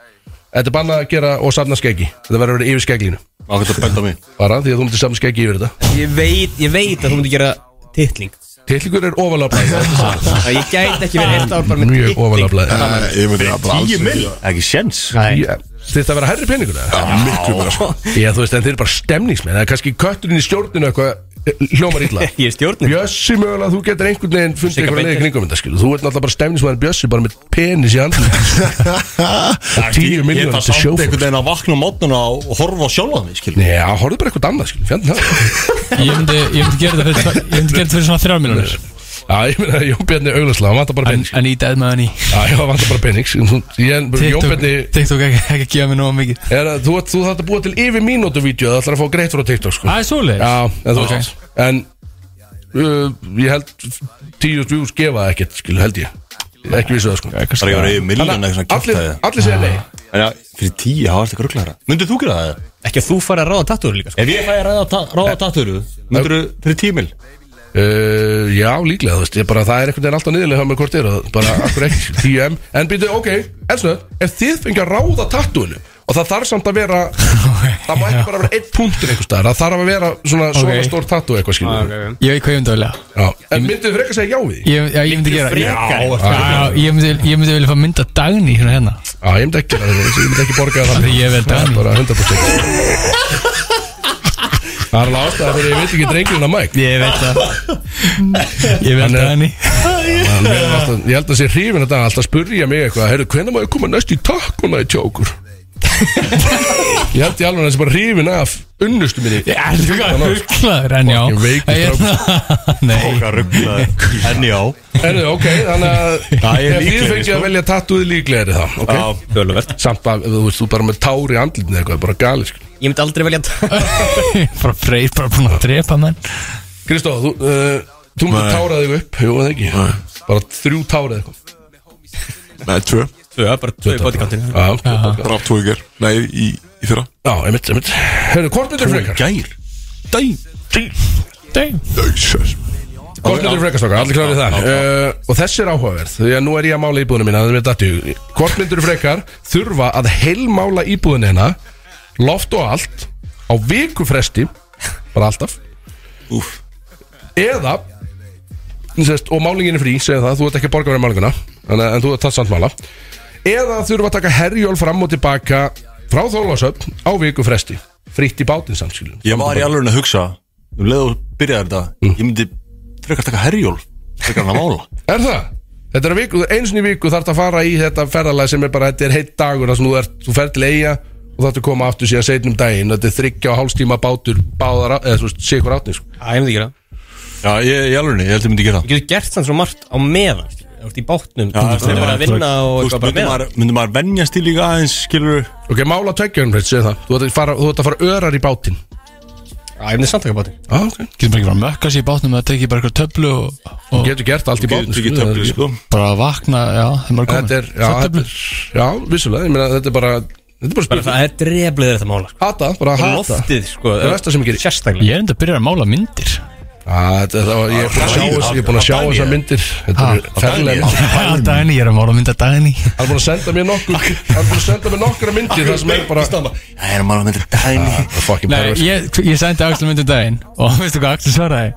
Speaker 5: Þetta er bannað að gera og safna skeggi Þetta verður að vera yfir skeglínu
Speaker 2: Það getur bælt á mig.
Speaker 5: bara því að þú myndir safna skeggi yfir þetta
Speaker 3: Ég veit, ég veit að þú myndir gera titling
Speaker 5: Tillingur er ofalega blæði
Speaker 3: Það ég gæti ekki verið eitt ár bara með
Speaker 5: Mjög ofalega blæði
Speaker 1: Nei, Ég myndi að bara
Speaker 2: 10
Speaker 1: alls
Speaker 2: mill. Ekki séns.
Speaker 3: blæð
Speaker 5: Þetta að vera herri peningur eða?
Speaker 1: Miklu meira sko
Speaker 5: Já, þú veist, en þeir eru bara stemningsmenn Það er kannski kötturinn í stjórninu eitthvað eh, hljómar illa
Speaker 3: Ég er stjórnir
Speaker 5: Bjössi mögulega, þú getur einhvern veginn fundið
Speaker 3: Sigga
Speaker 5: eitthvað leið
Speaker 3: Beinteins.
Speaker 5: kringum þetta skilu Þú ert náttúrulega bara stemningsmenn Bjössi bara með penis í andlið og 10
Speaker 2: Ég það
Speaker 5: miljónir til
Speaker 2: samt
Speaker 5: sjófólk
Speaker 2: einhvern veginn að vakna á mótnuna og horfa á sjálfan mig, skilur.
Speaker 5: Já, horfðu bara eitthvað annað, skil, fjandinn það
Speaker 6: Ég myndi, ég myndi gera þetta fyrir, tve- ég myndi gera þetta fyrir svona 3 miljonir
Speaker 5: Já, ég meina, Jón Bjarni auglarslega, hann vantar bara
Speaker 6: En,
Speaker 5: pening
Speaker 6: en í dæð með hann í
Speaker 5: Já, já, hann vantar bara pening skil, þú- ég- en bara Jón
Speaker 6: TikTok,
Speaker 5: Bjarni,
Speaker 6: TikTok ekki, ekki að gefa mér nóg mikið
Speaker 5: er að- þú, ert- þú þarf að búa til yfir mínútu vídeo Það ætlar að fá greitt frá TikTok, sko
Speaker 6: Það er svoleiðis
Speaker 5: Já, en þú
Speaker 6: Ok.
Speaker 5: veist En uh, ég held 10 views gefa það ekkert, skil, held ég Ekki vissu það, sko
Speaker 2: Það er ekki að vera yfir miljónir eitthvað svona
Speaker 5: Allir,
Speaker 2: kjæftæði.
Speaker 5: allir segja nei
Speaker 2: Þannig að fyrir 10 hafa alltaf gruglæra. Myndið þú gera það?
Speaker 3: Ekki að þú fara að ráða tattúr líka sko.
Speaker 2: Ef ég fæ að ræða, ta- ráða tattöru, myndir þú fyrir tímil?
Speaker 5: Uh, já, líklega, þú veist, ég bara, það er einhvern veginn alltaf niðurlega hjá mér hvort er, að bara akkur ekki 10M, en býtu, ok, en snöð ef þið fengja að ráða tattúinu og það þarf samt að vera það má ekki bara vera einn punktur einhvers staðar, það þarf að vera svona, svona
Speaker 6: Ok.
Speaker 5: stór tattú eitthvað skilur okay.
Speaker 6: Ég veit hvað ég myndi að vilja
Speaker 5: já, en myndið þið frekar segja já við því?
Speaker 6: Ég, já, ég myndi gera
Speaker 3: frekar?
Speaker 6: Já, já, ég myndi, ég myndi vilja fá mynda Dagný hérna hérna
Speaker 5: Já, ég myndi ekki, gera það, ég myndi ekki borga það
Speaker 6: Ég vel
Speaker 5: það
Speaker 6: Dagný.
Speaker 5: er bara 100% það er alveg ástæða fyrir ég veit ekki drengurinn að mæk
Speaker 6: Ég veit það Ég veit
Speaker 5: Hann er-
Speaker 6: Dagný
Speaker 5: Hann verður alltaf- ég held að sé hrifin þetta alltaf að spurja mig eitthvað heyrðu, hvernig má ég koma næst í takkuna í tjókur ég held ég alveg að þessi bara hrifin af unnustu minni
Speaker 6: Ég er þú hvað rugglaður en já hérna-
Speaker 5: Fucking veikur
Speaker 6: Nei
Speaker 2: Okkar rugglaði. En já.
Speaker 5: heyrðu, ok, þannig að
Speaker 2: Það er
Speaker 5: ef þið
Speaker 2: líklegri,
Speaker 5: fengið
Speaker 2: sko.
Speaker 5: að velja tattúið líklega er það, ok
Speaker 2: Já,
Speaker 3: Töluvert
Speaker 5: samt að, þú veist, þú bara með tár í andlitinu eitthvað, bara galið, sko
Speaker 3: Ég myndi aldrei velja tattúr
Speaker 6: Bara freyr, bara búin að drepa menn
Speaker 5: Kristó, þú, uh, þú myndir
Speaker 1: Nei.
Speaker 5: tára þig upp, jú, eða ekki bara þrjú tára eitthvað
Speaker 1: Nei, tvö
Speaker 3: Bara tvö í bodycountin
Speaker 5: já, tvö tár.
Speaker 1: Draf tvo í ger Nei, í, í fyrra
Speaker 5: já, einmitt, einmitt heyrðu, hvort myndir frekar?
Speaker 2: Gær. Dæn.
Speaker 6: Dæm
Speaker 1: Jesus.
Speaker 5: Hvort myndir frekar stokkar, allir klárið það uh, Og þessi er áhugaverð, því að nú er ég að mála íbúðinu mína þannig að mér datt í hug. Hvort myndir frekar þurfa að heilmála íbúðinu hérna Loft og allt á vikufresti bara alltaf
Speaker 2: Úf.
Speaker 5: eða sest, og málingin er frí, segja það, þú ert ekki að borga verið málinguna en, en þú ert það samt mála eða þurfa að taka herjól fram og tilbaka frá Þorlásöfn á vikufresti fritt í bátinn samt skilur
Speaker 2: Ég var í alveg að hugsa Um leið og byrjaði þetta Ég myndi frekar taka herjól Frekar hann að mála
Speaker 5: Er það? Þetta er að viku, eins og í viku þarf að fara í þetta ferðalag sem er bara, þetta er heitt dagur þar sem þú, ert, þú fer til eiga og þarf að koma aftur síðan seinum daginn þetta er þryggja og hálfstíma bátur báðar, á- eða þú veist, sikur átni sko.
Speaker 3: Æ, ég myndi gera það.
Speaker 2: Já, ég, ég alveg, ég held ég myndi gera það
Speaker 3: Þú getur gert þannig svo margt á meðan skilur. Þú ert í bátnum,
Speaker 2: Já,
Speaker 3: þú ert
Speaker 2: það er
Speaker 3: bara að vinna og
Speaker 2: Þú
Speaker 3: eitthvað
Speaker 2: veist,
Speaker 3: bara
Speaker 2: myndi
Speaker 3: meðan
Speaker 2: maður, myndi maður venjast í líka aðeins Skilur
Speaker 5: Ok, mála tveggjörn, segir það Þú ert að fara, þú ert að fara örar í bátinn
Speaker 3: Já, ég myndi samt taka bátinn
Speaker 5: ah, okay.
Speaker 6: Getur bara ekki bara að mökka sér í bátnum eða tekið bara eitthvað töflu og,
Speaker 5: Þú
Speaker 6: og
Speaker 5: getur gert allt í
Speaker 2: Getur
Speaker 5: bátinn
Speaker 2: ekki töflu,
Speaker 5: sko, það er ekki-
Speaker 2: sko
Speaker 6: bara að vakna, já, þeim bara komin
Speaker 5: Þetta er, já, þetta er, já, vissulega ég meina, Þetta er bara, þetta er bara
Speaker 3: Bara
Speaker 5: spurning
Speaker 3: það er dreflið þetta mála sko.
Speaker 5: Hata, bara
Speaker 3: Bara
Speaker 5: hata
Speaker 3: Loftið, sko
Speaker 5: Það er versta sem ég geri.
Speaker 3: Sérstaklega
Speaker 6: Ég er enda að byrja að mála myndir
Speaker 5: Ah, þetta- það var- Ég er búin að sjá þessi- ég er búin að sjá þessar myndir Þetta er
Speaker 2: á
Speaker 5: ferlega
Speaker 2: Dagný.
Speaker 5: myndir
Speaker 6: Dæni, ég er að mála mynda dæni
Speaker 5: Hann er búin að senda mér nokkur Hann er búin að senda mér nokkra myndir Það sem er bara Það
Speaker 2: Það er maður að mynda dæni
Speaker 5: er fucking
Speaker 6: Nei,
Speaker 5: pervers
Speaker 6: ég, ég sendi Axel myndir dæin og veistu hvað Axel svaraði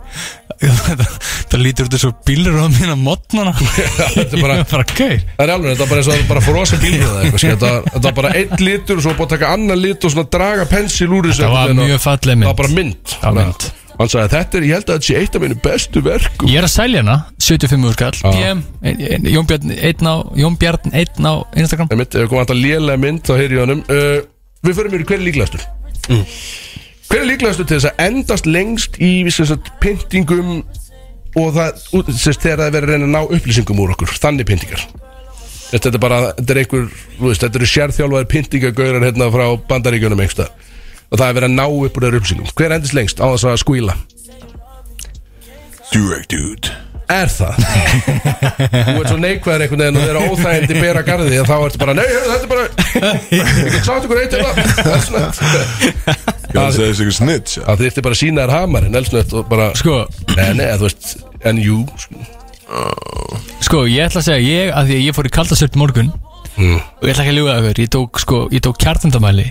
Speaker 6: það, það lítur út þessu bílur á mín að modnana
Speaker 5: Þetta er bara-
Speaker 6: Ég bara gauð
Speaker 5: Það er alveg, þetta er bara eins og það er bara frosin bíl með það eitthvað, skilja. Þetta þetta er bara einn litur og svo er búin að taka annan lit og svona draga pensil úr þessu
Speaker 6: Það var
Speaker 5: einhvern veginn
Speaker 6: mjög
Speaker 5: og-
Speaker 6: falleg mynd.
Speaker 5: Það var bara mynd
Speaker 6: Já, mynd.
Speaker 5: Hann sagði þetta er, ég held að þetta sé eitt af mínu bestu verkum
Speaker 6: Ég er að selja hana, 75 úr kall PM, ein- ein- Jón Bjarn einn á Jón Bjarn einn á Instagram
Speaker 5: En mitt, ef við komum alltaf lélega mynd þá heyri ég honum uh, Við förum yfir í hver er líklegastur Hver er líklegastur til þess að endast lengst í sem sagt, pyntingum og það, út- sem sagt, þegar það er verið að reyna að ná upplýsingum úr okkur, þannig pyntingar Þetta er bara, þetta er einhver þú veist, þetta eru sérþjálfaðir pyntingagaurar hérna frá bandaríkjunum einhversta og það er verið að ná upp úr þeirra upplýsingum Hver endast lengst á þess að skvíla?
Speaker 2: Direct dude
Speaker 5: Er það? Þú ert svo neikvæður einhvern veginn og þeirra óþægindi bera garði þá ertu bara, nei, heyrðu, þetta er bara ég get sagt ykkur eitt hérna Það er svona-
Speaker 1: Ég hann segði þessi snitt
Speaker 5: Það þurfti bara að sína þér hamarinn elsnött og bara,
Speaker 6: Sko,
Speaker 5: nei, nei, þú veist en jú, sko.
Speaker 6: sko, ég ætla að segja ég, að því að ég fór í kaldasöld morgun og ég ætla ekki að ljúga ykkur, ég tók, sko, ég tók kjartandamæli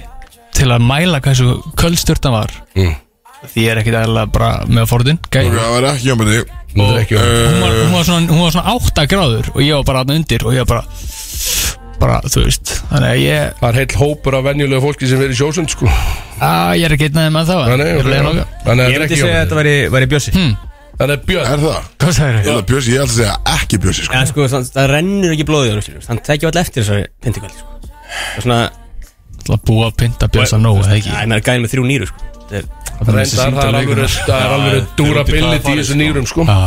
Speaker 6: til að mæla hversu köldstörtan var
Speaker 5: Mm.
Speaker 6: Því ég er ekkit aðeinslega bara með forðin gæði
Speaker 1: Það var ekki hjá mig
Speaker 5: þetta er ekki
Speaker 6: hún var, hún, var svona, hún var svona 8 gráður og ég var bara aðna undir og ég var bara bara, þú veist þannig að ég,
Speaker 5: það er heil hópur af venjulegu fólki sem verið sjósund, sko
Speaker 6: að, ég er ekki einn aðeins með það
Speaker 5: Nei, nei,
Speaker 6: ég
Speaker 5: ok.
Speaker 6: er að leiða nokka
Speaker 5: Þannig
Speaker 3: Ég
Speaker 5: að þetta
Speaker 3: myndi
Speaker 5: er ekki
Speaker 3: segja að
Speaker 5: Jóhann.
Speaker 3: þetta væri, væri bjössi
Speaker 6: hm,
Speaker 5: Þannig að Björn,
Speaker 1: Er það?
Speaker 6: hvað sagði
Speaker 1: Ég
Speaker 6: ég?
Speaker 1: ætla að bjösi, ég ætla að segja ekki bjösi sko.
Speaker 3: En sko, það, það rennur ekki blóðið honum, skilur Hann tekja alltaf eftir þessari pintikvöldi, sko Það er svona
Speaker 6: Það er búið að pynta bjösa nóg, eða ekki
Speaker 3: Já, ég meðan gæðin með þrjú nýru, sko Það er
Speaker 6: Það er
Speaker 5: reyndar, það
Speaker 6: þessi
Speaker 5: er
Speaker 6: sýndarleikur.
Speaker 5: alveg það er
Speaker 2: Já,
Speaker 5: alveg
Speaker 2: já,
Speaker 5: durability
Speaker 2: þeir eru út í það
Speaker 5: í
Speaker 2: að
Speaker 5: þessu
Speaker 2: fara,
Speaker 5: nýrum, sko
Speaker 6: Já,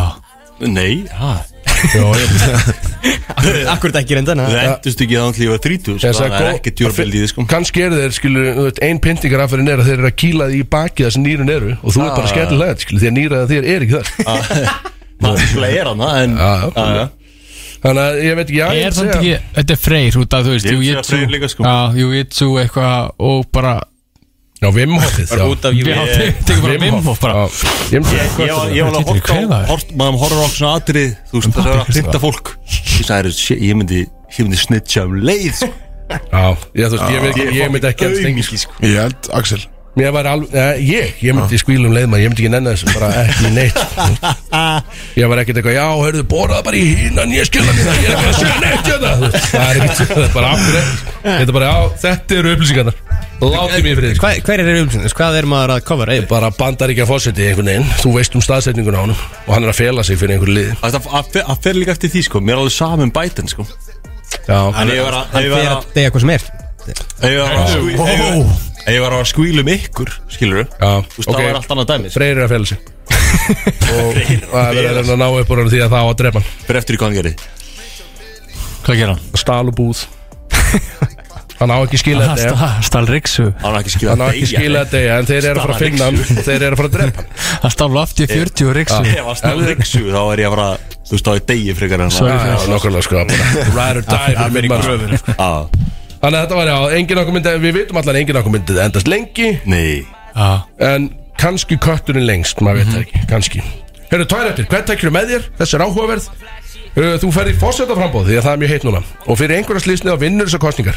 Speaker 2: Nei, ha,
Speaker 3: akkurat ekki reyndan
Speaker 2: það
Speaker 3: Það
Speaker 2: endust ekki að hann lífa 30 sko,
Speaker 5: Þess að
Speaker 2: Það er
Speaker 5: gó-
Speaker 2: ekki djúrbildið sko.
Speaker 5: kannski eru þeir skilur þú veit, ein pyntingar aðferðin er að þeir eru að kýla því í baki það sem nýrun eru og þú er
Speaker 6: Ah.
Speaker 5: bara skellilega skilur, því að nýraða þér er ekki þar
Speaker 2: Það er er hann en,
Speaker 5: Já, já.
Speaker 2: Já, já.
Speaker 5: þannig að ég veit ekki já, ég
Speaker 6: Er
Speaker 5: myndi
Speaker 6: samt ekki,
Speaker 5: segja-
Speaker 6: þetta er freyr út af, þú veist,
Speaker 2: Ég
Speaker 6: jú
Speaker 2: myndi segja
Speaker 6: jitsu
Speaker 2: Freyr líka, sko.
Speaker 6: Já, jú jitsu eitthvað og bara
Speaker 5: já, Vim Hofið
Speaker 3: er út af
Speaker 6: Já,
Speaker 3: júli
Speaker 6: tekur bara
Speaker 5: Vim
Speaker 6: Vim Hof
Speaker 5: Hof
Speaker 6: bara
Speaker 5: já, ég myndi segja-
Speaker 2: Ég var- ég var alveg að
Speaker 6: Þetta
Speaker 2: horfa
Speaker 6: er
Speaker 2: á
Speaker 6: kvefaður.
Speaker 2: hort, maður horfður á svona atrið þú veist það er að pynta fólk ég sagði shit, ég myndi ég myndi snitcha um leið sko.
Speaker 5: já, ég, þú veist, ég veit ekki- ég myndi ekki að stengi
Speaker 2: aumingi, sko.
Speaker 1: Ég held Axel
Speaker 5: Mér var alveg, ja, ég, ég myndi skvílum leið maður, ég myndi ekki nenni þessu, bara ekki neitt sko. Ég var ekkert eitthvað, já, heyrðu, boraða bara í hínan, ég skilja mér það, ég er ekki að segja neitt hérna Þú veist, Það er ekkert, það er bara af hverju, þetta er bara, já, þetta eru upplýsingarnar Láti mér fyrir
Speaker 3: Hvað hver er umsynið? Hvað er maður að cover? Ey,
Speaker 5: Bara bandar ekki að fórseti einhvern veginn, þú veist um staðsetninguna á honum Og hann er að fela sig fyrir einhver lið
Speaker 2: Það- það það fer- það fer líka eftir því sko mér er alveg saman bætin sko
Speaker 5: Já,
Speaker 2: en ég var að- ef ég
Speaker 3: það er
Speaker 2: var
Speaker 3: að
Speaker 2: að-
Speaker 3: degja hvað sem er
Speaker 2: ef ég var að skví- ef ég- ef ég var að skvíla um ykkur skilur
Speaker 5: já,
Speaker 2: þú veist það var allt annað sko. dæmis
Speaker 5: Freyr er að fela sig Og það er verið að reyna að ná upp úr honum því að það á að drepa hann
Speaker 2: fyrir eftir í hvað hann gerir
Speaker 6: Hvað gera hann?
Speaker 5: Stálubúð Hann á ekki skilja þetta
Speaker 6: Hann stál riksu
Speaker 2: hann er ekki
Speaker 5: hann
Speaker 2: skilað
Speaker 5: á ekki skilja að deyja en þeir eru að fara að finna hann og þeir eru að fara að drepa hann
Speaker 6: Hann stál afti 40 riksu
Speaker 2: ef að snáðu riksu þá er ég að fara þú veist þá er degi frekar en
Speaker 6: Sorry.
Speaker 2: það
Speaker 5: Já, já, nokkurlega sko bara ride or die fyrir minn mann.
Speaker 2: Já,
Speaker 5: þannig að þetta var já, engin okkur myndi við vitum allan að engin okkur myndi endast lengi
Speaker 2: nei
Speaker 6: Já,
Speaker 5: en kannski kötturinn lengst maður veit það ekki, kannski Herru, tvær eftir, hvern tekjur með þér? Þessi er áhugaverð Uh, Þú ferð í fórsetaframbóð því að það er mjög heitt núna og fyrir einhverja slísnið á vinnur þessar kostningar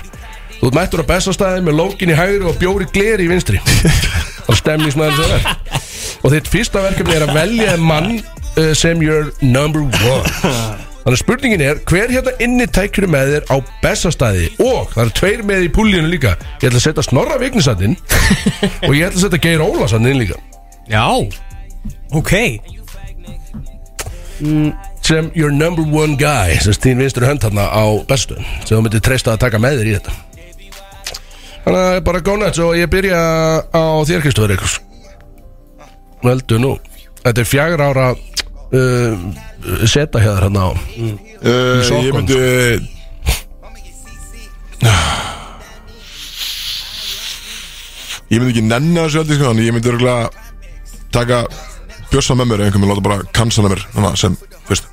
Speaker 5: Þú ert mættur á bestastæði með lókin í hægri og bjóri gleri í vinstri Það er stemningsmæður sem það er Og þitt fyrsta verkefni er að velja þér mann uh, sem your number one Þannig að spurningin er Hver hérna inni tækir með þér á bestastæði Og það eru tveir með í púlínu líka Ég ætla að setja Snorra Vignisandinn Og ég ætla að setja Geir Ólasandinn líka
Speaker 3: Já Ok
Speaker 5: Sem your number one guy Sem þín vinstur hönd þarna á bestastöðun Sem þú myndir treysta að taka með þér í þetta Þannig að það er bara gónað Svo ég byrja á þér Kristofur Eikos Veldu nú Þetta er fjagra ára uh, Seta hér hérna á
Speaker 1: Uh,
Speaker 5: sokkum.
Speaker 1: ég myndi Ég myndi ekki nenni þessu heldur sko, Þannig ég myndi örgulega taka Björsa með mér eða einhvern veginn láta bara cancela mér þannig að sem, þú veist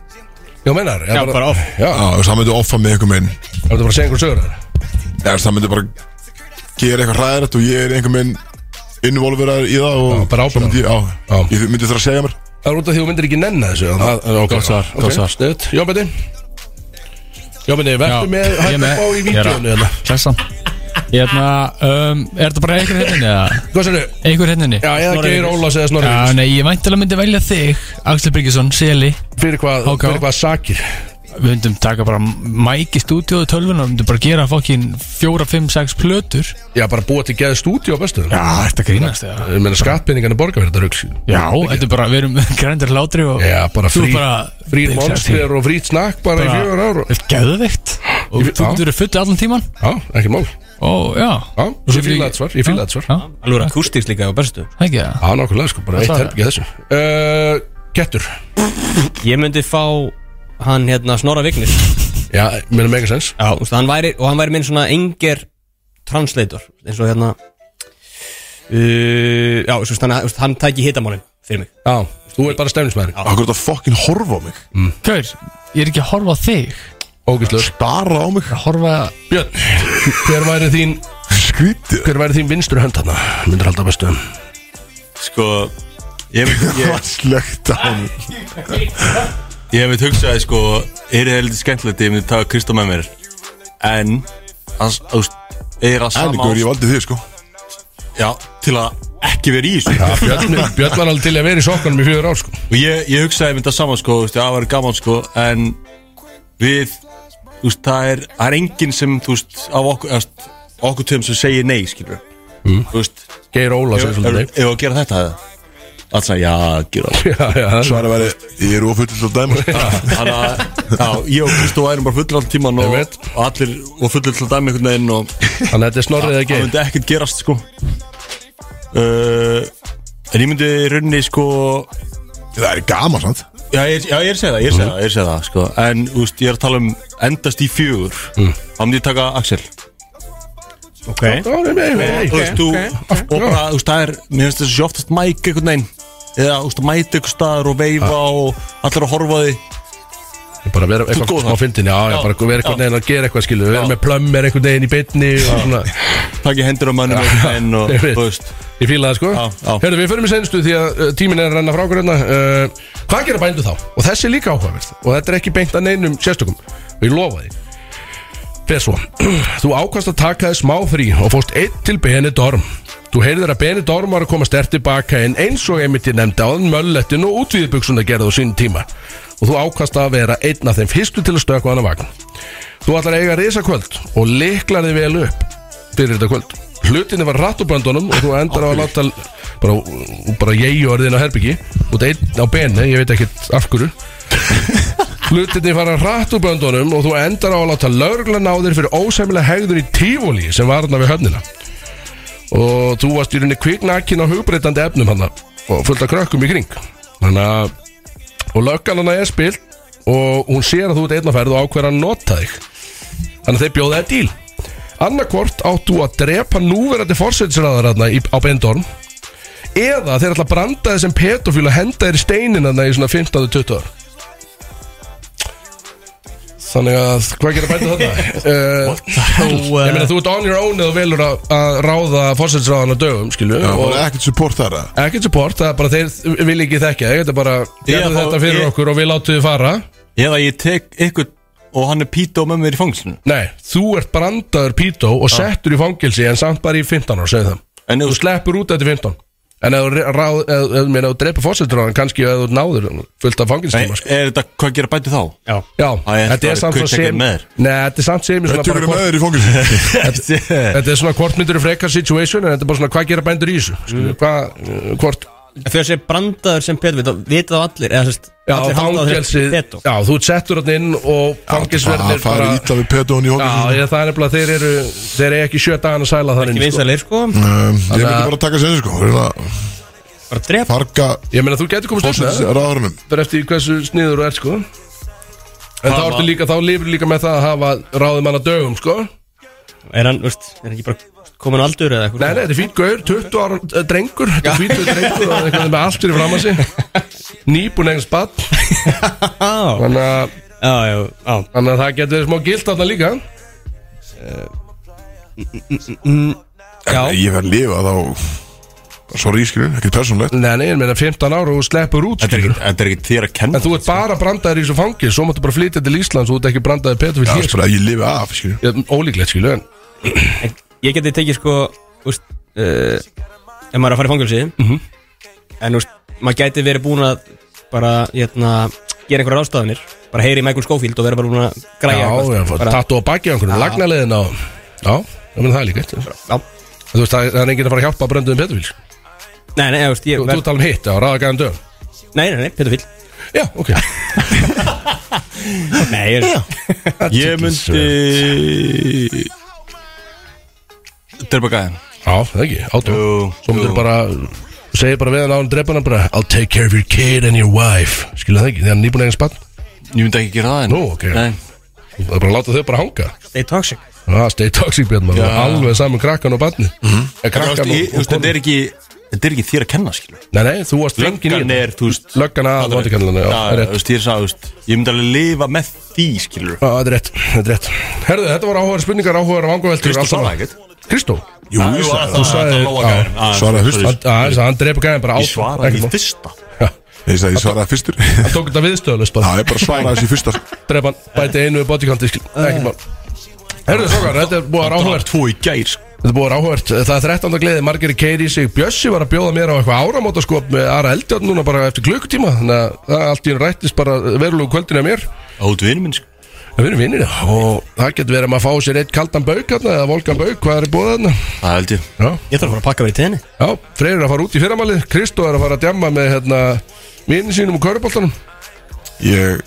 Speaker 5: Já, meinar
Speaker 3: Já, bara off.
Speaker 5: Já,
Speaker 1: á, það myndi offa mig einhvern veginn eða,
Speaker 5: það er bara að segja einhver sögur þar
Speaker 1: þú veist, það myndi bara gera eitthvað hræðrætt og ég er einhvern veginn involverðar í það og
Speaker 5: Já, bara ábyrgð.
Speaker 1: svo myndi, ég- á,
Speaker 5: Já.
Speaker 1: ég myndi þurfa að segja mér
Speaker 5: Það er út af því að þú myndir ekki nenni þessu Já, það er ok
Speaker 6: gott svar,
Speaker 5: ok,
Speaker 6: gott svar.
Speaker 5: sniðugt. Jónbjörn, Jónbjörn, verður
Speaker 6: Já,
Speaker 5: með
Speaker 6: ég
Speaker 5: hægt
Speaker 6: með-
Speaker 5: upp á í
Speaker 6: ég er að-
Speaker 5: vídjónu hérna
Speaker 6: Klessan Hérna, um, er þetta bara einhver henninni eða?
Speaker 5: Hvað sér þau?
Speaker 6: Einhver henninni?
Speaker 5: Já, eða
Speaker 3: Snorri
Speaker 5: Geir
Speaker 3: Vignis.
Speaker 5: Ólafs eða Snorri
Speaker 6: Já,
Speaker 5: Vignis.
Speaker 6: nei, ég væntalega myndi velja þig Axel Byrgisson, Seli
Speaker 5: Fyrir hvað,
Speaker 6: HK.
Speaker 5: fyrir hvað sakir
Speaker 6: Við myndum taka bara mæk í stúdíóðu tölvun og myndum bara gera fokkin fjóra, fimm, sex plötur
Speaker 5: Já, bara búa til geðið stúdíu á bestu
Speaker 6: Já, þetta grínast eða?
Speaker 5: Ég meina skattpenningarnir borga fyrir þetta rugg
Speaker 6: Já, þetta er bara, við erum grændir hlátri og
Speaker 5: Já, bara
Speaker 6: þú
Speaker 5: frí-
Speaker 6: bara
Speaker 5: Frýr
Speaker 6: Big Sexy.
Speaker 5: monster og frýt snakk bara í
Speaker 6: Bara-
Speaker 5: fjögur ár og-
Speaker 6: Þetta er geðveikt
Speaker 5: Ég
Speaker 6: og
Speaker 5: fi-
Speaker 6: þú
Speaker 5: já.
Speaker 6: getur fullu allan tíman
Speaker 5: Já, ekki mál
Speaker 6: og já
Speaker 5: Já,
Speaker 6: Og
Speaker 5: ég fíla
Speaker 6: svo fyrir-
Speaker 5: þetta svar, ég fíla þetta svar.
Speaker 6: Já,
Speaker 3: Alveg akústíks líka á bestu
Speaker 6: það ekki það
Speaker 5: Já, nákvæmlega, sko, bara eitt
Speaker 6: það-
Speaker 5: helgi að þessu Uh, Kettur
Speaker 3: Ég myndi fá hann hérna Snorra Vignis
Speaker 5: Já, meina megasens
Speaker 3: Já Ústu, hann væri, Og hann væri minn svona enger translator eins og hérna uh, Já, ústu, hann, ústu, hann tæki hitamálin fyrir mig
Speaker 5: Já, þú ert bara stemnismæður
Speaker 1: Akkur þetta fokkin horfa á mig
Speaker 6: Gaur, ég er ekki að horfa á þig
Speaker 5: Ógæslegur
Speaker 1: Stara á mig
Speaker 6: að horfa
Speaker 5: Björn, hver væri þín
Speaker 1: Skrítið
Speaker 5: Hver væri þín vinstur hönd þarna? Myndur halda bestu
Speaker 2: Sko Ég veit,
Speaker 1: Það
Speaker 2: ég,
Speaker 1: var slögt á mig
Speaker 2: ég veit hugsaði sko Er það heldur skemmtilegt Ég myndi taka Kristó með mér En Hans, þú veist Er að
Speaker 1: En
Speaker 2: sama
Speaker 1: ykkur, ég valdi þig sko
Speaker 2: Já, til að ekki vera í þessu
Speaker 5: Björn, Björn var alveg til að vera í sokkunum í fjögur ár sko.
Speaker 2: Og ég, ég hugsaði mynda saman sko, þú veist, það var gaman sko, en við, þú veist, það er, það er enginn sem, þú veist, af okkur, eftir, okkur tveim sem segir nei, skilur mm. Þú veist,
Speaker 5: Geir Óla
Speaker 2: ef
Speaker 5: segir
Speaker 2: ef-
Speaker 5: svolítið nei.
Speaker 2: ef að gera þetta eða Alltaf, já, gera það
Speaker 5: Já, já, það er
Speaker 1: Svara væri, ég er ofull til að dæma sko.
Speaker 2: Þannig að, já, ég og Kristó værum bara fullir allan tíman og,
Speaker 5: Ég veit.
Speaker 2: og allir, og fullir til að dæmi einhvern veginn og
Speaker 5: Þannig að þetta er snorrið eða
Speaker 2: það
Speaker 5: geir
Speaker 2: myndi ekkert gerast, sko uh, En ég myndi í rauninni, sko,
Speaker 1: Það er gaman, sant?
Speaker 2: Já, ég, já, ég er að segja það, ég er að segja það, ég er að segja það, sko En, úst, ég er að tala um endast í fjögur
Speaker 5: Mm.
Speaker 2: Þá myndi ég taka Axel
Speaker 3: Ok
Speaker 5: Já, nei, nei, nei,
Speaker 2: Þú veist, þú, og bara, þú veist, það er Mér finnst þessi oftast mæk einhvern veginn Eða, þú veist, mæta einhver staðar og veifa
Speaker 5: Ah.
Speaker 2: og allir að horfa á því
Speaker 5: nei Bara vera
Speaker 2: Þú
Speaker 5: eitthvað
Speaker 2: góð
Speaker 5: smá
Speaker 2: þar.
Speaker 5: fyndin Já, já, bara vera einhvern veginn að gera eitthvað skilu Vera með plömmir einhvern veginn í beinni og svona.
Speaker 2: Takk ég hendur á mannum einhvern veginn og,
Speaker 5: Ég veit.
Speaker 2: þú veist
Speaker 5: Ég fíla það sko
Speaker 2: Já, já.
Speaker 5: Hörðu, við förum í senstu því að uh, tíminn er að renna frá okkur hérna uh, Hvað gera bændu þá? Og þessi er líka áhugaverð Og þetta er ekki beint að neinum sérstökum Og ég lofa því Fyrir svo Þú ákvæmst að taka þið smá frí Og fórst einn til Benidorm Þú heyrðir að Benidorm var að koma stert tilbaka En eins og einmitt ég nefndi áðan möllettin Og útvíðbuxuna gerði á sínum tíma Og þú ákvæmst að vera einn af þeim fyrstu til að stökka á hana vagn Þú ætlar að eiga risa kvöld og liklar þið vel upp fyrir þetta kvöld. Hlutinni var rætt úr böndunum og þú endar á að láta bara, bara ég og orðin á herbyggi út einn á beni, ég veit ekkert af hverju. Hlutinni fara rætt úr böndunum og þú endar á að láta lögreglan á þér fyrir ósæmilega hegður í tífóli sem var þarna við höfnina. Og þú varst í rauninni kviknakin á hugbreytandi efnum hann og fullt af krökkum í kring. Þannig að og löggan hann er spilt og hún sér að þú ert einn að ferð og ákveður að nota þig þannig að þeir bjóða það díl annarkvort áttu að drepa núverandi fórsveitsræðaranna á Bendorm eða þeir ætla að branda þessum pedofíl og henda þér í steininanna í svona 15-20 ár Þannig að, hvað gerir bændu þarna? uh, ég meina, þú ert on your own eða þú velur að, að ráða fórsveitsræðan á dögum, skilju
Speaker 1: Það
Speaker 5: og
Speaker 1: var ekkert support þar að
Speaker 5: ekkert support, það er bara þeir vilja ekki þekkja þig, þetta er bara gerðu
Speaker 2: þá-
Speaker 5: þetta fyrir
Speaker 2: ég-
Speaker 5: okkur og við látum þið fara
Speaker 2: Eða ég tek einhvern og hann er Pító með mér í fangslinu
Speaker 5: Nei, þú ert brandaður pító og settur í fangelsi en samt bara í 15 ára, segðu það
Speaker 2: En þú
Speaker 5: Þú sleppur út eftir 15 En ef þú ráð- ef- ef- meina, ef þú drepa fórsetur á hann Kannski ef þú náður honum, fullt af
Speaker 2: Nei,
Speaker 5: fangilstíma sko.
Speaker 2: er þetta, hvað gera bæti þá?
Speaker 3: Já
Speaker 5: Já,
Speaker 2: Æ, ég
Speaker 5: þetta
Speaker 2: bara
Speaker 5: er samt
Speaker 2: kutt
Speaker 5: svo
Speaker 2: ekki
Speaker 5: sem
Speaker 2: með
Speaker 5: Nei,
Speaker 2: þér.
Speaker 5: þetta er samt sem svona
Speaker 1: Þetta
Speaker 5: bara
Speaker 1: eru
Speaker 5: hvort-
Speaker 1: með þér í fóngilsi
Speaker 5: Þetta er svona hvort myndir er frekar situation En þetta er bara svona hvað gera bændur í þessu Skilju, hvað, uh, Hvort
Speaker 3: Fyrir að segja brandaður sem Petur veit, veit það allir Eða sérst,
Speaker 5: Já,
Speaker 3: allir halda á þeim
Speaker 5: fangelsið
Speaker 3: Petur
Speaker 5: Já, þú ert settur hann inn og
Speaker 1: Það
Speaker 5: fangelsverðir
Speaker 1: fari ítla við sko. Petón í
Speaker 5: Já,
Speaker 1: hóngilsi
Speaker 5: ég, það er nefnilega þeir eru Þeir eru ekki sjö dagana sæla þar
Speaker 3: Ekki
Speaker 5: inn sko.
Speaker 3: vinsalegir sko
Speaker 1: Ehm, Ég myndi bara taka sér sko Við erum að
Speaker 3: Bara drep
Speaker 1: farga
Speaker 5: Ég meina þú getur komist upp með það
Speaker 1: fórsættisraðurunum
Speaker 5: Fyrir eftir hversu sniður þú ert sko En þá ertu líka, þá lifir líka með það að hafa ráðum hann að dögum sko Nei,
Speaker 3: Er hann, veist, er hann ekki bara komin á aldur eða eitthvað
Speaker 5: nei, þetta er fýtt gaur, 20 ára eh, drengur Þetta er fýtt drengur og eitthvað með allt fyrir fram að sig Nýbúin eigin spatt
Speaker 3: Já,
Speaker 5: Þannig að
Speaker 3: já, já, já
Speaker 5: þannig að það getur verið smá gilt þarna líka
Speaker 3: Já.
Speaker 1: En Ég verð að lifa þá Sorry, skilur, ekkert persónulegt
Speaker 5: Nei, nei, ég meina 15 ára og þú sleppur út
Speaker 2: Þetta
Speaker 5: sko.
Speaker 2: er
Speaker 5: skilur.
Speaker 2: ekkert- þetta er ekki þér að kenna
Speaker 5: En þú ert bara brandaður í þessu fangi Svo máttu bara flytja til Íslands og þú ert ekki brandaður Petur
Speaker 1: Já,
Speaker 5: fyrir
Speaker 2: sko.
Speaker 1: spara, ég lifi af, skilur
Speaker 5: hér Ólíklegt skilu en
Speaker 3: En Ég geti tekið sko úst, uh, Ef maður er að fara í fangilsi En úst, maður gæti verið búin að Bara hérna, gera einhverja ráðstafanir Bara heyri í Michael Schofield og vera bara búin að græja
Speaker 5: Já,
Speaker 3: eitthvað,
Speaker 5: já,
Speaker 3: sko.
Speaker 5: fá
Speaker 3: bara,
Speaker 5: tattu á baki á einhvern veginn, lagnalegin á Já, ég meina það er líka eitt En
Speaker 3: já.
Speaker 5: Þú veist, það er- það er enginn að fara að hjálpa að brönduðum Peturfíl Þú,
Speaker 3: Nei, nei, úst, ég,
Speaker 5: þú
Speaker 3: ver,
Speaker 5: tala um hitt, já, ráða gæðan dögum
Speaker 3: nei, nei, nei, Petur Fyll
Speaker 5: Já, ok
Speaker 3: Nei, ég,
Speaker 2: Ég myndi Drepa gæðan
Speaker 5: Já, það ekki, áttu
Speaker 2: Jú,
Speaker 5: Svo myndir
Speaker 2: jú.
Speaker 5: bara, segir bara við hann á hann drefana bara I'll take care of your kid and your wife Skilja það ekki, þegar hann nýbúin eigin spann
Speaker 2: Ég myndi ekki gera það en
Speaker 5: Nú, ok.
Speaker 2: Nei.
Speaker 5: Það er bara að láta þau bara hanga
Speaker 3: stay toxic
Speaker 5: Já, stay toxic björn maður Alveg saman krakkan og barni mm.
Speaker 2: Mhm. Þú veist,
Speaker 5: Krakkan
Speaker 2: ég- þú
Speaker 5: og,
Speaker 2: veist,
Speaker 5: og
Speaker 2: Þetta er ekki Þetta er ekki þér að kenna skilur
Speaker 5: Nei, nei, þú varst drengin í
Speaker 2: Löggan er, þú veist
Speaker 5: Löggan að vandikallan, já,
Speaker 2: Já,
Speaker 5: það er
Speaker 2: þú
Speaker 5: rétt
Speaker 2: veist, ég sagði, þú veist Ég myndi alveg lifa með því skilur
Speaker 5: Já, það er rétt, það er rétt Herðu, þetta voru áhugaður spurningar, áhugaður vangaveltur
Speaker 2: Kristó svaraði ekkert.
Speaker 5: Kristó?
Speaker 1: Jú, ég sagði
Speaker 2: Þú
Speaker 5: sagðir- já.
Speaker 2: Ah,
Speaker 1: Svaraði fyrst.
Speaker 5: Hann- Það er það, hann drepa gæðin bara á
Speaker 2: Ég svaraði ekki fyrsta
Speaker 1: Ég sagði, ég svaraði fyrstur
Speaker 5: Hann tók þetta viðstöðlust
Speaker 1: Já,
Speaker 5: bara
Speaker 1: ég bara svaraði þessi fyrsta sko.
Speaker 5: Drepa hann, bæti einu við bodykanti Ekki mál Herðu, svokar, þetta er búið að
Speaker 2: Það var
Speaker 5: áhugavert
Speaker 2: tvo í gær sko.
Speaker 5: Þetta er búið að áhugavert Það er 13. gleði, margir keiri í sig Bjössi var að bjóða mér á eitthvað áramóta sko Með aðra eldjátt núna bara eftir klukkutíma Þannig að það allt í enn rættist bara verulegu kvöldinu að mér
Speaker 2: Út vinnu minn sko.
Speaker 5: Við erum vinnir og það getur verið að maður fá sér eitt kaldan bauk hérna eða volkan bauk, hvað er í búið hérna?
Speaker 2: Það held ég
Speaker 5: Já,
Speaker 3: Ég þarf að fara að pakka mér í tenni
Speaker 5: já, Freyr er að fara út í fyrramalið, Kristó er að fara að djamma með hérna vinnin sínum og köruboltanum.
Speaker 1: Ég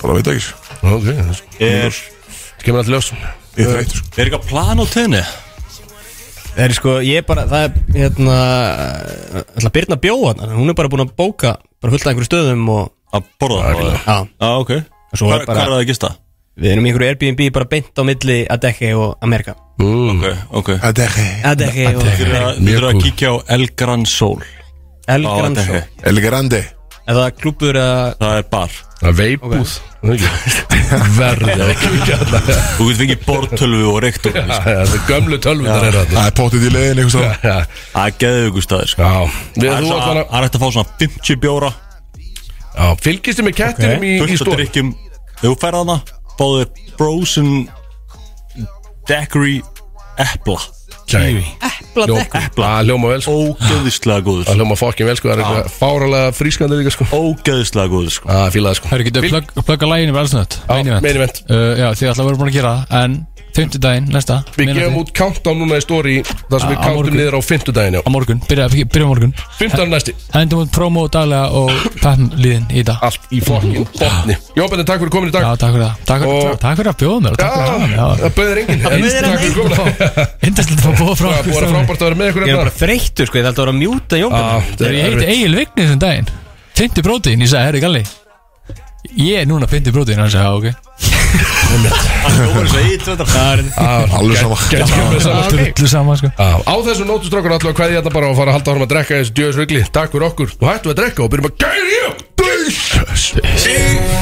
Speaker 1: bara veit ekki sko.
Speaker 5: Ok, það
Speaker 2: Er,
Speaker 5: kemur alltaf ljós.
Speaker 1: Ég er þreytur sko.
Speaker 2: er eitthvað plan á tenni?
Speaker 3: Það er sko, ég er bara, það er hérna ætla að byrna bjóðan Hún er bara búin að bóka, bara fullt að einhverju stöðum og,
Speaker 2: Að borða það Já,
Speaker 3: Já,
Speaker 2: ok
Speaker 3: svo
Speaker 2: Hvað
Speaker 3: er bara-
Speaker 2: hvað er það að gista?
Speaker 3: við erum í einhverju Airbnb bara beint á milli Adeche og Amerika
Speaker 2: Ok, ok
Speaker 1: Þetta er ekki
Speaker 3: Adeche og
Speaker 2: Þeir eru að- þeir eru að kíkja á El Gran Sol
Speaker 3: El
Speaker 2: á
Speaker 3: Gran Sol
Speaker 2: Adehe.
Speaker 1: El Grande
Speaker 3: Eða klúpur eða
Speaker 2: Það er bar
Speaker 5: Það er veipúð, verðið ekki ekki alltaf.
Speaker 2: Þú getur fengið bortölvu og reyktur Það
Speaker 5: Það er gömlu tölvunar er þetta.
Speaker 1: Það er pottið í leiðin einhvers staðar.
Speaker 5: Já,
Speaker 2: er geðugur staðir sko.
Speaker 5: já, við
Speaker 2: Það er
Speaker 5: Eh, þú
Speaker 2: svo-
Speaker 5: alltaf
Speaker 2: það er hægt að fá svona 50 bjóra
Speaker 5: Já, fylgistu með kettinum í, í
Speaker 2: Fullt að
Speaker 5: stóri.
Speaker 2: drikkjum Ef þú ferð hana Báðir Frozen Daiquiri Epla
Speaker 3: Epla Adeche
Speaker 5: Epla. Það hljóma vel, sko.
Speaker 2: Ógeðislega góður
Speaker 5: Það hljóma fokkin vel, sko. Það er eitthvað fáralega frískandi líka, sko.
Speaker 2: Ógeðislega góður sko.
Speaker 5: Það fílaði, sko.
Speaker 6: Hörru, getur
Speaker 5: Vil-
Speaker 6: við plugg- plugga læginu við elsnöðt?
Speaker 5: Já, main event.
Speaker 6: Uh, já, þið alltaf voru búin að gera það En 50 daginn, næsta
Speaker 5: Við
Speaker 6: miðnætti,
Speaker 5: gefum út countdown núna í stóri Það sem við
Speaker 6: Á
Speaker 5: countum
Speaker 6: morgun.
Speaker 5: niður á fimmtudaginu
Speaker 6: Á morgun, byrja, byrja á morgun
Speaker 5: 15 næsti,
Speaker 6: Hendum út promo daglega og peppum liðin í dag
Speaker 5: allt í fokkin botni Jón Bendin, takk fyrir komin í
Speaker 6: Já,
Speaker 5: dag
Speaker 6: takk fyrir það Takk,
Speaker 5: Og-
Speaker 6: takk fyrir að bjóða mér og
Speaker 5: Já,
Speaker 6: Takk fyrir að
Speaker 5: það
Speaker 6: hafa mig,
Speaker 5: bauðir enginn En
Speaker 3: bauð þér
Speaker 5: Takk fyrir komin Það
Speaker 6: já. Indislegt að fá bóða frá
Speaker 5: var
Speaker 6: okkur
Speaker 5: frábært að vera með ykkur
Speaker 3: Ég er bara
Speaker 5: hérna.
Speaker 3: þreyttur sko, ég ætla að vera að mjúta Jón
Speaker 5: Já,
Speaker 3: Bjarni.
Speaker 5: það er
Speaker 6: Ég heiti
Speaker 5: erfitt.
Speaker 6: Egil Vignis um daginn 50 brótin, ég sagði, herri Galli Ég er núna 50 brótin, hann sagði, já,
Speaker 1: Alveg sama
Speaker 5: Gæti komið
Speaker 6: ok
Speaker 5: saman
Speaker 6: Það er öllu sama, sko
Speaker 5: Já, Á þessu nótu strákur allavega hvað ég þetta bara að fara að halda árum að drekka í þessu djöðsrugli Takk fyrir okkur, nú hættum við að drekka og byrjum að gæra í okkur Peace.